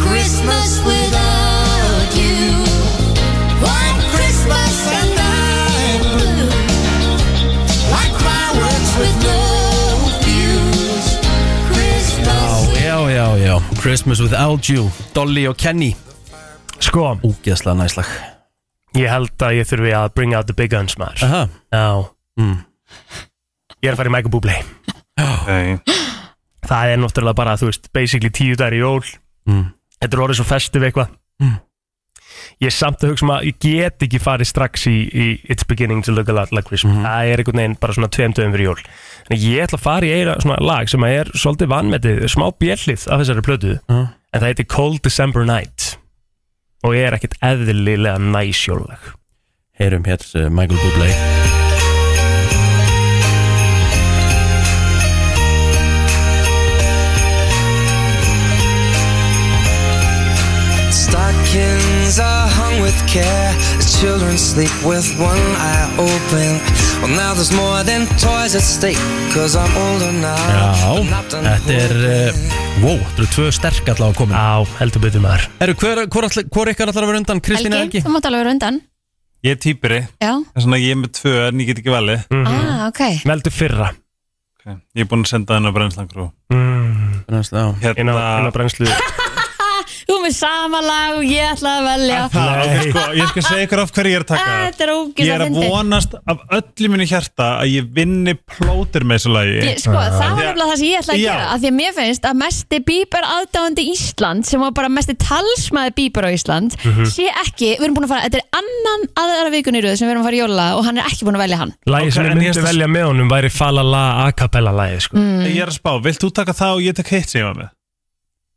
Christmas without you. One Christmas and I'm blue. Like fireworks with no fuse. Christmas.
Já, já, já, Christmas Without You Dolly og Kenny
Sko
Ógeðslega næslag
Ég held að ég þurfi að bring out the big guns maður Aha. Já
mm.
Ég er að fara í Michael Bublé
okay.
Það er náttúrulega bara, þú veist, basically tíu dagar í jól
Mm.
Þetta er orðið svo festiv eitthvað
Mm.
Ég er samt að hugsa um að ég get ekki farið strax í, í It's Beginning to Look a Lot Like Christmas
Mhm.
Það er einhvern veginn bara svona tveim dögum fyrir jól En ég ætla að fara í eina svona lag sem að er svolítið vanmetið, smá bjellið af þessari plötu
Mm.
En það heitir Cold December Night Og er ekkert eðlilega næs jólag
Heyrum hér uh, Michael Bublé
Stockings are hung with care as children sleep with one eye open. Well, now there's more than toys at stake, cause I'm older now.
um
Já, þetta er uh, Wow, þetta eru tvö sterk allavega að koma
Já, heldur betur maður
Eru, hver, hver, ætla- hvor ykkar allar að vera undan? Kristín eða
Helgi,
ekki?
þú mátt alveg vera undan
ég er týpiri,
Já,
þess vegna ég er með tvö en ég get ekki valið
ah, ok
Veldu Mhm. fyrra
ég er búin að senda henn á brennslangrú
mm.
Brennslu, já
hérna, inn á,
inn
[LAUGHS]
á brennslu
Þú með sama lag og ég ætla að velja
Það, ok, sko, ég skal segja ykkur af hverju ég er að taka það.
Þetta er ógeðslega
Ég er að
fyndið.
vonast af öllu mínu hjarta að ég vinni plótir með þessu lagi
Ég, sko,
Ah.
það var
Því að-
nefnilega það sem ég ætla að
Ah, Já.
gera af því að mér finnst að mesti bíber aðdáðandi Ísland sem var bara mesti talsmaði bíber á Ísland
Mhm.
sé ekki, við erum búin að fara, þetta er annan aðra vikun í röð sem við erum að fara í jóla og hann er ekki búin að velja hann
Lagi sem
Ok,
ég
en ég
myndi
ætla-
velja með honum væri Falala a cappella lagi sko.
Mm.
Ég er að spá, vilt þú taka það og ég tek hitt sem ég var með?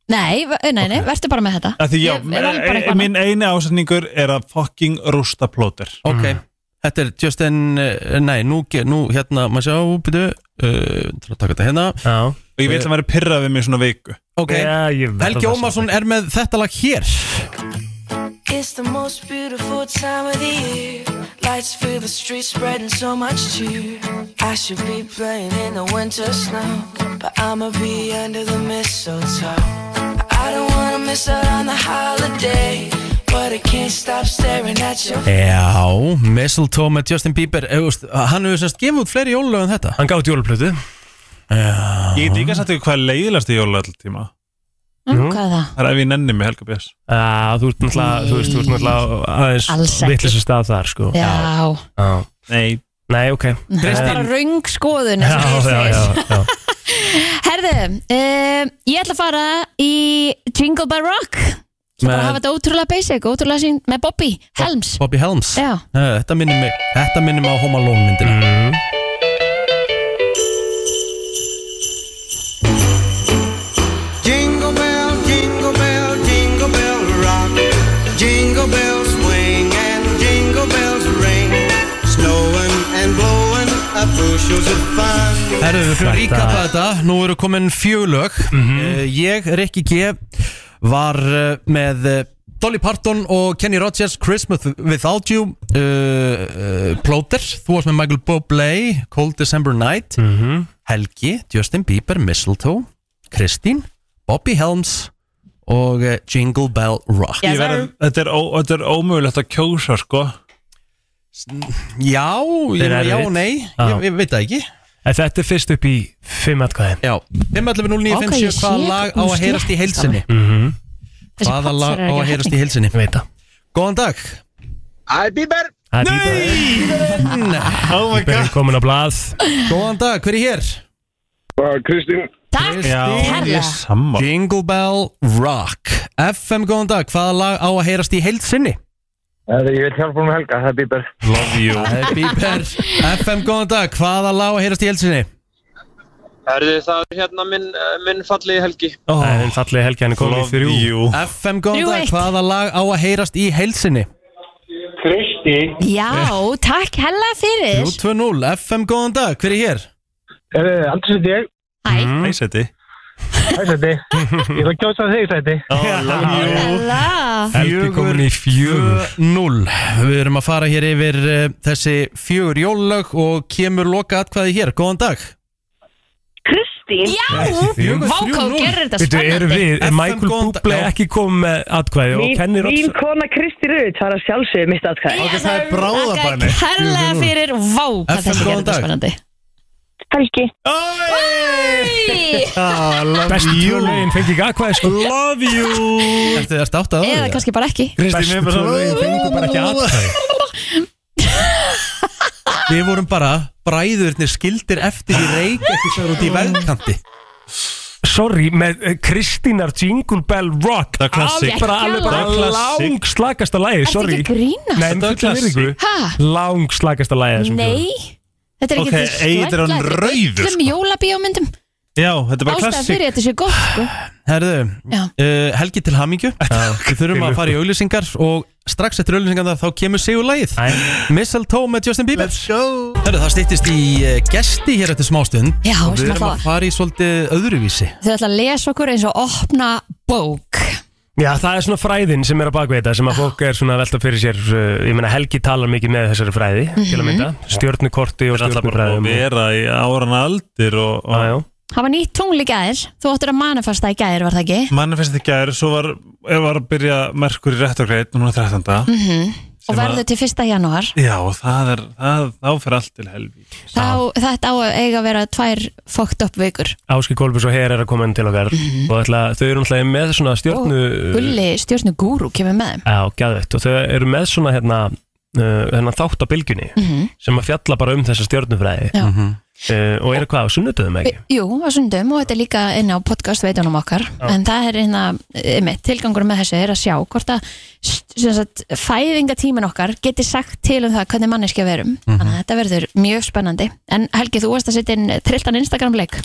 Nei, v- nei, nei, verður bara með þetta
Af Því já,
Ég er alveg bara
e-
eitthvað
e- minn eini ásetningur er að fucking rústa plótir
Ok,
Mm.
þetta er Justin, uh, nei, nú, ge- nú hérna, maður sjá, byrju uh, til að taka þetta hérna
Já.
Og ég vil að hann væri pyrrað við mig svona viku
Ok, Helgi Ómarsson er með þetta lag hér
It's the most beautiful time of the year. Lights fill the streets, spreading so much cheer. I should be playing in the winter snow, but I'ma be under the mistletoe. I don't wanna miss out on the holiday, but I can't stop staring at your
Já, Mistletoe með Justin Bieber Eh, þú veist, Hann hefur semst gefið út fleiri jólulög en þetta
Hann gátt jóluplötu
Ég get ekki að sagt ykkur hvað er leiðilegast í jóla alltaf tíma
Mm, hvað er það?
Það er ef ég nenni mig Helga Björns
Uh, þú ert náttúrulega, þú veist, þú ert náttúrulega aðeins
Alls ekki.
vittlisum stað þar, sko.
Já.
Já.
Nei.
Nei, ok.
Það er bara röng skoðun
Já, já, já, já.
Herðu, um, ég ætla að fara í Jingle by Rock Það
Eh.
bara að hafa þetta ótrúlega basic, ótrúlega sín með Bobby Helms
Bobby Helms
Já.
Eh, Þetta minnir mig, þetta minnir mig á Home Alone myndina
mm.
Jingle bell, jingle bell, jingle bell rock. Jingle bells swing and jingle bells ring. Snowing and blowing up bushels of fun.
Herru, við fyrir íkappa þetta, nú eru
Mhm.
komin fjöglög mm Ég, Rikki G, var eh, með eh, Dolly Parton og Kenny Rogers Christmas Without You uh, uh, Plotter, þú varst með Michael Bublé Cold December Night
Mhm.
Helgi, Justin Bieber, Mistletoe Kristín, Bobby Helms og uh, Jingle Bell Rock
Ég verð- Þetta er, ó- þetta er ómögulegt að kjósa sko
Já, ég
Þeir
meina
eru
já og
erfitt.
nei,
Já.
[LAUGHS] ég, ég veit það ekki
En þetta er fyrst upp í 5 atkvæðin
Já, 5.11.09.57,
Ok,
hvaða
ég sé
lag á
þetta
að
búin að
heyrast í
slétta
heilsinni?
alveg. Mhm. Þessi
Hvaða
pallsar
lag á
eru ekki
að
að
heyrast í
hringa.
heilsinni?
Veit það
Góðan dag
Æ, Bíber
Æ,
Nei
[LAUGHS] Oh my god Bíber er komin á blað
Góðan dag, hver er hér?
Kristín
Takk kærlega
sammála.
Jingle Bell Rock FM, góðan dag, hvaða lag á að heyrast í heilsinni?
Það er ég vil hjálpa um Helga, það er Bíber
Love you
Það
[LAUGHS]
er Bíber FM, góðan dag, hvaða lag á að heyrast í heilsinni?
Herðu það er hérna minn, eh, minn fallegi Helgi
Það
Oh.
er einn fallið helgi hann er komin í
Love
þrjú
FM, góðan
Þrjú
dag,
eitt.
hvaða lag á að heyrast í heilsinni?
Kristi
Já,
Eh.
takk hella fyrir
320, FM, góðan dag, hver er hér? Mm.
Herðu, aldrei seti ég
Hæ
Hæ seti
Hæ
[LAUGHS]
seti Ég ætla að kjósa þig seti
Hella
Helgi komin í fjögur Null Við erum að fara hér yfir uh, þessi fjögur jólög og kemur loka atkvæði hér Góðan dag
Kristín
Já, váká, gerir þetta
Veitu,
spennandi
erum við, er
FM
Michael
góðan dag-
Bublé
Já.
ekki komið með atkvæði og
Mín,
kennir
mín kona Kristi Rut, það er að sjálfsögðu mitt atkvæði
Ok, það er bráðabanni
Kærlega fyrir, vá, hvað
FM,
þetta gerir
góðan
þetta
dag.
spennandi
Helgi
Best tvö lögin fengi ekki atkvæði sko Ah, Love you
Ertu þið að státa
Eða kannski bara ekki
Bestu
er bara
tvö
svona-
lögin fengi bara ekki atkvæði
Við vorum bara bræðurnir skildir eftir í [GASPS] reik ekki sem út í vegkanti
Sorry, með eh, Kristínar Jingle Bell Rock
er klassik.
Alveg bara, alveg
Það er
bara
klassik.
lang slagasta lægi
Ertu
Sorry
ekki að grínast?
Nei,
Þetta er
þetta er
klassik.
Ha?
virku Lang slagasta lægi þessum
Nei, þetta er ekki
Ok,
þessi
Egill er
slæmt
hann
lag, þetta
rauður,
öllum jólabíómyndum
Já, þetta er bara
Ástæða
klassik
fyrir þetta sé gott sko.
Herðu,
Já.
uh, Helgi til [LAUGHS] hamingju Við þurfum að fara í auglýsingar og strax eftir auglýsingar þá kemur sigur lagið Mistletoe með Justin Bieber Let's go Herðu, það styttist í uh, gesti hér eftir smástund
Já,
og
sem
við
að
erum
það-
að fara í svolítið öðruvísi
Þau ætla að lesa okkur eins og opna bók
Já, það er svona fræðin sem er að bakvið þetta sem að fólk er svona að velta fyrir sér uh, ég meina Helgi talar mikið með þessari fræði
Mhm.
til að mynda, stjórnukorti og
Það er alltaf bara að
stjórnufræðum
vera í áran aldir og, og
Hafa nýtt tungl í gæðir Þú áttir að manifesta í gæðir, var það ekki?
manifest ekki að er svo var, ef var að byrja merkur í rétt og greit núna 13.
Mm Og
Mhm. Sem að-
verður til 1. janúar
Já, og það er, það, þá fyrir allt til helvi
Þá, Þetta á að eiga að vera tvær fókt upp vikur
Áski Kolbjörns og Her er að koma inn til okkar og ætla, þau eru náttúrulega með svona stjórnu
Mhm.
Uh.
Gulli, stjórnu gúrú, kemur með þeim
Já, gæðvett og þau eru með svona hérna, uh, hérna þátt á bylgjunni
Mhm.
sem að fjalla bara um þessa stjórnufræði
Já.
Mhm.
uh, og eru hvað á sunnudöðum ekki?
Við- Jú, á sundum og þetta er líka inn á podcast veitunum okkar en það er hérna, einmitt, tilgangur með þessu er að sjá hvort að sem sagt, fæðingatímin okkar geti sagt til um það hvernig manneskja við erum
Mhm.
þannig að þetta verður mjög spennandi en Helgi, þú varst að setja inn trilltan Instagram-leik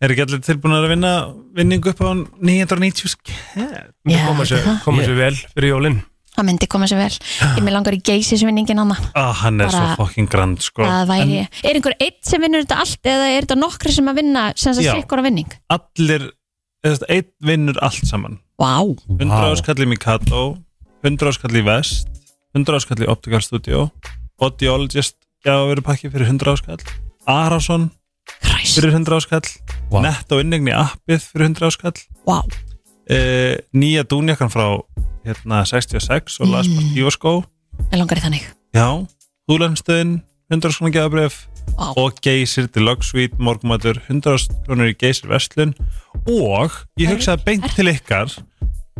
Er ekki allir tilbúin að vinna vinningu upp á 990 skell?
Já,
koma sér,
það.
koma sér vel fyrir jólinn
það myndi koma sér vel ég með langar í geysisvinningin hana
Ah, hann er
Bara-
svo fucking grand sko
það væri, er einhver eitt sem vinnur þetta allt eða er þetta nokkri sem að vinna sem að
Já.
sikkur að vinning
allir eða, einn vinnur allt saman
Vá
100 áskall í Mikado 100 áskall í Vest 100 áskall í Optical Studio Audiologist gafur pakki fyrir 100 áskall Arason fyrir 100 áskall
Vá.
Netto innegni appið fyrir 100 áskall Eh,
wow.
nýja dúnjakkan frá hérna, 66 og Las
Mm.
Martíos skó
með langar í þannig
Já, húlandstöðin 100 krónur gefabref
Vá.
og geysir deluxe suite morgumatur 100 krónur í geysir vestlun og ég hugsaði beint til ykkar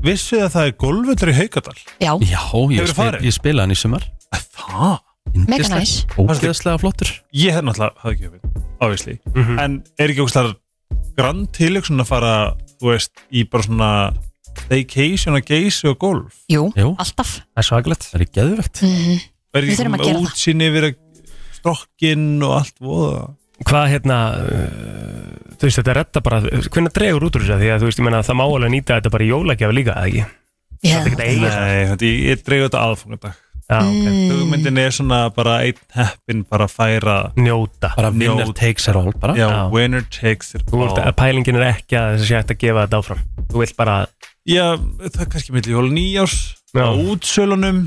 vissuð að það er golfullur í Haukadal
Já,
Já, ég,
Hefurðu
spil,
farið?
ég spila hann í sumar
Það?
Mega næs.
Ógeðslega flottur Mhm.
Ég hef náttúrulega, hafði ekki hugmynd, obviously en er ekki ógstlega grand tilöksun að fara, þú veist, í bara svona staycation og geysi og golf
Jú, alltaf
Það er svaklegt
Það er geðvegt
mm -hmm.
Verði
Við
ekki
þurfum að
með
gera það.
útsinni yfir að- strokkinn og allt voða
Hvað hérna uh, þú veist þetta redda bara hvernig dregur út úr þessu því að þú veist ég menna það má alveg nýta þetta bara í jólagjafi líka eða ekki
yeah.
Það er ekki eigið
Nei, þetta- ég, ég dreigðu þetta aðfangadag
Já, ok.
Mm. Hugmyndin er svona bara einn heppin bara að færa
Njóta
Bara winner takes it all bara
Já, winner takes it
Þú veist
all
að pælingin er ekki að þessi sé hægt að gefa þetta áfram Þú vilt bara
Já, það er kannski milli jól og nýjárs á útsölunum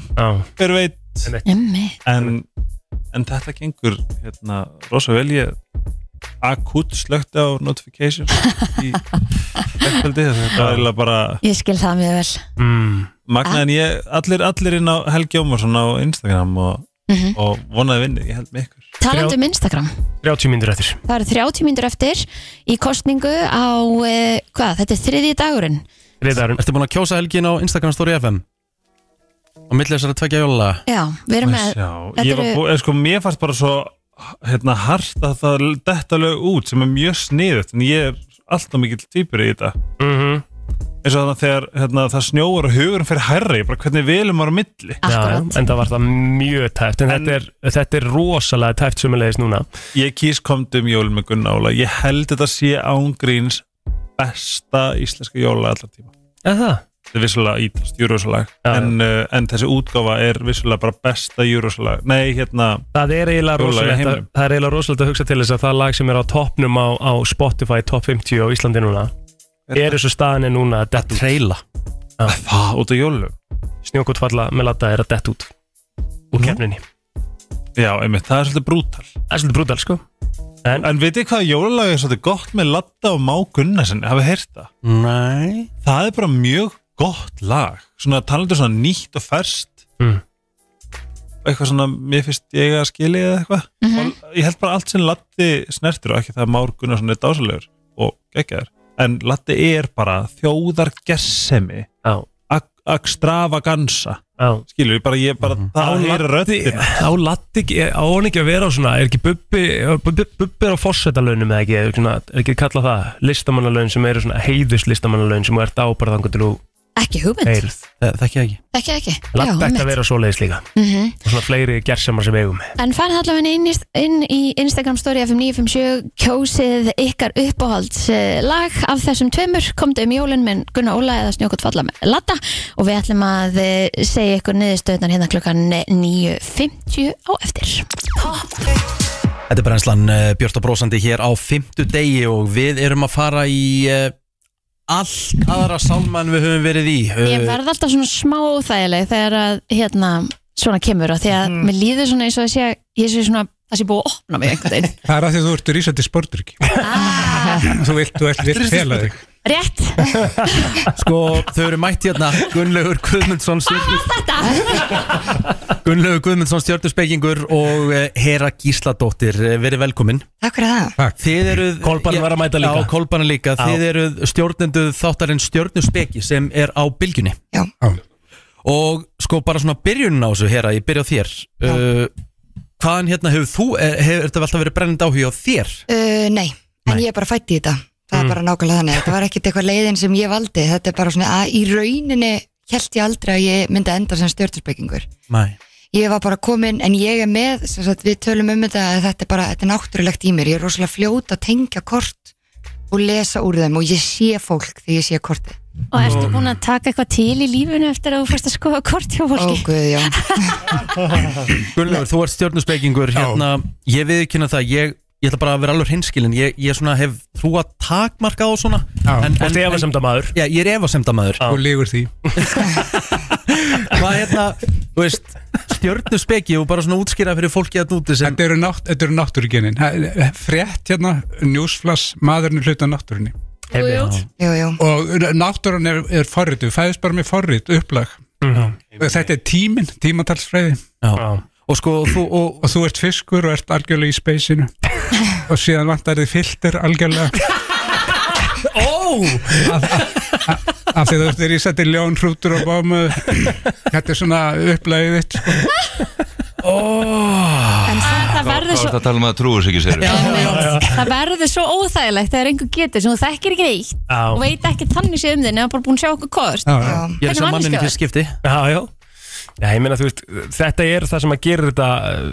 hver veit
Einmitt.
en, en þetta gengur hérna, rosa vel ég akut slögt á notification í ekkveldi þetta er eiginlega bara
Ég skil það mjög vel
mm. magna en ég allir, allir inn á Helgi Ómarsson á Instagram og,
Mhm.
og vonaði vinni, ég held með ykkur
Talandi um Instagram
30 mínútur eftir
Það eru 30 mínútur eftir í kostningu á, eh, hvað, þetta er þriði dagurinn
Riðarun
Ertu búin að kjósa helgin á Instagram story FM? Á milli þessara tvekja jóla
Já, við erum með
Já,
þetta
ég var
eru-
búið, eða sko, mér fannst bara svo hérna hart að það detta lög út sem er mjög sniðut en ég er alltaf mikill týpur í þetta
-hmm.
eins og þannig að þegar hérna, það snjóar og hugurinn fyrir hærri, bara hvernig velum maður á milli
Já, en það var það mjög tæft en, þetta, er, þetta er rosalega tæft sömulegis núna
Ég kýs komdum jól með Gunna Óla ég held þetta sé ángríns besta íslenska jóla allar tíma
Eða?
Þetta er vissulega ítast júrósalag en, uh, en þessi útgáfa er vissulega bara besta júrósalag, nei hérna
Það er eiginlega
jóla í
rosalegt að,
heiminum.
það er eiginlega rosalegt að hugsa til þess að það lag sem er á toppnum á, á Spotify top 50 á Íslandi núna er þessu staðinni núna að dett út Treila
Það, út af jólum
Snjókotfalla með latta er að dett út úr kefninni
Já, einmitt, það er svolítið brútal
Það er svolítið brútal, sko
En, en veitir hvað jólalag er svolítið gott með Latta og Má Gunnarsen, hafið heyrt það?
Nei
Það er bara mjög gott lag Svona talandur svona nýtt og ferskt
Mm.
Eitthvað svona, mér finnst ég að skilja eða eitthvað
Mhm.
og, Ég held bara allt sem Latti snertir og ekki það að Már Gunnarsson er dásalegur og geggjaður En Latti er bara þjóðar gersemi Extravagansa Skilur, ég bara, ég bara,
Mhm.
það er röddin
Á latti, ekki- á hann ekki að vera á svona er ekki bubbi, bubbi, bubbi er á fórsetalönum eða ekki, er svona, er ekki kalla það listamannalön sem eru svona heiðus listamannalön sem þú ert á bara þangar til þú
Ekki hugmynd
heyrð
Það ekki ekki
Ekki, ekki Já,
Latta ætti
einmitt.
að vera svoleiðis líka
Mhm.
og svona fleiri gersamar sem eigum
En farið allavega inn, í- inn í Instagram story FM957 kjósið ykkar uppáhalds eh, lag af þessum tveimur komdu um jólun með Gunnar Óla eða Snjókot Falla með Latta og við ætlum að eh, segja ykkur niðurstöðnar hérna klukkan 9.50 á eftir
Þetta er brennslan eh, Björt og Brósandi hér á fymtu degi og við erum að fara í eh, allt aðra sálmann við höfum verið í Eh,
Ég verð alltaf svona smá óþægileg þegar að hérna svona kemur og því að mér líður svona eins og að sé að ég sé svona að sé búið að opna mig einhvern veginn
Það er að því að þú ert rísandi spördrykk
Ah.
Þú vilt, þú vilt, vilt fela þig
[LAUGHS]
Rétt
Sko, þau eru mætt hérna Gunnlaugur Guðmundsson stjörnus Gunnlaugur Guðmundsson stjörnuspekingur og eh, Hera Gísladóttir eh, verið velkomin
Takk fyrir það
Takk. Þið eruð
Kolbarn
ég-
var að mæta líka.
Já, Kolbarn líka
Já.
Þið eruð stjórnendu þáttarinn stjórnuspeki sem er á bylgjunni Já Og sko bara svona byrjunin á þessu Hera, ég byrja á þér uh, Hvaðan hérna hefur þú er, Hefur þetta alltaf verið brennandi áhuga á þér?
Uh, nei, en ég er bara fætt í þetta Það
Mm.
er bara nákvæmlega þannig, þetta var ekkit eitthvað leiðin sem ég valdi Þetta er bara svona að í rauninni held ég aldrei að ég myndi enda sem stjórnarspekingur
Nei
Ég var bara komin, en ég er með sem sagt, Við tölum um þetta að þetta er bara þetta er náttúrulegt í mér Ég er rosalega fljót að tengja kort og lesa úr þeim og ég sé fólk þegar ég sé kortið
[LAUGHS] Og ertu búin að taka eitthvað til í lífinu eftir að þú fyrst að skoða kort hjá fólki?
Ó,
[LAUGHS]
guð, já
Gunnlaugur, þú ert stjórnuspekingur hérna, Ég viðkynna það ég, ég ætla bara að vera alveg hinskilin Ég, ég svona hef trú að takmarka á svona En-
Þú ert
en-
efasemdamaður.
Já, ég er efasemdamaður
og ligur því
Hvað hérna, þú veist Stjórnuspeki og bara svona útskýra fyrir fólki að núti sem
Þetta eru, nátt, þetta eru náttúrugenin Það er Frétt hérna, njúsflass maðurinn er hluti af náttúrunni
jú, jú.
Og náttúrun er, er forrit Við fæðist bara með forrit, upplag
Mhm.
Og Þetta er tíminn, tímatalsfræði
og, sko, þú, og,
og þú ert fiskur og ert algjörlega í speysinu [LAUGHS] Og síðan vantar þið filter algjörlega
Ó!
af því þú ert þér í sætti ljón, hrútur og bámu þetta er svona upplæðið þitt sko.
En það, það verður
Hvað er
svo
að tala um að trúa sig ekki sér?
Það verður svo óþægilegt þegar einhver getur sem þú þekkir ekki eitt
Já.
og veit ekki þannig séð um þinn eða bara búin að sjá okkur kost
Ég er
Hvernig
sem manninni
manneskja
fyrst
var?
skipti
Já, já Já, ég meina, þú veist, þetta er það sem að gera þetta eh,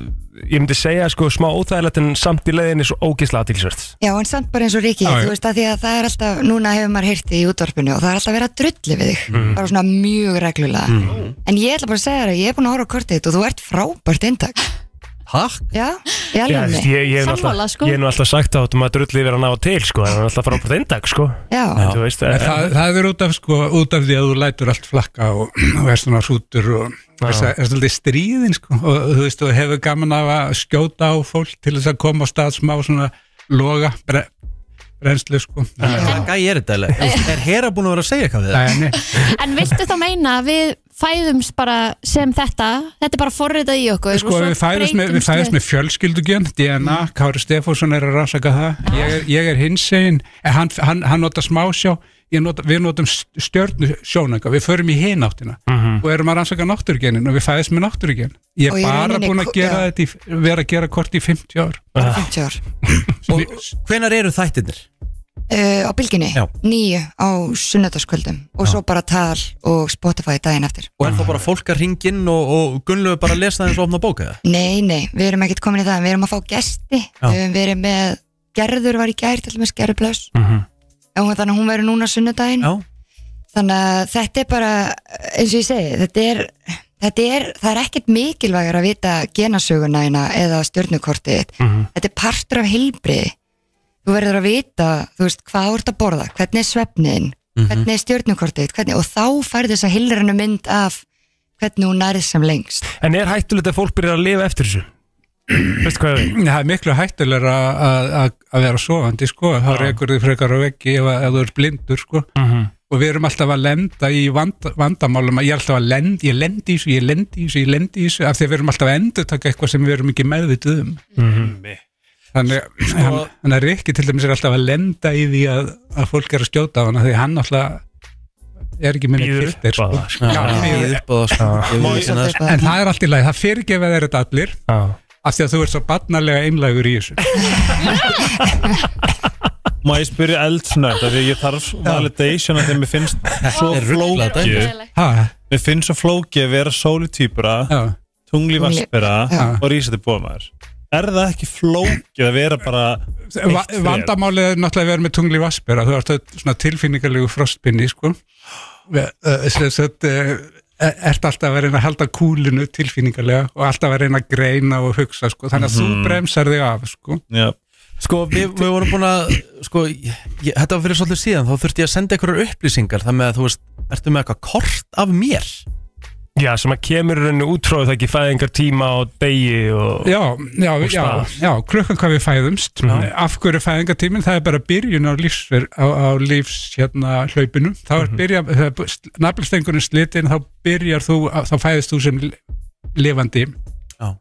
Ég myndi segja, sko, smá óþægilegt en samt í leiðinni svo ógislega aðtilsvert
Já, en samt bara eins og Riki,
Já, já.
þú veist að því að það er alltaf, núna hefur maður heyrtið í útvarpinu og það er alltaf verið að drulli við þig,
Mm.
bara svona mjög reglulega.
Mm.
En ég ætla bara að segja þér að ég er búin að horfa á kortið þitt og þú ert frábært inntak.
Takk
Já, í
Já, þú veist,
alveg
ég, ég, hef nú alltaf,
sko.
ég hef nú alltaf sagt á þetta maður drulli yfir að ná til sko, en hann er alltaf frábært eindag sko.
Já.
En þú veist,
En það, það er út af, sko, út af því að þú lætur allt flakka og, og er svona sútur og
Já.
er svolítið stríðin sko, og þú veist, þú hefur gaman af að skjóta á fólk til þess að koma á stað smá svona loga bre, brennslu sko.
Hvaða gæi er þetta eiginlega? Þú veist, Er Hera búin að vera að segja eitthvað við
það? Nei,
En viltu þá meina að við fæðumst bara sem þetta Þetta er bara forritað í okkur
sko,
og svo
við fæðast með, við
breytumst
fæðast með fjölskyldugjönd DNA,
Mm.
Kári Stefánsson er að rannsaka það ég er, ég er hinsegin en hann, hann, hann nota smásjá ég nota, við notum stjörnu sjónanga við förum í hináttina
Mhm.
og erum að rannsaka náttúrugenin og við fæðast með náttúrugen ég
Og
er
í
bara
rauninni
búin að
ko-
gera
já. Ah.
þetta í, vera að gera kort í 50 ár
Bara 50 ár
Hvenar eru þættirnir?
uh, Á bylginni,
Já.
nýju á sunnudagskvöldum Og svo bara tal og Spotify daginn eftir
Og er þá bara fólk að ringa inn og, og Gunnlaugur bara að lesa það eins og opna bóka það?
Nei, nei, við erum ekkert komin í það Við erum að fá gesti
Já.
um, Við erum með, Gerður var í gær til með Gerðurblöss
Mhm.
Já, hún- þannig að hún verður núna sunnudaginn
Já.
þannig að þetta er bara eins og ég segi, þetta er þetta er, það er ekkert mikilvægur að vita genasöguna þína eða stjörnukortið þitt.
Mhm.
þetta er partur af heilbriði þú verður að vita, þú veist, hvað þú ert að borða hvernig er svefniðin,
Mhm.
hvernig er stjörnukortið þitt, hvernig, og þá færðu þess að heilranu mynd af hvernig hún nærið sem lengst
En er hættulegt að fólk byrjar að lifa eftir þessu? Veistu hvað ég
Það er miklu hættulega að að vera sofandi sko, þá reykur þið frekar á veggi ef, að- ef þú ert blindur sko
Mhm.
og við erum alltaf að lenda í vand, vandamálum ég er alltaf að lenda, ég lendi í þessu, ég lendi í þessu ég lendi í þessu, af því að við erum alltaf að endur taka eitthvað sem við erum ekki meðvitið um
Mhm.
þannig sko, hann, hann er ekki til dæmis er alltaf að lenda í því að, að fólk er að skjóta á hann því að hann alltaf er ekki með
Býður
neitt filter
upp á það, sko.
sko. Já,
Já,
býður
býður
upp
upp á það, sko. Ég vil ekki það, sko.
En það er allt í lagi, það fyrirgefa þeir þetta allir af því að þú ert svo barnalega einlægur í þessu
Má ég spyrja eldsnögt af því að ég þarf validation að því að mér finnst svo
[LAUGHS] er ruglað
flóki
dæmi. Ha?
Mér finnst svo flóki að vera sólitýpura tungli vaspera
Já.
og rísandi bómaður Er það ekki flókið að vera bara
Va vandamálið er náttúrulega að vera með tungli vaspera þú ert öll svona tilfinningarlegu frostpinni sko Ve- eh, sem sagt, eh, eh, ert alltaf að reyna að halda kúlinu tilfinningarlega og alltaf að reyna að greina og hugsa sko þannig að
Mhm.
þú bremsar þig af sko
Já.
Sko, við, við vorum búin að, sko, ég, ég- þetta var fyrir svolítið síðan, þá þurfti ég að senda einhverjar upplýsingar, þar með að þú veist, ertu með eitthvað kort af mér?
Já, sem að kemur henni útróð það ekki fæðingar tíma og degi og
Já, já,
og
já,
stað.
já, klukkan hvað við fæðumst af hverju fæðingatíminn, það er bara byrjun á lífs, á, á lífs hérna hlaupinu, þá
Mhm.
er byrja nafnstengurinn slitin, þá byrjar þú, þá fæðist þú sem lifandi,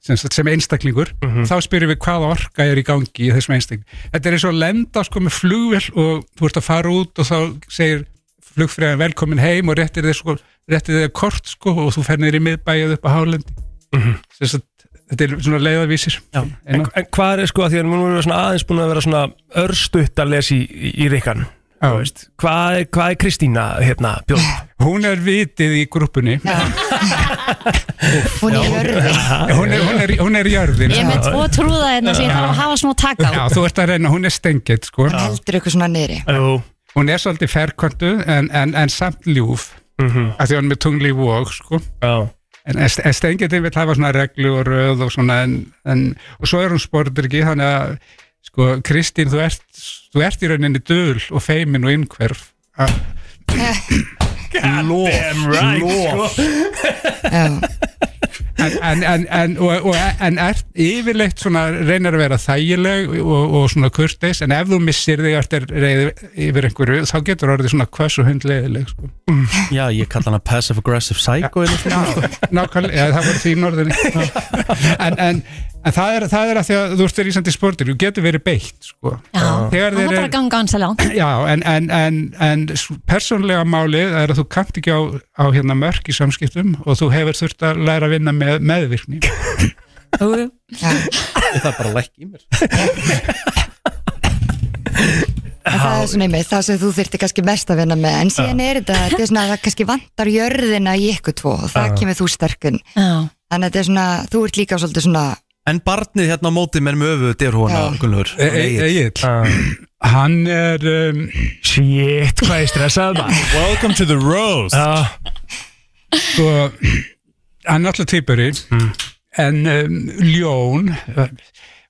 sem, sagt sem einstaklingur
Mhm.
þá spyrjum við hvaða orka er í gangi í þessum einstakling, þetta er eins og að lenda sko með flugvél og þú ert að fara út og þá segir flugfræðan velkomin heim og réttir þér sko, réttir þér kort sko og þú fer niður í miðbæið upp á hálendi Sem sagt, þetta er svona leiðavísir
Mhm. En, en hvað er sko að því að nú erum við svona aðeins búin að vera svona örstutt að lesa í, í, í rikkan Þú veist, hvað, er- hvað er Kristína hérna bjóð?
[LAUGHS] Hún er vitið í grúpunni
Hún er
hún er, hún er, hún er jörðin
Ég er með tvo trúða hérna sem ég þarf að hafa smá taka
Já,
á
þú ert að reyna, hún er stengið sko
heldur ykkur svona niðri
Jú.
Hún er svolítið ferkvöndu en, en, en samt ljúf mm -hmm. að því hún er með tungli í vóg sko
Mhm. Já
En, en stengjandi vil hafa svona reglu og röð og svona en, en, og svo er hún spordryggi þannig að sko Kristín þú ert, þú ert í rauninni döl og feimin og innhverf
Lof,
right,
sko.
Sko.
en,
en, en, en, og, og, en er yfirleitt svona reynir að vera þægileg og, og svona kurteis en ef þú missir þig eftir reyði yfir einhverju þá getur orðið svona hvers og hund leiðileg sko.
Já, ég kalla hana Passive Aggressive Psycho eða svona, sko.
nákvæmlega, já, það voru þín orðin en, en, en það, er, það er að því að þú ert í Ísandi sportir, þú getur verið beitt sko.
Það er
þegar þeir
bara
eru
að ganga hans að langt
já, en, en, en, en s- persónlega málið er að þú kannt ekki á, á hérna mörk í samskiptum og þú hefur þurft að læra að vinna með meðvirkni
það er bara lækki í mér
En það er svona einmitt, það sem þú þyrfti kannski mest að vinna með en síðan er þetta, þetta er svona að það kannski vantar jörðina í ykkur tvo og það
Já.
kemur þú sterkun þannig að þetta er svona, þú ert líka svolítið svona
En barnið hérna á mótið mér með öfuð dyrhóna, Gunnlaugur
E- e-
Egil
Hann er um,
Shit, hvað ég stressaði maður
Welcome to the roast
Já
Hmm.
sko, hann er alltaf týpuri en um, ljón eh,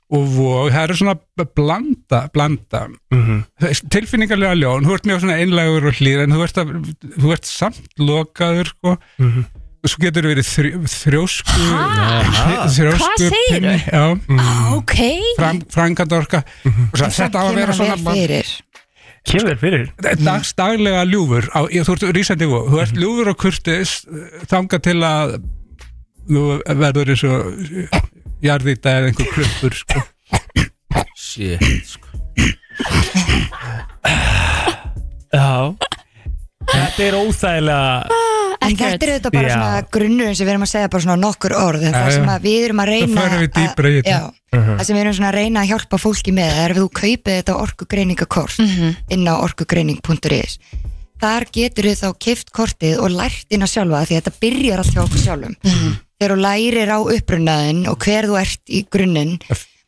og vog, það eru svona blanda, blanda
Mm.
Mhm.
Þú veist, tilfinningarlega ljón, þú ert mjög svona einlægur og hlýr en þú ert, að, þú ert samt lokaður sko
Mhm.
og svo getur þú verið þrj, þrjósku
Ha? Hvað segirðu? Ah,
pinni, já,
ok
fram, frangandorka og svo, þetta á að vera svona
Mhm. Kemur þér fyrir?
Mm.
Dags, daglega ljúfur á, ég, þú ert rísandi vó, þú
Mhm.
ert ljúfur og kurtis þanga til að þú verður eins og jarðýta eða einhver klumpur sko.
Shit sko.
sko. Já Þetta er óþægilega
En þetta er auðvitað bara
Já.
svona grunnurinn sem við erum að segja bara svona nokkur orð en það
Já, já.
sem að við erum að reyna
förum við
að-
dýpra í þetta.
Já,
Mhm.
það sem við erum svona að reyna að hjálpa fólki með það er ef þú kaupið þetta orkugreiningarkort inn á orkugreining.is þar getur þau þá keift kortið og lært inn á sjálfa því að þetta byrjar allt hjá okkur sjálfum þegar þú lærir á upprunnaðin og hver þú ert í grunninn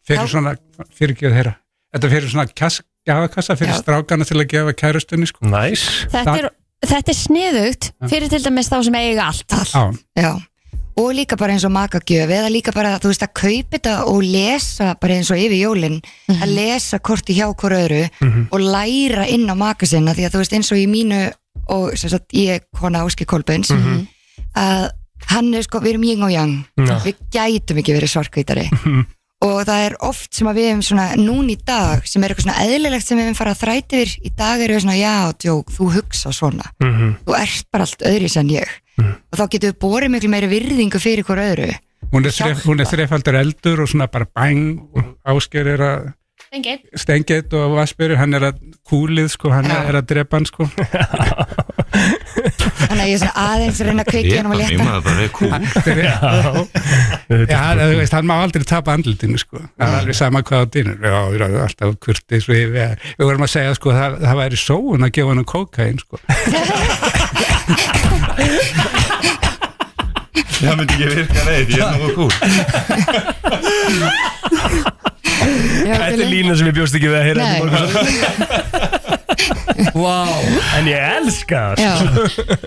fyrir svona, fyrir ekki að heyra þetta fyrir svona kass, gafakassa fyrir
Já.
strákana til að gefa kærustunni sko.
nice.
Þetta er, þetta er sniðugt
Já.
fyrir til dæmis þá sem eiga allt
Já.
Já, og líka bara eins og makagjöf eða líka bara, þú veist, að kaupa þetta og lesa bara eins og yfir jólin
Mhm.
að lesa korti hjá hver öðru
Mm.
Mhm.
og læra inn á maka sinna því að þú veist, eins og í mínu og sem sagt, ég kona Áski Kolbeins
Mhm.
að hann er sko, við erum ying og yang
Já.
við gætum ekki verið svarkvítari
Mhm.
og það er oft sem að við hefum svona núna í dag sem er eitthvað svona eðlilegt sem við hefum farið að þræti yfir í dag erum við svona, já, djók, þú hugsa svona
Mhm.
þú ert bara allt öðris en ég og þá getum við borið miklu meiri virðingu fyrir hver öðru
hún er, þref, hún er þrefaldur eldur og svona bara bang og ásker er að
Engin
Stengið og Vassbyrjur, hann er að kúlið sko, hann er að drepa hann sko
þannig að ég er svona aðeins að reyna að kveikja hann og létta
það bara er kúl Já, hann, þú veist, hann má aldrei tapa andlutinu sko, það er alveg sama hvað á dýnur Já, það er alltaf kurtis við, við, við vorum að segja sko, það, það væri sóun að gefa hann kókain sko
Það myndi ekki virka neitt, ég er nú
[LAUGHS]
kúl
Þetta er lína sem ég bjóst ekki við að heyra
Nei. [LAUGHS]
wow. En ég elska það
Já.
[LAUGHS] sko.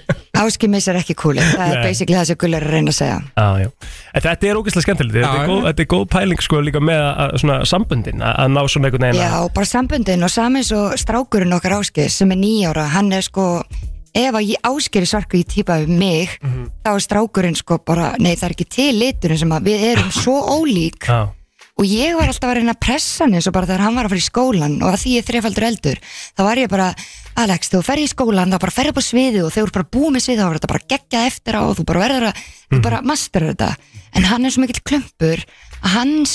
áskil missar ekki kúli, það er
Nei.
basically það sem Gull er að reyna að segja
Já, já. En Þetta er ógeðslega skemmtilegt
Já,
þetta, er góð- þetta er góð pæling sko líka með að- að, svona, samböndin að, að ná svona einhvern veginn
Já,
að-
bara samböndin og saman svo strákurinn okkar áskil sem er nýjára, hann er sko ef að ég áskil svarku í típa við mig, þá er strákurinn sko bara, nei það er ekki til liturinn sem að við erum svo ólík
Já.
og ég var alltaf að reyna að pressa hann eins og bara þegar hann var að fara í skólan og að því ég er þrefaldur eldur þá var ég bara, Alex, þú ferð í skólan þá bara ferð upp á sviði og þau eru bara búið með sviði þá var þetta bara geggjað eftir á og þú bara verður að
Mhm.
þú bara masterar þetta en hann er svo mikill klumpur að hans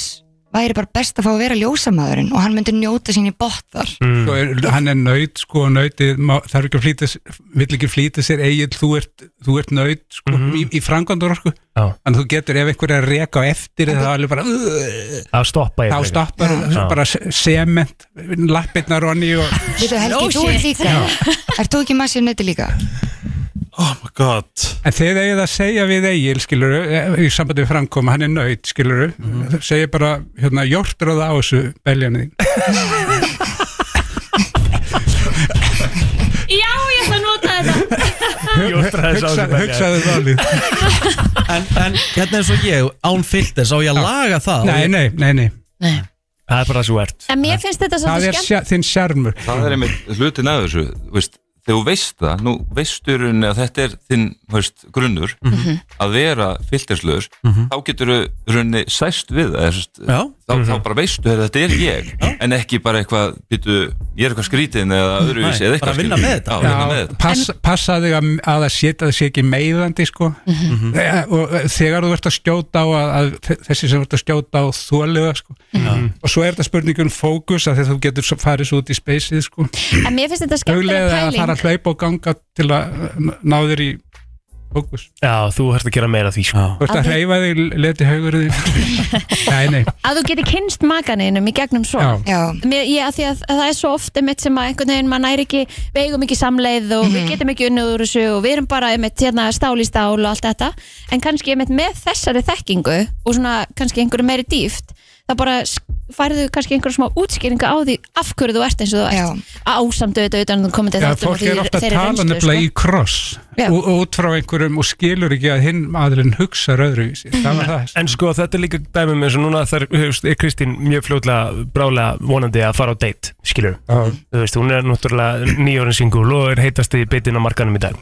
væri bara best að fá að vera ljósamaðurinn og hann myndi njóta sín í bottar
Mm.
Sko, er, hann er nöyt sko, nöyti, má, þarf ekki að flýta s- vill ekki flýta sér eigin þú ert, þú ert nöyt sko,
Mhm.
í, í framkvæmdur sko. en þú getur ef einhver er að reka á eftir þá er alveg bara
að stoppa ég
þá
frekar.
stoppar
Já.
bara se- sement lappirnar onni og
Oh,
Við þau Helgi,
No
þú ert
shit.
líka Er þú ekki massið nöyti líka?
Oh
God. en þið eigið að segja við Egil skiluru, í sambandi við framkoma hann er nöyt skiluru, mm
Mhm.
segja bara hérna, jórtráða á þessu beljanið þín
Já, ég ætla að nota þetta
Jórtraði
sá þessu belja.
hugsaðu valið
[LAUGHS] en, en hérna eins og ég, án filters á ég að laga það
Nei, nei, nei, nei.
Nei.
Það er bara svo ert
En mér finnst þetta
það
svolítið
er
skemmt
sja- þinn sjarmur
það er einmitt hlutin að þessu þú veist, þegar þú veist það, nú veistur að þetta er þinn þú veist, grunnur
Mhm.
að vera filterslaus þá getur þú runni sæst við það, þú veist,
Já.
þá, þá bara veistu að þetta er ég en ekki bara eitthvað, býtu, ég er eitthvað skrítin eða öðruvísi
Nei,
eða eitthvað
bara vinna
skilur.
með þetta.
Já, vinna með þetta.
pass, passa þig að, að það sé, að það sé ekki meiðandi sko.
Mhm.
e, og e, þegar þú ert að skjóta á að, að þe- þessi sem þú ert að skjóta á þóliða sko. og svo er þetta spurningum fókus að þegar þú getur svo- farið svo út í speysið sko.
En mér finnst þetta skemmtileg
huglega að
pæling
fara að hlaupa og ganga til að n- ná þér í fókus
Já, þú ert að gera meira af því sko.
þú ert
Að
að
þú-
hreyfa
[LAUGHS]
þig, leti haugur þig
[LAUGHS]
nei, nei
að þú geti kynst makaninum í gegnum svo
Já.
Já.
Mér, ég, að því að það er svo oft einmitt sem að einhvern veginn maður næri ekki við eigum ekki samleið og
Mhm.
við getum ekki unnið úr þessu og við erum bara einmitt hérna stál í stál og allt þetta en kannski einmitt með þessari þekkingu og svona kannski einhverju meiri dýft þá bara sk- færðu kannski einhverju smá útskýringa á því af hverju þú ert eins og þú ert ásamt auðvitað utan um að þú komið til
Já,
þáttum og
fólk
því-
er ofta að
þeirri
tala
reynslu,
nefnilega
sko.
í kross
Já.
og, og út frá einhverjum og skilur ekki að hinn aðlinn hugsa öðruvísi
[LAUGHS]
það var það
En sko þetta er líka dæmum eins og núna þar hefst, er Kristín mjög fljótlega brálega vonandi að fara á date, skilur þú veist, hún er náttúrulega nýjórin singul og er heitast í bitin á markanum í dag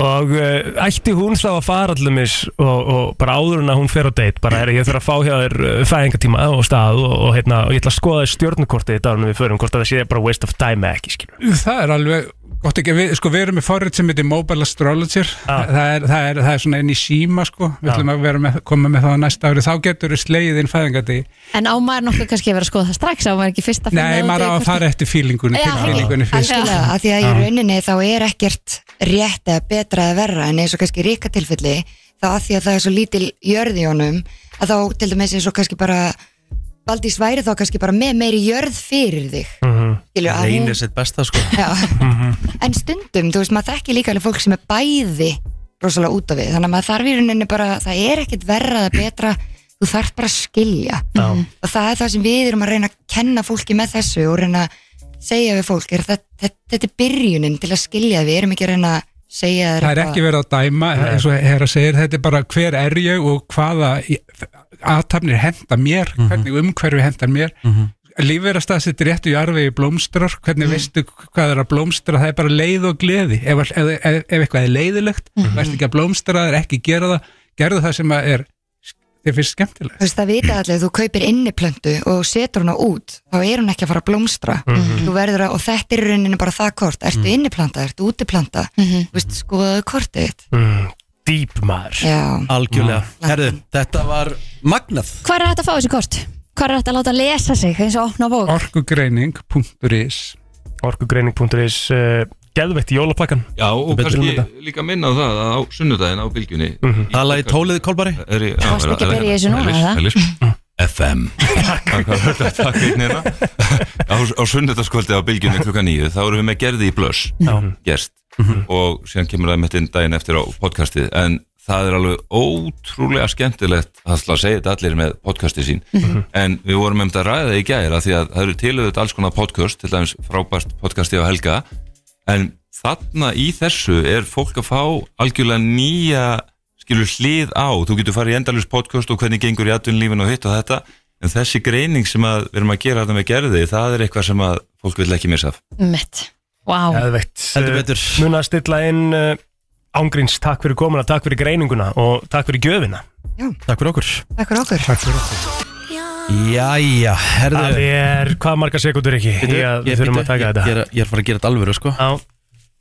og uh,
eh,
ætti hún þá að fara allumis og, og bara áður en að hún fer á date bara er ég þarf að fá hjá þér uh, fæðingatíma og stað og, og, heitna, og ég ætla að skoða stjórnukortið þetta ánum við förum, hvort að það sé bara waste of time eða ekki, skilur
Það er alveg gott ekki, við, sko við erum með forrið sem heitir Mobile Astrologer það er, það, er, það er svona inn í síma sko við
Já.
ætlum að vera með, koma með það á næsta ári þá getur við slegið inn fæðingati
En á maður nokkuð kannski að vera að skoða það strax á maður ekki fyrst að
Nei, maður á að fara eftir fílingunni
Já,
tilfinningunni fyrst
Algjörlega, að því að í rauninni þá er ekkert rétt eða betra eða verra en eins og kannski ríka tilfelli þá að því að það er svo lítil jörð í honum að þá til dæmis eins og kannski bara Valdís væri þá kannski bara með meiri jörð fyrir þig Skilur, að hún-
Reynir sitt besta sko
Já.
Mhm.
en stundum, þú veist, maður þekki líka alveg fólk sem er bæði rosalega út af við þannig að maður þarf í rauninni bara, það er ekkert verra eða betra, þú þarf bara að skilja
Já.
Mhm.
og það er það sem við erum að reyna að kenna fólki með þessu og reyna að segja við fólk er það, þetta, þetta er byrjunin til að skilja við erum ekki að reyna að segja þér
Það er
eitthvað.
ekki verið að dæma eins og herra segir, þetta er bara hver er ég og hvaða í- athafnir henda mér, hvernig umhverfi hendar mér
Mhm.
lífið er að staðsetja réttu í arfi blómstrar, hvernig veistu hvað er að blómstra, það er bara leið og gleði ef, ef, ef, ef eitthvað er leiðilegt mm -hmm. ekki að blómstra, það er ekki að gera það gerðu það sem að er þér finnst skemmtilegt
Þú veist, það vita allir, þú kaupir inniplöntu og setur hana út, þá er hún ekki að fara að blómstra
Mhm.
þú verður að, og þetta er í rauninni bara það kort, ertu inniplanta, ertu útiplanta þú veist, skoðaðu kortið þitt.
mm, Deep maður
Já.
Algjörlega
Mm.
Herðu, þetta var magnað
Hvað er hægt að fá þessi kort? Hvað er hægt að láta lesa sig eins og opna bók?
orkugreining.is
orkugreining.is uh, geðveitt í jólapakkan
Já, og
betur um
kannski
þetta.
líka minna á það að á sunnudaginn á bylgjunni
Það lagi tólið kolbari
Varst
ekki að byrja í þessu núna, eða?
FM Mm. Takk einnig hérna Á, á sunnudagskvöldi á bylgjunni klukka nýju þá erum við með gerði í blöss
Já.
gerst og síðan kemur það með inn daginn eftir á podcastið en það er alveg ótrúlega skemmtilegt það ætla að segja þetta allir með podcastið sín
Mhm.
en við vorum með þetta að ræða í gæra því að það eru tilöðut alls konar podcast til dæmis frábært podcastið á Helga en þarna í þessu er fólk að fá algjörlega nýja skilur hlið á, þú getur farið í endalus podcast og hvernig gengur í atvinnlífin og hitt og þetta en þessi greining sem að við erum að gera þetta með gerði, það er eitthvað sem að fólk vil ekki missa af
Mitt. Vá.
Geðveitt betur Muna uh, að stilla inn uh, ángríns, takk fyrir komuna, takk fyrir greininguna og takk fyrir gjöfina
Já.
Takk fyrir okkur
Takk fyrir okkur
Takk fyrir okkur
Jæja, herðu
Það er hvað marga sekundur ekki
Bíddu,
í að
ég-
við þurfum
bíddu,
að taka
ég-
þetta
ég er að- Ég er að fara að gera þetta alvöru sko
Já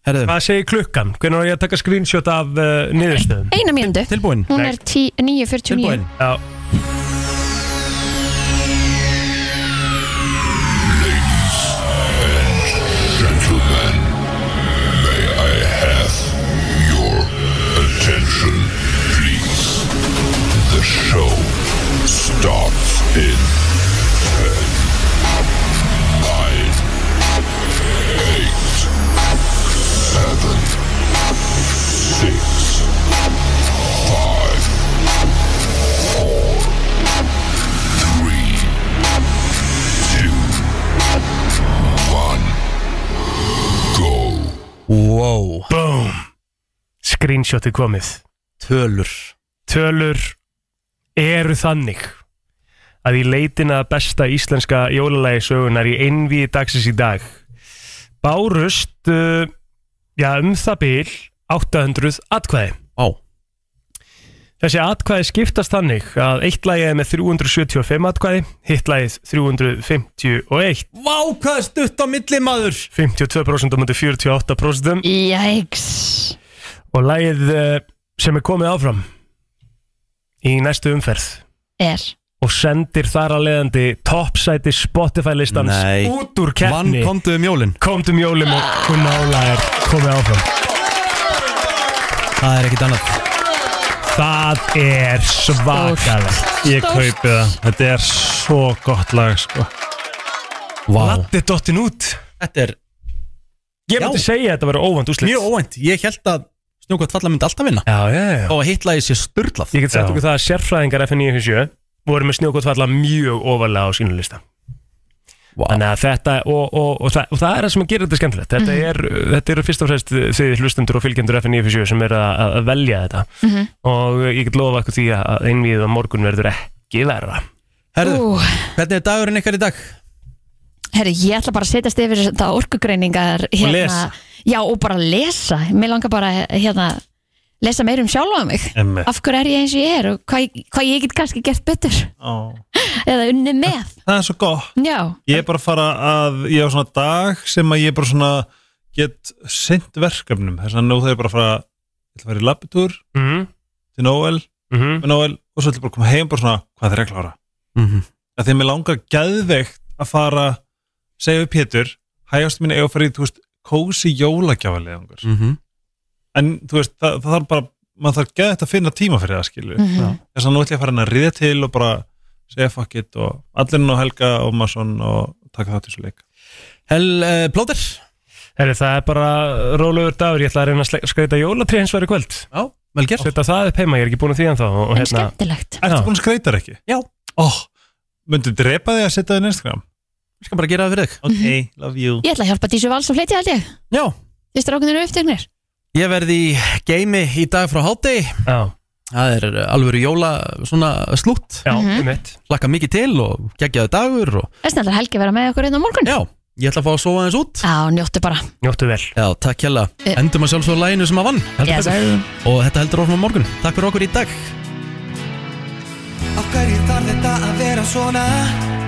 Herðu
Hvað segir klukkan? Hvernig var ég að taka screenshot af uh, niðurstöðum?
Eina mínútu.
Tilbúin.
Hún er 10 9.49.
Já
Gentlemen, may I have your attention, please? The show starts in 10, 9, 8, 7, 6, 5, 4, 3, 2, 1.
Wow
Boom Screenshotið komið
Tölur
Tölur eru þannig að í leitina að besta íslenska jólalagi sögunar í einvíði dagsins í dag bárust uh, já, um það bil 800 atkvæði
Á
Þessi atkvæði skiptast þannig að eitt lagið er með 375 atkvæði, hitt lagið 351.
Vá, hvað er stutt á milli maður?
52% á múti 48%.
Jæks.
Og lagið eh, sem er komið áfram í næstu umferð
Er.
og sendir þar að leiðandi topsæti Spotify listans
Nei.
út úr keppni.
Vann komdu um jólin
Komdu um jólin og kunna álæðir komið áfram.
Það er ekkit annað
Það er svakalegt.
Ég kaupi það, þetta er svo gott lag sko
Vá.
Latti dottin út.
Þetta er
Ég myndi segja að þetta verið óvænt úslit
Mjög óvænt, ég held að snjókvæmt falla myndi alltaf vinna
Já, já, já
Og að hittlaði sé sturlað
Ég get sagt okkur það að sérfræðingar FN957 voru með snjókottvalla mjög ofalega á sínu lista Þannig að þetta, og, og, og, það, og það er það sem gerir þetta skemmtilegt Þetta,
Mhm.
er, þetta eru fyrst og fremst þið hlustendur og fylgjendur FNF7 sem eru að, að velja þetta
Mhm.
Og ég get lofa ykkur því að einvíð á morgun verður ekki verra
Herðu, hvernig er dagurinn ykkar í dag?
Herri, ég ætla bara að setjast yfir þetta orkugreiningar hérna.
Og lesa.
Já, og bara lesa Mér langar bara hérna lesa meir um sjálfa mig
Einmitt.
Af hverju er ég eins og ég er og hvað, ég- hvað ég get kannski gert betur [LAUGHS]
Ó.
eða unni með
Það er svo gott
Já,
Ég er bara að fara að, ég á svona dag sem að ég bara svona get sint verkefnum, þess að nú það er bara að fara ég ætla að fara í labbitúr
Mhm.
til Noel,
Mhm.
með Noel og svo ætla ég bara að koma heim bara svona, hvað er að klára
Mhm.
að því að mér langar geðveikt að fara, segja við Pétur hægast minni eiga að fara í, þú veist kósi jólagjáfalegangur
Mhm.
en þú veist, það, það þarf bara maður þarf geðveikt að finna tíma fyrir það skilju
Mhm. Já.
þess að nú ætla ég að fara henni að riða til og bara segja fuck it og allirinn og Helga og Mason og taka þátt í svo leik
Hel, uh, plóter
Herri, það er bara rólegur dagur Ég ætla að reyna að sle- skreita jólatri hins verið kvöld
Já, vel gert
Setta það upp heima, ég er ekki búin að því ennþá og,
en skemmtilegt
Ertu búin að skreita þér ekki?
Já
oh, Myndu drepa þig að setja þig í Instagram?
Ég skal bara gera það fyrir þig
Ok, love you
Ég ætla að hjálpa Dísu Vals og flytja held ég
Já
Þið strákunir eru uppteknir
Ég verði í geimi í dag frá hátegi
Já
Það er alvöru jóla svona slútt
Já,
Mhm.
mitt
Laka mikið til og geggjaðu dagur og
Það er snart að Helgi vera með okkur einn á morgun
Já, ég ætla að fá að sofa aðeins út
Já, njóttu bara
Njóttu vel
Já, takk hjá
Eh.
Endum að sjálfsögðu læginu sem að vann
Heldur Yes, betur. sir.
Og þetta heldur orðum á morgun Takk fyrir okkur í dag
Af hverju þarf þetta að vera svona?